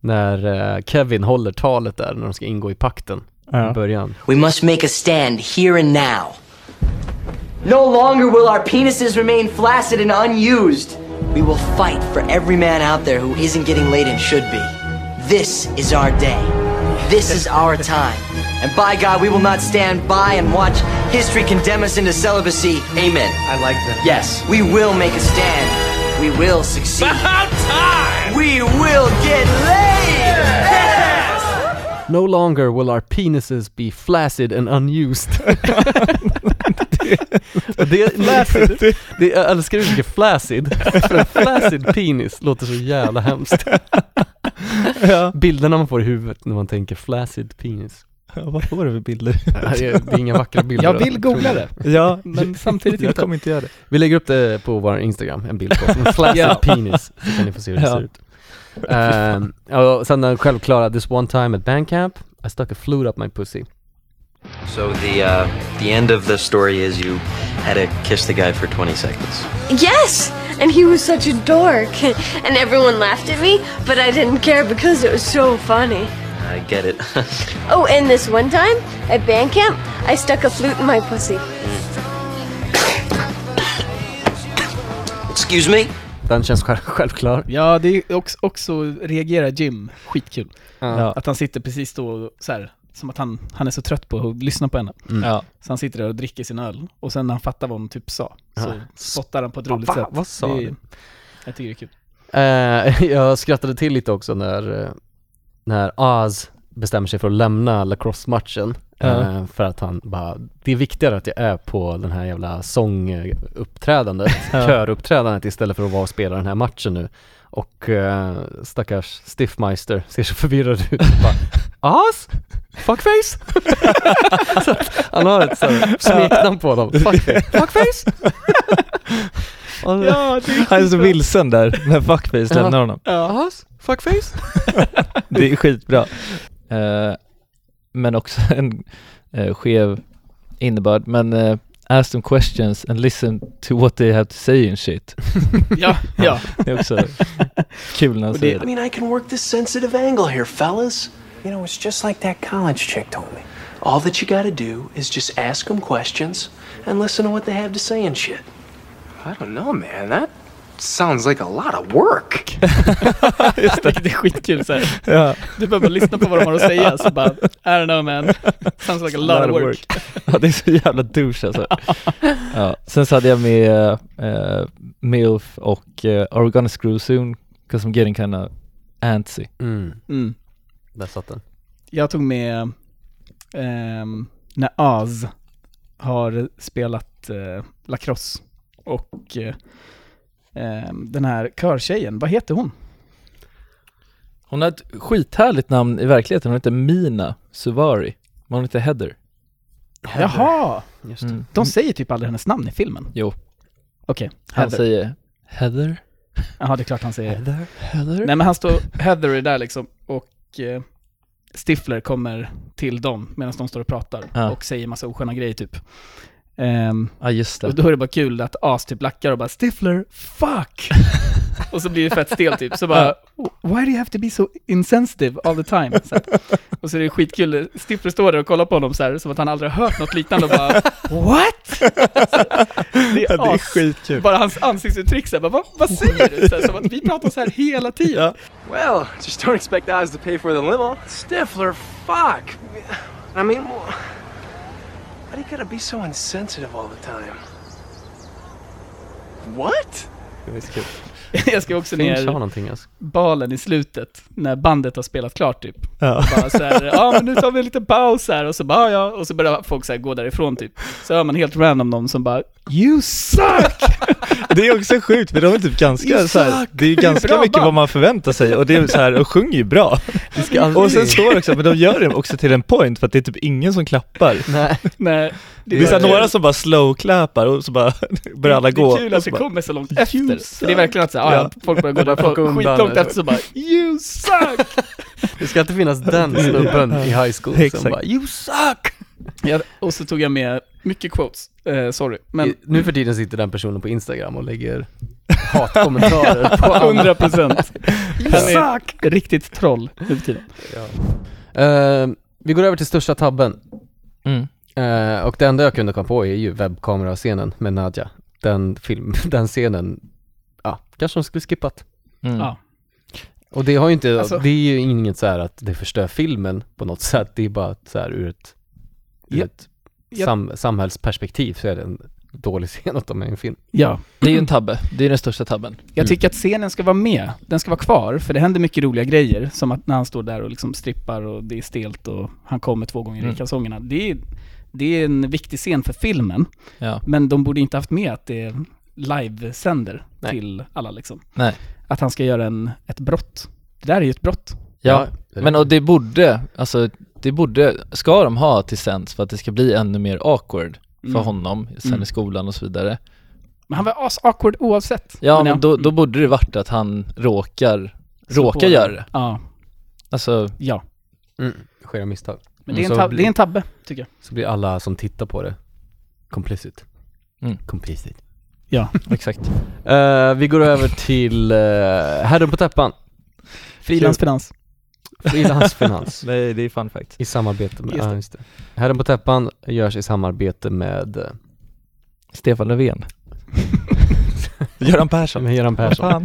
Speaker 1: När eh, Kevin håller talet där när de ska ingå i pakten i början.
Speaker 9: We must make a stand here and now. No longer will our penises remain flaccid and unused. We will fight for every man out there who isn't getting laid and should be. This is our day. This is our time. And by God, we will not stand by and watch history condemn us into celibacy. Amen. I like that. Yes, we will make a stand. We will succeed. About time! We will get laid! Yes!
Speaker 1: No longer will our penises be flaccid and unused. det, det, flaccid, det, jag älskar uttrycket flaccid. För en flaccid penis låter så jävla hemskt.
Speaker 6: Ja.
Speaker 1: Bilderna man får i huvudet när man tänker flaccid penis.
Speaker 6: Ja, vad får du för bilder?
Speaker 1: Det är, det är inga vackra bilder.
Speaker 7: Jag vill googla det.
Speaker 6: Ja,
Speaker 7: Men samtidigt
Speaker 6: jag
Speaker 7: inte.
Speaker 6: kommer inte göra det.
Speaker 1: Vi lägger upp det på vår Instagram, en bild på en flaccid
Speaker 7: Ja.
Speaker 1: penis, så kan ni få se hur det
Speaker 6: Ja.
Speaker 1: ser ut. Ehm, ja, och sen den självklara, this one time at bandcamp, I stuck a flute up my pussy.
Speaker 5: So the uh, the end of the story is you had to kiss the guy for 20 seconds.
Speaker 10: Yes! And he was such a dork. And everyone laughed at me, but I didn't care because it was so funny.
Speaker 5: I get it.
Speaker 10: Oh, and this one time at band camp, I stuck a flute in my pussy.
Speaker 5: Excuse me?
Speaker 1: Den känns själv, självklar.
Speaker 7: Ja, det är också, också reagerar Jim, skitkul.
Speaker 1: Ja.
Speaker 7: Att han sitter precis då och så här, som att han, han är så trött på att lyssna på henne.
Speaker 1: Mm.
Speaker 6: Ja.
Speaker 7: Så han sitter där och dricker sin öl, och sen när han fattar vad hon typ sa, så
Speaker 1: Ja.
Speaker 7: spottar han på ett roligt
Speaker 1: Va?
Speaker 7: sätt.
Speaker 1: Vad sa
Speaker 7: Det är-
Speaker 1: du?
Speaker 7: Jag tycker det är kul.
Speaker 1: Eh, jag skrattade till lite också när, eh, när Oz bestämmer sig för att lämna lacrosse-matchen.
Speaker 6: Ja.
Speaker 1: Eh, för att han bara, det är viktigare att jag är på den här jävla sånguppträdandet,
Speaker 6: Ja.
Speaker 1: köruppträdandet istället för att vara och spela den här matchen nu. Och eh, stackars Stiffmeister ser så förvirrad ut. Bara, Oz? Fuckface? så att han har ett sånt smeknamn på honom. Fuckface? Fuckface? Och-
Speaker 7: Ja, det
Speaker 6: Han är så vilsen där när fuckface
Speaker 1: Ja.
Speaker 6: lämnar honom.
Speaker 7: Ja,
Speaker 1: Oz? Fuckface?
Speaker 6: Det är skitbra. Eh, men också en eh, skev innebörd. Men eh, ask them questions and listen to what they have to say and shit.
Speaker 7: ja, ja.
Speaker 6: Det är också kul när han
Speaker 7: Och det-
Speaker 6: säger
Speaker 9: I
Speaker 6: det.
Speaker 9: mean, I can work this sensitive angle here, fellas. You know, it's just like that college chick told me. All that you gotta do is just ask them questions and listen to what they have to say and shit. I don't know, man. That sounds like a lot of work.
Speaker 7: Just det. det är skitkul så här.
Speaker 6: Ja.
Speaker 7: Du behöver bara lyssna på vad de har att säga, så bara, I don't know man, sounds like a lot, of work.
Speaker 6: ja, det är så jävla douche alltså. ja. Sen så hade jag med eh, MILF och eh, Are we gonna screw soon? 'Cause I'm getting kinda antsy.
Speaker 1: Mm,
Speaker 7: Mm.
Speaker 1: där satt den.
Speaker 7: Jag tog med ehm, när Az har spelat eh, lacrosse och eh, ehm, den här körtjejen, vad heter hon?
Speaker 6: Hon har ett skithärligt namn i verkligheten, hon heter Mina Suvari, men hon heter Heather.
Speaker 7: Jaha!
Speaker 1: Just
Speaker 6: Mm.
Speaker 7: De säger typ aldrig hennes namn i filmen.
Speaker 6: Jo,
Speaker 7: Okej,
Speaker 6: han
Speaker 7: Heather.
Speaker 6: säger Heather.
Speaker 7: Jaha, det är klart han säger.
Speaker 1: Heather?
Speaker 6: Heather?
Speaker 7: Nej men han står, Heather är där liksom och eh, Stifler kommer till dem medan de står och pratar
Speaker 6: Ja.
Speaker 7: och säger massa osköna grejer typ. Ehm,
Speaker 6: Ja just det.
Speaker 7: Och då är det bara kul att As typ lackar och bara Stifler, fuck! och så blir det fett stel typ, så bara Why do you have to be so insensitive all the time? Så att, och så är det skitkul, Stifler står där och kollar på honom så här, som att han aldrig har hört något liknande och bara What? Så, det
Speaker 6: Ja, det är
Speaker 7: as.
Speaker 6: skitkul.
Speaker 7: Bara hans ansiktsuttryck så här, bara, vad, vad säger du? Så här, som att vi pratar så här hela tiden.
Speaker 9: Well, just don't expect Oz to pay for the limo. Stifler, fuck. I mean, wh- why do you gotta be so insensitive all the time? What?
Speaker 7: Jag ska också
Speaker 1: Finch har
Speaker 7: ner
Speaker 1: någonting alltså.
Speaker 7: balen i slutet, när bandet har spelat klart typ.
Speaker 6: Ja.
Speaker 7: Bara så här, ja men nu tar vi en liten paus här och så bara ja, och så börjar folk så här gå därifrån typ. Så hör man helt random någon som bara You suck!
Speaker 6: Det är också sjukt för de är typ ganska
Speaker 7: Isak,
Speaker 6: så här, det är ju ganska
Speaker 7: bra
Speaker 6: mycket
Speaker 7: band.
Speaker 6: vad man förväntar sig och det är så här, och sjunger ju bra. Och sen står det också, men de gör det också till en point för att det är typ ingen som klappar.
Speaker 1: Nej,
Speaker 7: Nej,
Speaker 6: Det är så här,
Speaker 7: bara-
Speaker 6: några som bara slow-clappar och så bara börjar alla gå.
Speaker 7: Det är kul att det
Speaker 6: Och så bara,
Speaker 7: kommer så långt
Speaker 6: You
Speaker 7: efter. För det är verkligen att så här, ja,
Speaker 6: suck.
Speaker 7: ja, folk börjar gå
Speaker 1: Bara plocka
Speaker 7: därifrån
Speaker 1: undan
Speaker 7: skitlångt
Speaker 1: det.
Speaker 7: efter så bara You suck!
Speaker 1: Det ska inte finnas den snubben i high school
Speaker 6: Exakt.
Speaker 1: som bara You suck!
Speaker 7: Ja, och så tog jag med mycket quotes, eh, sorry. Men
Speaker 1: I- Nu för tiden sitter den personen på Instagram och lägger hatkommentarer på andra.
Speaker 7: 100 procent. Han är riktigt troll nu för tiden.
Speaker 1: Eh, vi går över till största tabben.
Speaker 6: Mm.
Speaker 1: Eh, och det enda jag kunde komma på är ju webbkamerascenen med Nadja. Den film, den scenen, ja, kanske de skulle skippat.
Speaker 6: Mm.
Speaker 7: Ja.
Speaker 1: Och det har ju inte,
Speaker 7: Alltså-
Speaker 1: det är ju inget så här att det förstör filmen på något sätt, det är bara så här ur ett, ur
Speaker 7: Ja.
Speaker 1: ett
Speaker 7: Ja.
Speaker 1: sam, samhällsperspektiv så är det en dålig scen att de är i en film.
Speaker 7: Ja.
Speaker 6: Det är ju en tabbe, det är den största tabben.
Speaker 7: Jag tycker att scenen ska vara med, den ska vara kvar, för det händer mycket roliga grejer. Som att när han står där och liksom strippar och det är stelt och han kommer två gånger i
Speaker 6: Mm.
Speaker 7: kalsongerna. Det är, det är en viktig scen för filmen,
Speaker 6: Ja.
Speaker 7: men de borde inte haft med att det livesänder
Speaker 1: Nej.
Speaker 7: till alla liksom.
Speaker 6: Nej.
Speaker 7: Att han ska göra en, ett brott. Det där är ju ett brott.
Speaker 6: Ja,
Speaker 1: det är
Speaker 6: men
Speaker 1: det.
Speaker 6: och det borde, alltså det borde, ska de ha till sens för att det ska bli ännu mer awkward för
Speaker 7: Mm.
Speaker 6: honom sen
Speaker 7: Mm.
Speaker 6: i skolan och så vidare.
Speaker 7: Men han var as-awkward oavsett. Mm.
Speaker 6: Ja men då, då borde det varit att han råkar,
Speaker 7: Så på
Speaker 6: råkar
Speaker 7: det.
Speaker 6: göra det.
Speaker 7: Ja.
Speaker 6: Alltså,
Speaker 7: ja.
Speaker 1: Mm, sker av misstag.
Speaker 7: Men
Speaker 6: Mm.
Speaker 7: det är,
Speaker 1: Så
Speaker 7: en tab-
Speaker 1: blir-
Speaker 7: det är en tabbe, tycker jag.
Speaker 1: Så blir alla som tittar på det complicit.
Speaker 6: Mm.
Speaker 1: Complicit.
Speaker 7: Ja.
Speaker 6: Exakt.
Speaker 1: Eh, vi går över till uh, Herren på täppan.
Speaker 7: Frilansfinans.
Speaker 1: Frilansfinans.
Speaker 6: Nej, det är fun fact.
Speaker 1: I samarbete med,
Speaker 6: Just
Speaker 1: ja,
Speaker 6: det.
Speaker 1: just det. Herren på täppan görs i samarbete med eh,
Speaker 6: Stefan Löfven. Göran Persson.
Speaker 1: Med Göran Persson.
Speaker 6: Fan.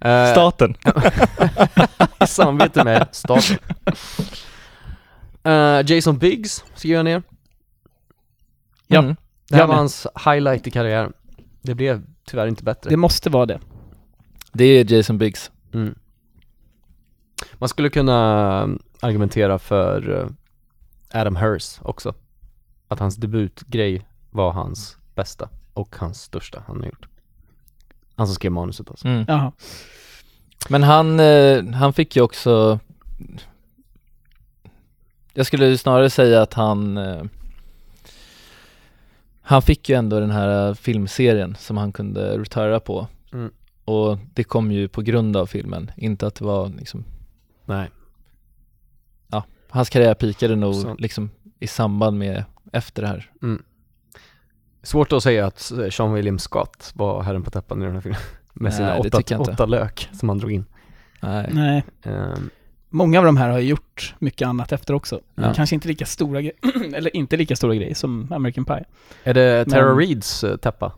Speaker 1: Eh,
Speaker 6: Staten.
Speaker 1: I samarbete med staten. Eh, Jason Biggs skriver jag ner.
Speaker 7: Ja.
Speaker 6: Mm.
Speaker 1: Det här
Speaker 7: Jag
Speaker 1: var
Speaker 7: med.
Speaker 1: hans highlight i karriären. Det blev tyvärr inte bättre.
Speaker 7: Det måste vara det.
Speaker 6: Det är Jason Biggs.
Speaker 1: Mm. Man skulle kunna eh, argumentera för eh, Adam Hurst också. Att hans debutgrej var hans bästa och hans största han har gjort. Han som skrev manuset alltså.
Speaker 6: Mm.
Speaker 7: Jaha.
Speaker 6: Men han, eh, han fick ju också Jag skulle ju snarare säga att han eh, Han fick ju ändå den här eh, filmserien som han kunde retirera på
Speaker 1: Mm.
Speaker 6: Och det kom ju på grund av filmen, inte att det var liksom
Speaker 1: Nej.
Speaker 6: Ja, hans karriär pikade nog
Speaker 1: Sant.
Speaker 6: liksom i samband med efter det här
Speaker 1: Mm. Svårt att säga att eh, Sean William Scott var herren på täppan i den här filmen. Med sina
Speaker 6: Nej, det tycker
Speaker 1: åtta,
Speaker 6: jag inte.
Speaker 1: åtta lök som han drog in.
Speaker 6: Nej,
Speaker 7: Nej.
Speaker 1: Ehm,
Speaker 7: Många av de här har ju gjort mycket annat efter också.
Speaker 1: Ja.
Speaker 7: Kanske inte lika stora grejer, eller inte lika stora grejer som American Pie.
Speaker 1: är det Tara
Speaker 7: Men-
Speaker 1: Reeds eh, täppa?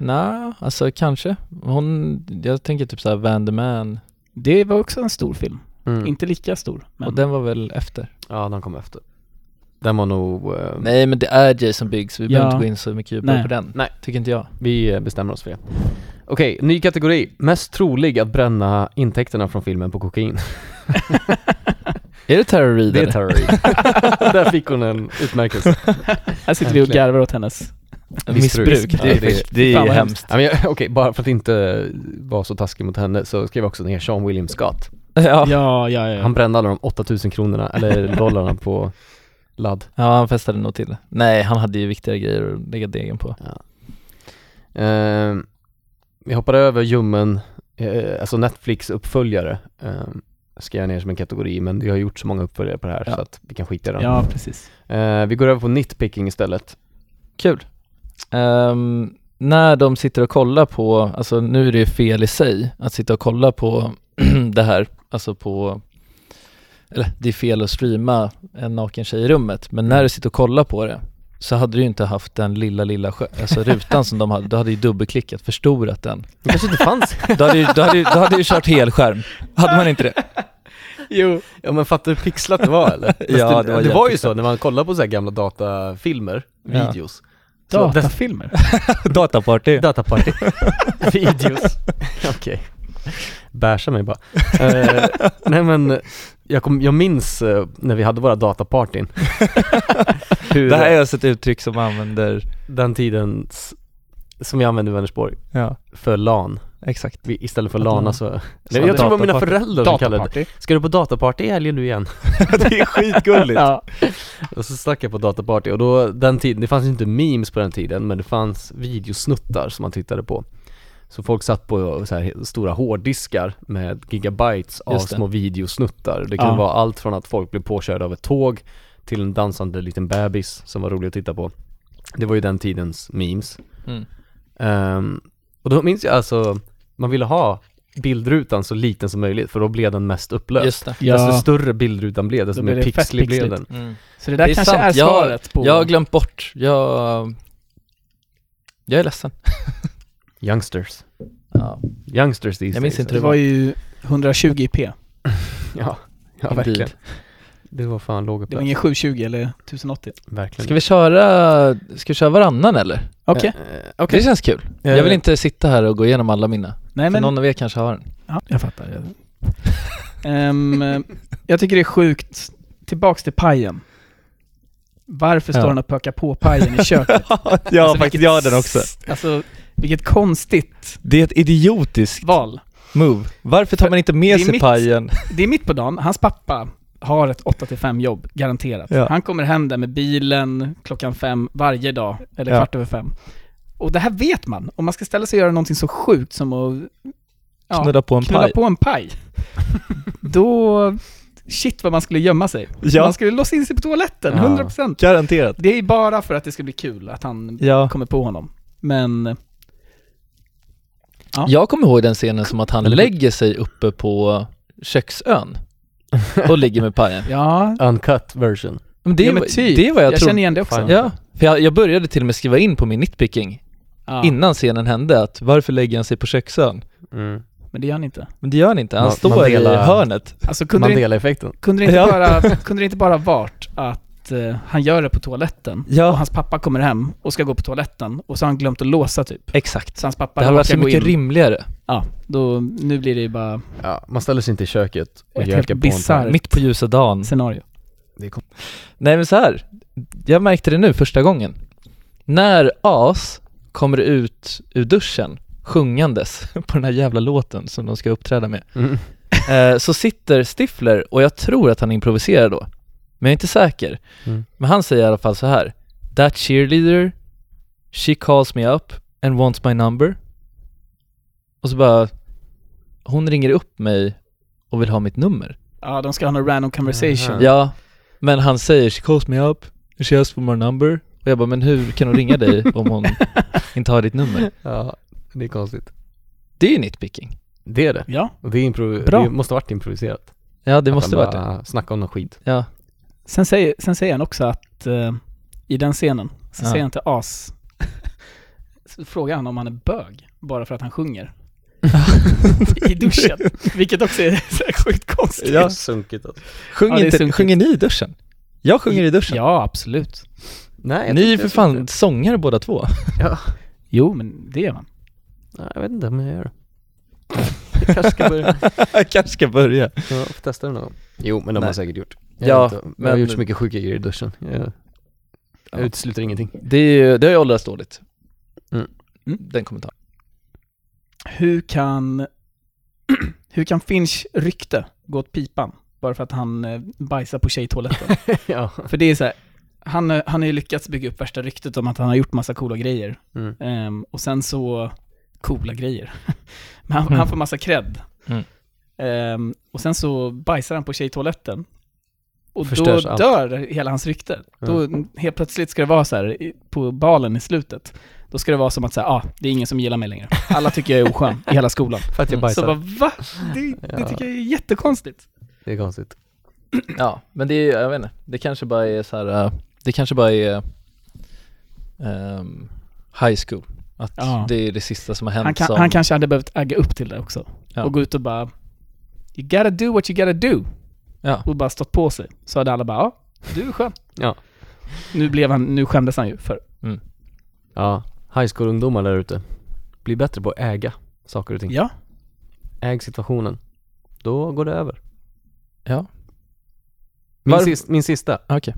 Speaker 6: Nej, alltså kanske Hon, jag tänker typ såhär Van the Man
Speaker 7: Det var också en stor film.
Speaker 1: Mm.
Speaker 7: Inte lika stor, men...
Speaker 6: Och den var väl efter?
Speaker 1: Ja, den kom efter. Den var nog... eh,
Speaker 6: Nej men det är Jason Biggs, vi
Speaker 7: Ja.
Speaker 6: behöver inte gå in så mycket djupare
Speaker 7: Nej.
Speaker 6: på den,
Speaker 1: Nej.
Speaker 6: tycker inte jag
Speaker 1: Vi eh, bestämmer oss för det. Okej, ny kategori. Mest trolig att bränna intäkterna från filmen på kokain.
Speaker 6: Är det Tara Reid?
Speaker 1: Det är
Speaker 6: eller?
Speaker 1: Tara Reid. Där fick hon en utmärkelse.
Speaker 7: Här sitter vi och
Speaker 1: Verkligen.
Speaker 7: garvar åt hennes...
Speaker 6: Missbruk,
Speaker 1: Ja,
Speaker 6: det är,
Speaker 1: det-
Speaker 6: det, det är
Speaker 7: fan
Speaker 6: ju
Speaker 7: vad
Speaker 6: hemskt
Speaker 1: Ja, men jag- Okej, bara för att inte vara så taskig mot henne så skrev jag också ner Sean William Scott.
Speaker 6: ja. ja,
Speaker 7: Ja, ja, ja.
Speaker 1: Han brände alla de 8000 kronorna, eller dollarna på ladd.
Speaker 6: han festade nog till Nej, han hade ju viktigare grejer att lägga degen på
Speaker 1: Ehm, vi hoppar över ljummen, eh, alltså Netflix-uppföljare ehm, ska jag ner som en kategori, men vi har gjort så många uppföljare på det här
Speaker 6: Ja.
Speaker 1: så att vi kan skita i den.
Speaker 7: Ja, precis.
Speaker 1: Eh, vi går över på nitpicking istället.
Speaker 6: Kul Ehm, När de sitter och kollar på, alltså nu är det ju fel i sig att sitta och kolla på det här, alltså på eller det är fel att streama en naken tjej i rummet, men när du sitter och kollar på det så hade du ju inte haft den lilla, lilla skö- alltså rutan som de hade, du hade ju dubbelklickat, förstorat den
Speaker 1: Det kanske inte fanns.
Speaker 6: Då hade ju, då hade ju, då hade ju kört helskärm, hade man inte det?
Speaker 7: Jo.
Speaker 1: ja men fattar du hur pixlat det var eller? Fast
Speaker 6: Ja,
Speaker 1: det,
Speaker 6: det
Speaker 1: det var
Speaker 6: var
Speaker 1: ju
Speaker 6: jättepixlat.
Speaker 1: så när man kollar på så här gamla datafilmer,
Speaker 6: Ja.
Speaker 1: videos. Så dess-
Speaker 7: Datafilmer.
Speaker 6: Dataparty
Speaker 1: Dataparty. Videos. Okej. Bärsa mig bara. Eh, nej men, jag, kom, jag minns eh, när vi hade våra datapartyn. Hur
Speaker 6: Det här är alltså ett uttryck som använder,
Speaker 1: den tiden s- som jag använde i Vänersborg
Speaker 6: ja
Speaker 1: för LAN.
Speaker 6: exakt
Speaker 1: Vi, istället för
Speaker 6: Att
Speaker 1: LANA
Speaker 6: man-
Speaker 1: så... Nej,
Speaker 6: hade
Speaker 1: jag tror det var mina
Speaker 6: dataparty.
Speaker 1: föräldrar som kallade det.
Speaker 7: Dataparty.
Speaker 1: Ska du på dataparty i helgen nu igen?
Speaker 6: Det är skitgulligt
Speaker 7: Ja.
Speaker 1: Och så stack jag på dataparty och då, den tiden, det fanns ju inte memes på den tiden men det fanns videosnuttar som man tittade på. Så folk satt på eh, så här stora hårddiskar med gigabytes av
Speaker 6: Just det.
Speaker 1: små videosnuttar. Det kunde
Speaker 7: Ja.
Speaker 1: vara allt från att folk blev påkörda av ett tåg till en dansande liten bebis som var rolig att titta på. Det var ju den tidens memes.
Speaker 6: Mm.
Speaker 1: Ehm, och då minns jag alltså, man ville ha bildrutan så liten som möjligt för då blev den mest upplöst.
Speaker 6: Just det
Speaker 1: Desto
Speaker 7: Ja.
Speaker 1: större bildrutan blev, desto
Speaker 7: Då blir
Speaker 1: mer
Speaker 7: det fett
Speaker 1: pixlig blev
Speaker 7: pixligt.
Speaker 1: den.
Speaker 6: Mm.
Speaker 7: Så det där
Speaker 6: Det är
Speaker 7: kanske
Speaker 6: sant.
Speaker 7: är
Speaker 6: Jag-
Speaker 7: svaret på...
Speaker 6: Jag har glömt bort, jag... Jag är ledsen.
Speaker 1: Youngsters.
Speaker 6: Ja,
Speaker 1: Youngsters these
Speaker 6: Jag minns
Speaker 1: days. alltså.
Speaker 6: inte
Speaker 7: det var ju 120p.
Speaker 1: Ja, ja
Speaker 6: en
Speaker 1: verkligen.
Speaker 6: bil.
Speaker 1: Det var fan låg
Speaker 7: Det var ingen 720 eller 1080.
Speaker 1: Verkligen.
Speaker 6: Ska vi köra, ska vi köra varannan eller?
Speaker 7: Okej.
Speaker 6: Det känns kul.
Speaker 1: Eh,
Speaker 6: Jag vill inte sitta här och gå igenom alla mina.
Speaker 7: Nej
Speaker 6: För
Speaker 7: men...
Speaker 6: någon av er kanske har en.
Speaker 7: Ja, jag fattar. Jag, Ehm, jag tycker det är sjukt. Tillbaks till pajen. Varför står
Speaker 6: Ja.
Speaker 7: han och pökar på pajen i köket? Alltså,
Speaker 6: ja,
Speaker 7: vilket s- Alltså, vilket konstigt
Speaker 6: Det är ett idiotiskt
Speaker 7: val.
Speaker 6: move. Varför tar man inte med
Speaker 7: Det är
Speaker 6: sig
Speaker 7: mitt-
Speaker 6: pajen?
Speaker 7: Det är mitt på dagen, hans pappa har ett 8-5 jobb, garanterat.
Speaker 8: Ja.
Speaker 7: Han kommer hem där med bilen klockan fem varje dag, eller
Speaker 8: Ja.
Speaker 7: kvart över fem. Och det här vet man. Om man ska ställa sig och göra någonting så sjukt som att ja,
Speaker 8: Knulla på en
Speaker 7: knulla
Speaker 8: paj.
Speaker 7: på en paj, då... Shit vad man skulle gömma sig.
Speaker 8: Ja.
Speaker 7: Man skulle låsa in sig på toaletten,
Speaker 8: Ja.
Speaker 7: 100%.
Speaker 8: Garanterat.
Speaker 7: Det är bara för att det ska bli kul att han
Speaker 6: Ja.
Speaker 7: kommer på honom. Men... Ja.
Speaker 6: Jag kommer ihåg den scenen som att han lägger sig uppe på köksön och ligger med pajen.
Speaker 7: Ja.
Speaker 1: Uncut version.
Speaker 6: Men det,
Speaker 7: Ja,
Speaker 6: ja,
Speaker 7: men typ.
Speaker 6: det var jag,
Speaker 7: Jag
Speaker 6: trodde.
Speaker 7: känner igen det också.
Speaker 6: Ja, för jag, jag började till och med skriva in på min nitpicking
Speaker 7: Ja.
Speaker 6: innan scenen hände att varför lägger han sig på köksön?
Speaker 1: Mm.
Speaker 7: Men det gör han inte.
Speaker 6: Men det gör han inte, han
Speaker 1: Ma-
Speaker 6: står i
Speaker 1: Mandela-
Speaker 6: hörnet.
Speaker 7: Alltså, kunde det-
Speaker 1: Mandela-effekten.
Speaker 7: Kunde det inte,
Speaker 6: Ja.
Speaker 7: bara, kunde det inte bara varit att eh, han gör det på toaletten och hans pappa kommer hem och ska gå på toaletten och så har han glömt att låsa typ?
Speaker 6: Exakt.
Speaker 7: Så hans pappa
Speaker 6: Det hade varit
Speaker 7: råkar
Speaker 6: så
Speaker 7: gå
Speaker 6: mycket Mm.
Speaker 7: in.
Speaker 6: rimligare.
Speaker 7: Ja, då, nu blir det ju bara
Speaker 1: Ja, man ställer sig inte i köket och
Speaker 7: ett helt
Speaker 1: gökar på en
Speaker 7: bisarrt
Speaker 6: Mitt på ljusa dagen.
Speaker 7: scenario.
Speaker 6: Nej men så här. jag märkte det nu första gången. När As kommer ut ur duschen sjungandes på den här jävla låten som de ska uppträda med,
Speaker 1: Mm.
Speaker 6: eh, så sitter Stifler och jag tror att han improviserar då, men jag är inte säker.
Speaker 1: Mm.
Speaker 6: Men han säger i alla fall så här. That cheerleader, she calls me up and wants my number. Och så bara, hon ringer upp mig och vill ha mitt nummer.
Speaker 7: Ja, de ska ha någon random conversation.
Speaker 6: Ja, men han säger she calls me up, she asks for my number och jag bara men hur kan hon ringa dig om hon inte har ditt nummer?
Speaker 1: Ja, det är konstigt.
Speaker 6: Det är ju nitpicking.
Speaker 1: Det är det.
Speaker 7: Ja.
Speaker 1: Och det, är improv-
Speaker 6: Bra.
Speaker 1: det måste varit improviserat.
Speaker 6: Ja, det
Speaker 1: Att
Speaker 6: måste
Speaker 1: han
Speaker 6: varit
Speaker 1: bara Snacka om någon skit.
Speaker 6: Ja.
Speaker 7: Sen säger, sen säger han också att eh, i den scenen, så
Speaker 1: Ja.
Speaker 7: säger han till As, så frågar han om han är bög, bara för att han sjunger. I duschen. Vilket också är så här sjukt konstigt.
Speaker 6: Ja.
Speaker 1: Sunkigt alltså.
Speaker 6: Sjung
Speaker 7: Ja, det är
Speaker 6: inte,
Speaker 7: sunkigt.
Speaker 6: sjunger ni i duschen? Jag sjunger i duschen.
Speaker 7: Ja, absolut.
Speaker 1: Nej, jag
Speaker 6: ni är
Speaker 1: tyckte
Speaker 6: ju för
Speaker 1: jag
Speaker 6: fan sångare båda två.
Speaker 1: Ja.
Speaker 7: Jo, men det gör man.
Speaker 1: Nej, jag vet inte om jag gör det. Jag kanske ska börja.
Speaker 6: Jag kanske ska börja.
Speaker 1: Ja, får testa det någon gång. Jo, men de
Speaker 6: Nej.
Speaker 1: har säkert gjort.
Speaker 6: Ja,
Speaker 1: vet inte. Jag har
Speaker 6: men-
Speaker 1: gjort så mycket sjuka grejer i duschen. Jag, jag utesluter ingenting.
Speaker 6: Det, är ju, det har ju åldrats dåligt.
Speaker 1: Mm.
Speaker 6: Den kommentaren.
Speaker 7: Hur kan, hur kan Finch rykte gå åt pipan bara för att han eh, bajsar på tjejtoaletten?
Speaker 1: Ja.
Speaker 7: För det är så här, han, eh, han har ju lyckats bygga upp värsta ryktet om att han har gjort massa coola grejer.
Speaker 1: Mm.
Speaker 7: Ehm, och sen så, coola grejer. Men han,
Speaker 6: Mm.
Speaker 7: han får massa cred.
Speaker 6: Mm.
Speaker 7: Ehm, och sen så bajsar han på tjejtoaletten. Och
Speaker 1: Förstörs
Speaker 7: då
Speaker 1: allt.
Speaker 7: dör hela hans rykte. Då
Speaker 1: Mm.
Speaker 7: helt plötsligt ska det vara så här, i- på balen i slutet, då ska det vara som att säga, ah, det är ingen som gillar mig längre. Alla tycker jag är oskön i hela skolan.
Speaker 1: För att jag
Speaker 7: Så
Speaker 1: bajsar.
Speaker 7: bara, va? Det, det tycker jag är jättekonstigt.
Speaker 1: Det är konstigt.
Speaker 6: Ja, men det är, jag vet inte, det kanske bara är så här, eh, det kanske bara är ehm, high school. Att
Speaker 7: Ja.
Speaker 6: det är det sista som har hänt
Speaker 7: Han, kan,
Speaker 6: som...
Speaker 7: han kanske hade behövt agga upp till det också.
Speaker 6: Ja.
Speaker 7: Och gå ut och bara, you gotta do what you gotta do.
Speaker 6: Ja.
Speaker 7: Och bara stått på sig. Så hade alla bara, ja, du är skön.
Speaker 1: Ja.
Speaker 7: Nu, blev han, nu skämdes han ju för.
Speaker 1: Ja, high school-ungdomar där ute. Bli bättre på att äga saker och ting.
Speaker 7: Ja.
Speaker 1: Äg situationen. Då går det över.
Speaker 6: Ja.
Speaker 1: Min,
Speaker 6: Varför-
Speaker 1: sist, min sista.
Speaker 6: Ah, Okej.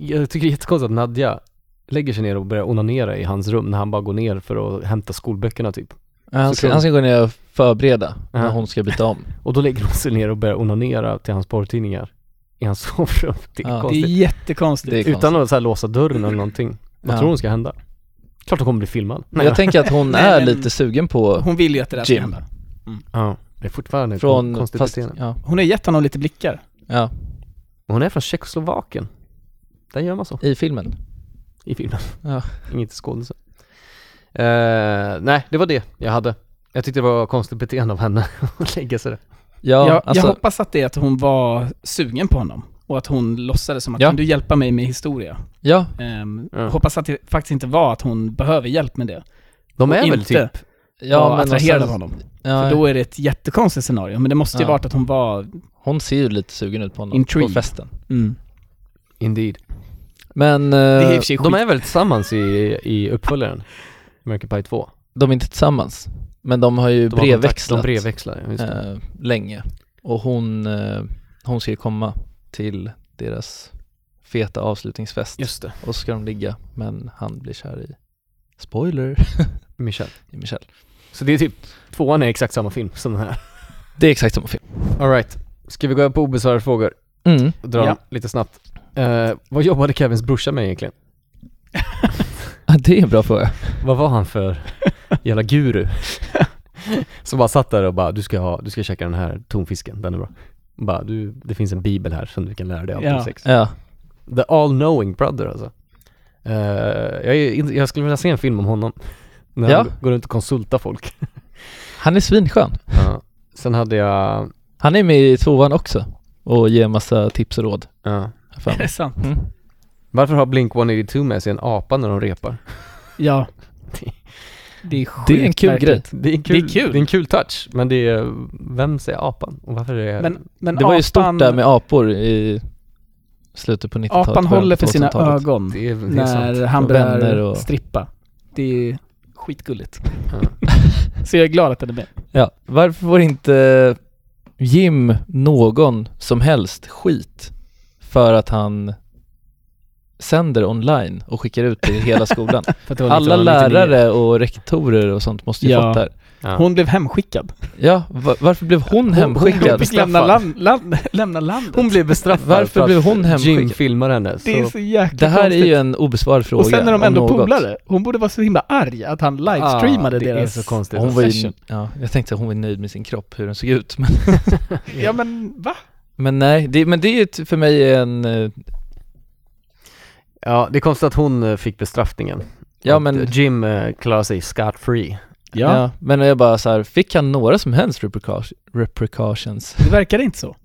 Speaker 1: Jag tycker det är jättekonstigt att Nadja lägger sig ner och börjar onanera i hans rum när han bara går ner för att hämta skolböckerna typ.
Speaker 6: Ja, Han
Speaker 1: Så
Speaker 6: ska,
Speaker 1: kul.
Speaker 6: han ska gå ner och förbereda när
Speaker 1: Ja.
Speaker 6: hon ska byta om.
Speaker 1: Och då lägger hon sig ner och börjar onanera till hans porrtidningar i hans sovrum. Det är
Speaker 6: Ja.
Speaker 7: Det är
Speaker 1: konstigt.
Speaker 7: jättekonstigt.
Speaker 6: Det är konstigt.
Speaker 1: Utan att så här låsa dörren eller någonting. Vad
Speaker 6: Ja.
Speaker 1: tror hon ska hända? Klart hon kommer bli filmad.
Speaker 6: Jag tänker att hon
Speaker 7: Nej,
Speaker 6: är
Speaker 7: men-
Speaker 6: lite sugen på
Speaker 7: Hon vill ju att det där ska
Speaker 6: Jim.
Speaker 7: hända.
Speaker 1: Ja, det är fortfarande
Speaker 6: från,
Speaker 1: Från, konstigt
Speaker 6: fast,
Speaker 1: beteende.
Speaker 6: ja,
Speaker 7: Hon har gett honom lite blickar.
Speaker 6: ja,
Speaker 1: Hon är från Tjeckoslovakien. Där gör man så.
Speaker 6: i filmen.
Speaker 1: i filmen.
Speaker 6: Ja.
Speaker 1: Inget skådelse. Eh, nej, det var det jag hade. Jag tyckte det var konstigt beteende av henne att lägga sig där.
Speaker 6: Ja,
Speaker 7: jag,
Speaker 6: alltså,
Speaker 7: jag hoppas att det är att hon var sugen på honom och att hon låtsades som att
Speaker 6: Ja.
Speaker 7: kan du hjälpa mig med historia?
Speaker 6: ja,
Speaker 7: Ehm,
Speaker 1: Ja.
Speaker 7: Hoppas att det faktiskt inte var att hon behöver hjälp med det.
Speaker 1: De
Speaker 7: Och
Speaker 1: är väl
Speaker 7: inte
Speaker 1: typ,
Speaker 6: ja,
Speaker 7: var
Speaker 6: men alltså-
Speaker 7: attraherad av
Speaker 6: någonstans-
Speaker 7: honom.
Speaker 6: Ja,
Speaker 7: För då är det ett jättekonstigt scenario, men det måste ju
Speaker 6: Ja.
Speaker 7: varit att hon var...
Speaker 6: hon ser ju lite sugen ut på honom
Speaker 7: Intrigued.
Speaker 6: på festen.
Speaker 7: Mm.
Speaker 1: indeed.
Speaker 6: Men
Speaker 7: Det är i
Speaker 6: eh,
Speaker 7: och för sig
Speaker 1: De
Speaker 7: skit.
Speaker 1: är väl tillsammans i, i uppföljaren, American Pie 2?
Speaker 6: de är inte tillsammans. Men de har ju
Speaker 1: De har kontakt-
Speaker 6: brevväxlat
Speaker 1: De brevväxlar, ja, just det.
Speaker 6: eh, länge. Och hon, eh, hon ska ju komma till deras feta avslutningsfest.
Speaker 1: Just det.
Speaker 6: Och så ska de ligga, men han blir kär i, spoiler,
Speaker 1: Michelle.
Speaker 6: i Michelle.
Speaker 1: Så det är typ, tvåan är exakt samma film som den här.
Speaker 6: Det är exakt samma film.
Speaker 1: Alright, Ska vi gå över på obesvarade frågor?
Speaker 6: Mm.
Speaker 1: Dra
Speaker 6: Ja.
Speaker 1: lite snabbt. Eh, vad jobbade Kevins brorsa med egentligen?
Speaker 6: det är en bra fråga.
Speaker 1: Vad var han för jävla guru? Som bara satt där och bara, du ska ha, du ska käka den här tonfisken, den är bra. Bara, du, det finns en bibel här som du kan lära dig allt om
Speaker 6: Ja.
Speaker 1: sex.
Speaker 6: Ja.
Speaker 1: The all knowing brother alltså. Eh, jag, är, in- jag skulle vilja se en film om honom. När
Speaker 6: Ja.
Speaker 1: han går runt och konsultar folk.
Speaker 6: Han är svinskön.
Speaker 1: Ja. Sen hade jag,
Speaker 6: Han är med i tvåan också och ger massa tips och råd.
Speaker 1: Ja.
Speaker 6: Fan.
Speaker 7: Är det sant?
Speaker 6: Mm.
Speaker 1: varför har Blink-182 med sig en apa när de repar?
Speaker 7: Ja. Det är
Speaker 6: Det är en kul
Speaker 7: skitmärkligt.
Speaker 6: grej.
Speaker 1: Det är en kul, det är en kul touch, men det är, vem säger apan? Och varför är
Speaker 7: Men, men
Speaker 6: det var ju
Speaker 7: apan-
Speaker 6: stort där med apor i slutet på 90-talet.
Speaker 7: Apan
Speaker 6: början
Speaker 7: håller
Speaker 6: på
Speaker 7: för sina
Speaker 6: 2000-talet.
Speaker 7: ögon
Speaker 1: Det är- det är
Speaker 7: när
Speaker 1: sant.
Speaker 7: han
Speaker 6: Och
Speaker 7: börjar
Speaker 6: liksom vänner och-
Speaker 7: strippa. Det är skitgulligt. Så jag är glad att den är med.
Speaker 6: Ja, varför får inte Jim någon som helst skit för att han sänder online och skickar ut det i hela skolan?
Speaker 7: För att det var
Speaker 6: Alla
Speaker 7: 1999.
Speaker 6: lärare och rektorer och sånt måste ju
Speaker 7: Ja.
Speaker 6: fatta det.
Speaker 1: Ja.
Speaker 7: Hon blev hemskickad.
Speaker 6: Ja, va- varför blev hon hemskickad?
Speaker 7: Hon fick lämna, land, land, lämna landet.
Speaker 1: Hon blev bestraffad
Speaker 6: Varför
Speaker 1: för att
Speaker 6: blev hon hemskickad?
Speaker 1: Jim filmar henne.
Speaker 7: Det är så jäkla
Speaker 6: Det här är
Speaker 7: konstigt.
Speaker 6: ju en obesvarad fråga
Speaker 7: Och sen är de
Speaker 6: om
Speaker 7: ändå
Speaker 6: något.
Speaker 7: polare. Hon borde vara så himla arg att han livestreamade
Speaker 1: Ah, det är
Speaker 7: deras
Speaker 1: så konstigt.
Speaker 6: Hon var ju,
Speaker 7: session.
Speaker 6: ja, jag tänkte att hon var nöjd med sin kropp, hur den såg ut. Men,
Speaker 7: Ja men va?
Speaker 6: men nej, det, men det är ju t- för mig en... eh,
Speaker 1: Ja, det är konstigt att hon eh, fick bestraffningen.
Speaker 6: Ja,
Speaker 1: Att,
Speaker 6: men-
Speaker 1: eh, Jim eh, klarar sig scot free.
Speaker 6: Ja. men jag bara så här, fick han några som helst repreca- repercussions?
Speaker 7: Det verkar inte så.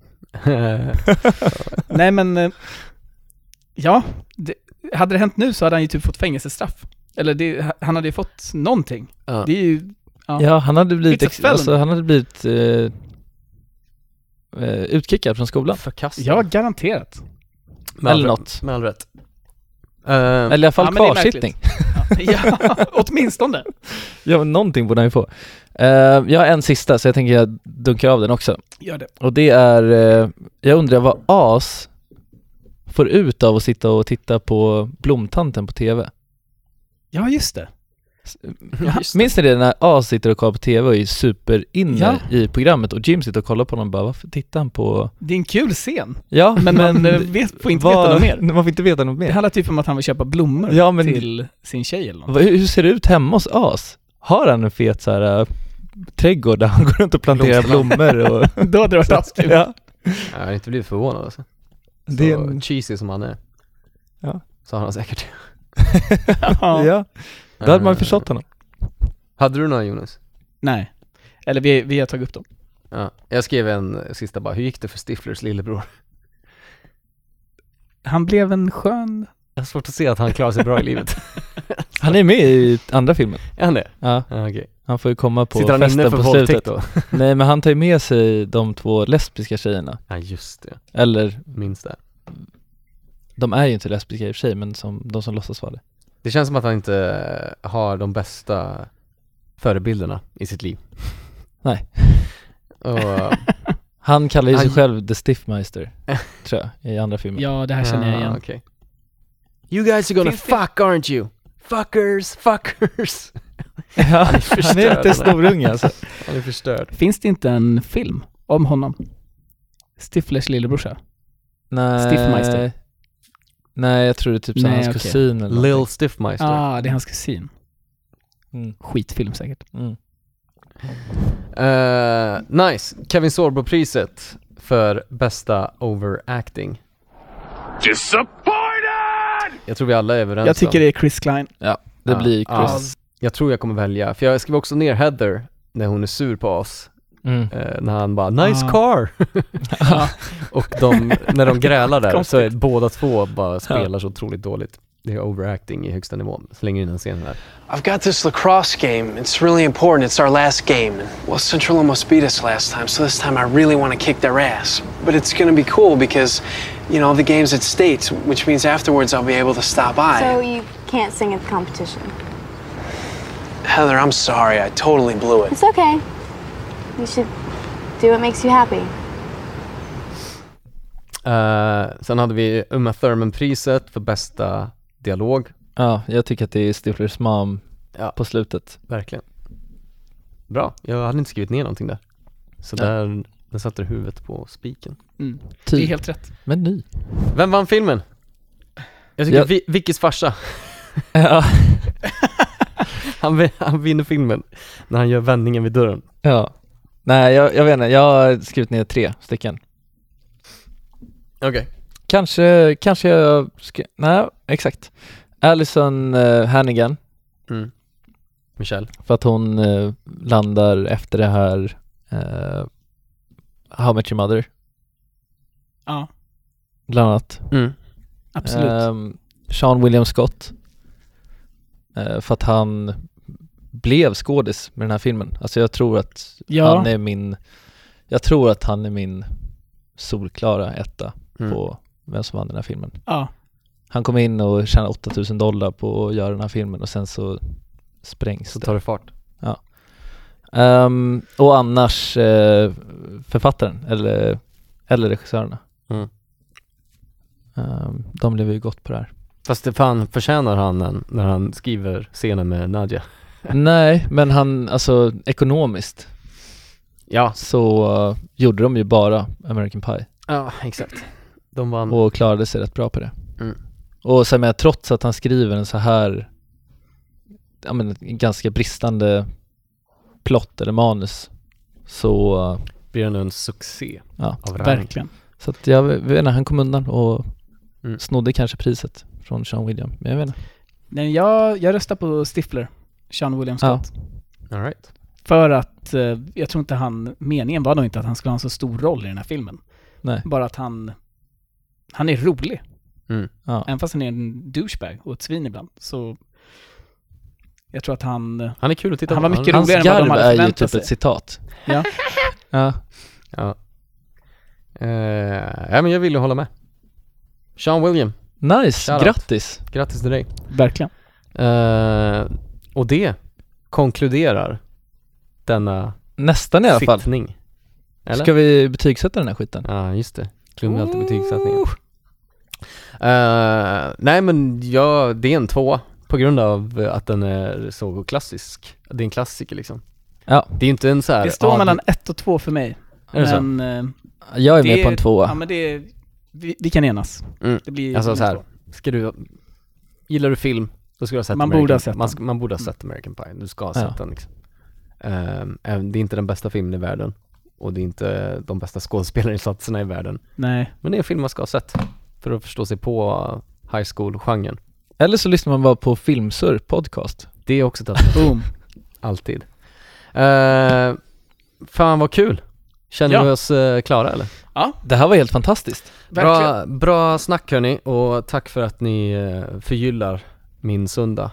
Speaker 7: Nej men, eh, ja. Det, hade det hänt nu så hade han ju typ fått fängelsestraff. Eller det, han hade ju fått någonting.
Speaker 1: Ja.
Speaker 7: Det är ju, ja.
Speaker 6: Ja, han hade blivit,
Speaker 7: It's a
Speaker 6: ex-
Speaker 7: felony.
Speaker 6: alltså, han hade blivit eh, eh, utkickad från skolan.
Speaker 1: Förkastad.
Speaker 7: ja garanterat.
Speaker 1: Med all
Speaker 6: eller
Speaker 1: rätt-
Speaker 6: något.
Speaker 1: Med all rätt. Eh,
Speaker 6: Eller i alla fall
Speaker 7: Ja, men det är
Speaker 6: kvarsittning.
Speaker 7: märkligt. Ja, ja, åtminstone.
Speaker 6: Ja, men någonting borde han ju få. Eh, jag har en sista, så jag tänker jag dunkar av den också.
Speaker 7: Gör det.
Speaker 6: Och det är, eh, jag undrar vad as får ut av att sitta och titta på Blomtanten på TV.
Speaker 7: Ja just det. Ja,
Speaker 6: Minns ni det när As sitter och kollar på TV och är superinne
Speaker 7: Ja.
Speaker 6: i programmet och Jim sitter och kollar på honom och bara varför tittar han på...
Speaker 7: Det är en kul scen.
Speaker 6: Ja,
Speaker 7: Men man eh, vet, får inte
Speaker 6: vad-
Speaker 7: veta något mer.
Speaker 6: Man får inte veta något
Speaker 7: Det
Speaker 6: mer.
Speaker 7: handlar typ om att han vill köpa blommor
Speaker 6: Ja, men-
Speaker 7: till sin tjej eller något.
Speaker 6: Vad- Hur ser det ut hemma hos As? Har han en fet så här äh, trädgård där han går runt och planterar
Speaker 1: Blomsterland.
Speaker 6: blommor och...
Speaker 7: Då hade det varit askul.
Speaker 6: ja.
Speaker 1: Eh, jag har inte blivit förvånad alltså. Så
Speaker 6: Det är en...
Speaker 1: cheesy som han är.
Speaker 6: Ja.
Speaker 1: Så har han säkert.
Speaker 6: ja. Då hade man förstått honom.
Speaker 1: Hade du några Jonas?
Speaker 7: Nej. Eller vi, vi har tagit upp dem.
Speaker 1: Ja. Jag skrev en eh, sista bara, hur gick det för Stiflers lillebror?
Speaker 7: Han blev en skön...
Speaker 1: Jag har svårt att se att han klarar sig bra i livet.
Speaker 6: Han är med i andra filmen.
Speaker 1: Är han det?
Speaker 6: Ja,
Speaker 1: Ja, okej.
Speaker 6: han får ju komma på
Speaker 1: Sitter han
Speaker 6: festen
Speaker 1: inne för
Speaker 6: på slutet.
Speaker 1: våldtäkt då?
Speaker 6: Nej men han tar ju med sig de två lesbiska tjejerna.
Speaker 1: Ja just det,
Speaker 6: Eller,
Speaker 1: minns det.
Speaker 6: de är ju inte lesbiska i och för sig men som, de som låtsas vara det.
Speaker 1: Det känns som att han inte har de bästa förebilderna i sitt liv.
Speaker 6: Nej.
Speaker 1: Och
Speaker 6: Han kallar ju sig
Speaker 1: Han-
Speaker 6: själv The Stiffmeister, tror jag, i andra filmen.
Speaker 7: Ja, det här känner jag igen.
Speaker 1: Okay. You guys are gonna fuck aren't you? Fuckers, fuckers.
Speaker 6: han
Speaker 1: förstörd,
Speaker 6: han är
Speaker 1: eller?
Speaker 6: lite snorunge alltså.
Speaker 1: Han är förstörd.
Speaker 7: Finns det inte en film om honom? Stiflers lillebrorsa?
Speaker 6: Nej,
Speaker 7: Stiffmeister.
Speaker 6: Nej, jag tror det är typ så
Speaker 7: Nej,
Speaker 6: hans
Speaker 7: okej.
Speaker 6: kusin eller
Speaker 1: Lil
Speaker 6: någonting.
Speaker 1: Stiffmeister.
Speaker 7: Ja, ah, det är hans kusin.
Speaker 6: Mm.
Speaker 7: Skitfilm säkert.
Speaker 6: Mm.
Speaker 1: Eh, nice. Kevin Sorbo-priset för bästa overacting.
Speaker 16: Disappointed!
Speaker 1: Jag tror vi alla är överens
Speaker 7: Jag tycker
Speaker 1: om.
Speaker 7: det är Chris Klein.
Speaker 6: Ja, det
Speaker 1: Ja,
Speaker 6: blir Chris.
Speaker 1: ja. Jag tror jag kommer välja, för jag skrev också ner Heather när hon är sur på oss.
Speaker 6: Mm.
Speaker 1: Eh, när han bara 'Nice
Speaker 7: Ah.
Speaker 1: car' Och de, när de grälar där så är
Speaker 7: Konstigt.
Speaker 1: båda två bara spelar så otroligt dåligt. Det är overacting i högsta nivån. Slänger in den scenen här.
Speaker 9: I've got this lacrosse game. It's really important. It's our last game. Well, Central almost beat us last time, so this time I really want to kick their ass. But it's going to be cool because, you know, the game's at States, which means afterwards I'll be able to stop by.
Speaker 17: So you can't sing at the competition.
Speaker 9: Heather, I'm sorry. I totally blew it.
Speaker 17: It's okay. You should do what makes you happy.
Speaker 1: Eh, sen hade vi Uma Thurman-priset för bästa dialog.
Speaker 6: Ja, jag tycker att det är Stiflers mom
Speaker 1: Ja.
Speaker 6: på slutet.
Speaker 1: Verkligen. Bra, jag hade inte skrivit ner någonting där. Så
Speaker 6: Nej.
Speaker 1: där Den satte huvudet på spiken.
Speaker 7: Mm. Det är helt rätt.
Speaker 6: Men ny.
Speaker 1: Vem vann filmen? Jag tycker
Speaker 6: Jag-
Speaker 1: Vi, Vickys farsa.
Speaker 6: Ja.
Speaker 1: han, vin- han vinner filmen när han gör vändningen vid dörren.
Speaker 6: Ja. Nej, jag, jag vet inte. Jag har skrivit ner tre stycken.
Speaker 1: Okej.
Speaker 6: Kanske, kanske jag ska, nej, exakt. Allison eh, Hannigan,
Speaker 1: Mm. Michelle.
Speaker 6: för att hon eh, landar efter det här eh, How Much Your Mother,
Speaker 7: Ja,
Speaker 6: bland annat.
Speaker 1: Mm.
Speaker 7: absolut.
Speaker 6: Ehm, Sean William Scott, eh, för att han blev skådis med den här filmen. Alltså jag tror att
Speaker 7: Ja.
Speaker 6: han är min, jag tror att han är min solklara etta
Speaker 1: Mm.
Speaker 6: på vem som vann den här filmen.
Speaker 7: ja.
Speaker 6: Han kom in och tjänade 8000 dollar på att göra den här filmen och sen så sprängs
Speaker 1: Så
Speaker 6: det.
Speaker 1: tar det fart.
Speaker 6: Ja. Ehm, och annars eh, författaren eller, eller regissörerna.
Speaker 1: Mm.
Speaker 6: Ehm, de lever ju gott på det här.
Speaker 1: Fast det fan förtjänar han den när han skriver scenen med Nadja.
Speaker 6: Nej, men han, alltså ekonomiskt
Speaker 1: Ja.
Speaker 6: så eh, gjorde de ju bara American Pie
Speaker 1: Ja, exakt. De vann.
Speaker 6: och klarade sig rätt bra på det.
Speaker 1: Mm.
Speaker 6: Och sen med trots att han skriver en så här, ja men ganska bristande plott eller manus så eh,
Speaker 1: Blir han en succé
Speaker 6: Ja,
Speaker 1: av rang.
Speaker 7: Verkligen.
Speaker 6: Så att jag vet inte, han kom undan och
Speaker 1: Mm.
Speaker 6: snodde kanske priset från Sean William. Men jag vet inte.
Speaker 7: Nej, jag, jag röstar på Stifler, Sean William
Speaker 6: Ja.
Speaker 7: Scott.
Speaker 1: All right.
Speaker 7: För att eh, jag tror inte han, meningen var nog inte att han skulle ha en så stor roll i den här filmen.
Speaker 6: Nej.
Speaker 7: Bara att han, han är rolig.
Speaker 1: Mm.
Speaker 6: Ja.
Speaker 7: Även fast han är en douchebag och ett svin ibland. Så jag tror att han,
Speaker 1: Han är kul att titta
Speaker 7: Han
Speaker 1: på.
Speaker 7: var mycket
Speaker 6: Hans
Speaker 7: roligare än vad de hade
Speaker 6: garv är ju
Speaker 7: förväntat
Speaker 6: typ
Speaker 7: sig.
Speaker 6: ett citat.
Speaker 7: ja,
Speaker 6: Ja.
Speaker 1: Ja. Eh, ja, men jag ville hålla med. Sean William,
Speaker 6: Nice,
Speaker 1: Shoutout.
Speaker 6: grattis!
Speaker 1: grattis till dig.
Speaker 7: verkligen.
Speaker 1: Eh, och det konkluderar denna
Speaker 6: Nästan i alla fall.
Speaker 1: sittning. Eller?
Speaker 6: Ska vi betygsätta den här skiten?
Speaker 1: Ja, just det. Glömde alltid betygssättningen. Eh, nej, men jag, det är en tvåa på grund av att den är så klassisk. Det är en klassiker liksom.
Speaker 6: Ja.
Speaker 1: Det är inte en så här,
Speaker 7: Det står
Speaker 1: ah,
Speaker 7: mellan ett och två för mig.
Speaker 1: Är det så?
Speaker 7: men, eh,
Speaker 6: Jag är
Speaker 7: det
Speaker 6: med på en
Speaker 7: Ja
Speaker 6: tvåa.
Speaker 7: men det är, vi, vi kan enas.
Speaker 1: Mm.
Speaker 7: Det blir
Speaker 1: Alltså
Speaker 7: en
Speaker 1: så här,
Speaker 7: två.
Speaker 1: ska du, gillar du film, då ska du ha sett
Speaker 7: Man
Speaker 1: American,
Speaker 7: borde ha sett
Speaker 1: man,
Speaker 7: den.
Speaker 1: sk- man borde ha sett American Pie, du ska ha
Speaker 6: Ja.
Speaker 1: sett den liksom. Ehm, även- det är inte den bästa filmen i världen och det är inte de bästa skådespelarinsatserna i världen.
Speaker 7: Nej,
Speaker 1: Men det är en film man ska ha sett för att förstå sig på uh, high school-genren.
Speaker 6: Eller så lyssnar man bara på Filmsur podcast.
Speaker 1: Det är också ett alternativ,
Speaker 7: boom.
Speaker 1: alltid. Ehm, fan vad kul! Känner
Speaker 7: Ja.
Speaker 1: vi oss eh, klara eller?
Speaker 6: Det här var helt fantastiskt.
Speaker 1: Bra,
Speaker 7: Verkligen.
Speaker 1: bra snack hörni och tack för att ni eh, förgyllar min söndag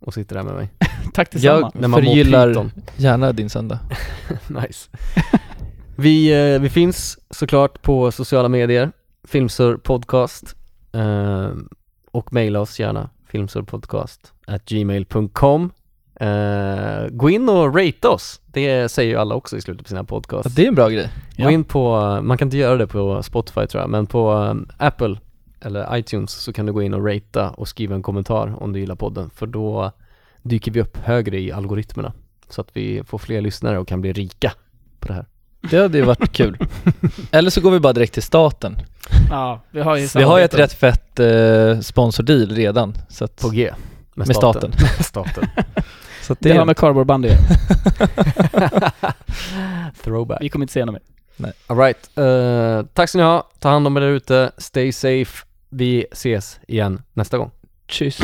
Speaker 1: och sitter där med mig.
Speaker 7: Tack detsamma.
Speaker 6: Jag
Speaker 1: När man mår
Speaker 6: förgyllar
Speaker 1: pyton.
Speaker 6: gärna din söndag.
Speaker 1: nice. vi, eh, vi finns såklart på sociala medier, Filmsur podcast eh, och mejla oss gärna filmsurpodcast at gmail.com eh, Gå in och rate oss, det säger ju alla också i slutet på sina podcasts.
Speaker 6: Det är en bra grej.
Speaker 1: Gå in på, man kan inte göra det på Spotify tror jag, men på um, Apple eller iTunes så kan du gå in och ratea och skriva en kommentar om du gillar podden, för då dyker vi upp högre i algoritmerna så att vi får fler lyssnare och kan bli rika på det här.
Speaker 6: Det hade ju varit kul. Eller så går vi bara direkt till staten.
Speaker 7: Ja, vi har ju
Speaker 6: Vi har ju ett
Speaker 7: samarbete.
Speaker 6: rätt fett eh, sponsordeal redan. Så att,
Speaker 1: På G.
Speaker 6: Med staten.
Speaker 1: Med staten.
Speaker 6: så att
Speaker 7: Det har med kardborreband att göra.
Speaker 1: Throwback.
Speaker 7: Vi kommer inte säga något mer.
Speaker 1: Alright, uh, tack ska ni ha. Ta hand om er där ute. Stay safe. Vi ses igen nästa gång.
Speaker 6: Tschüss.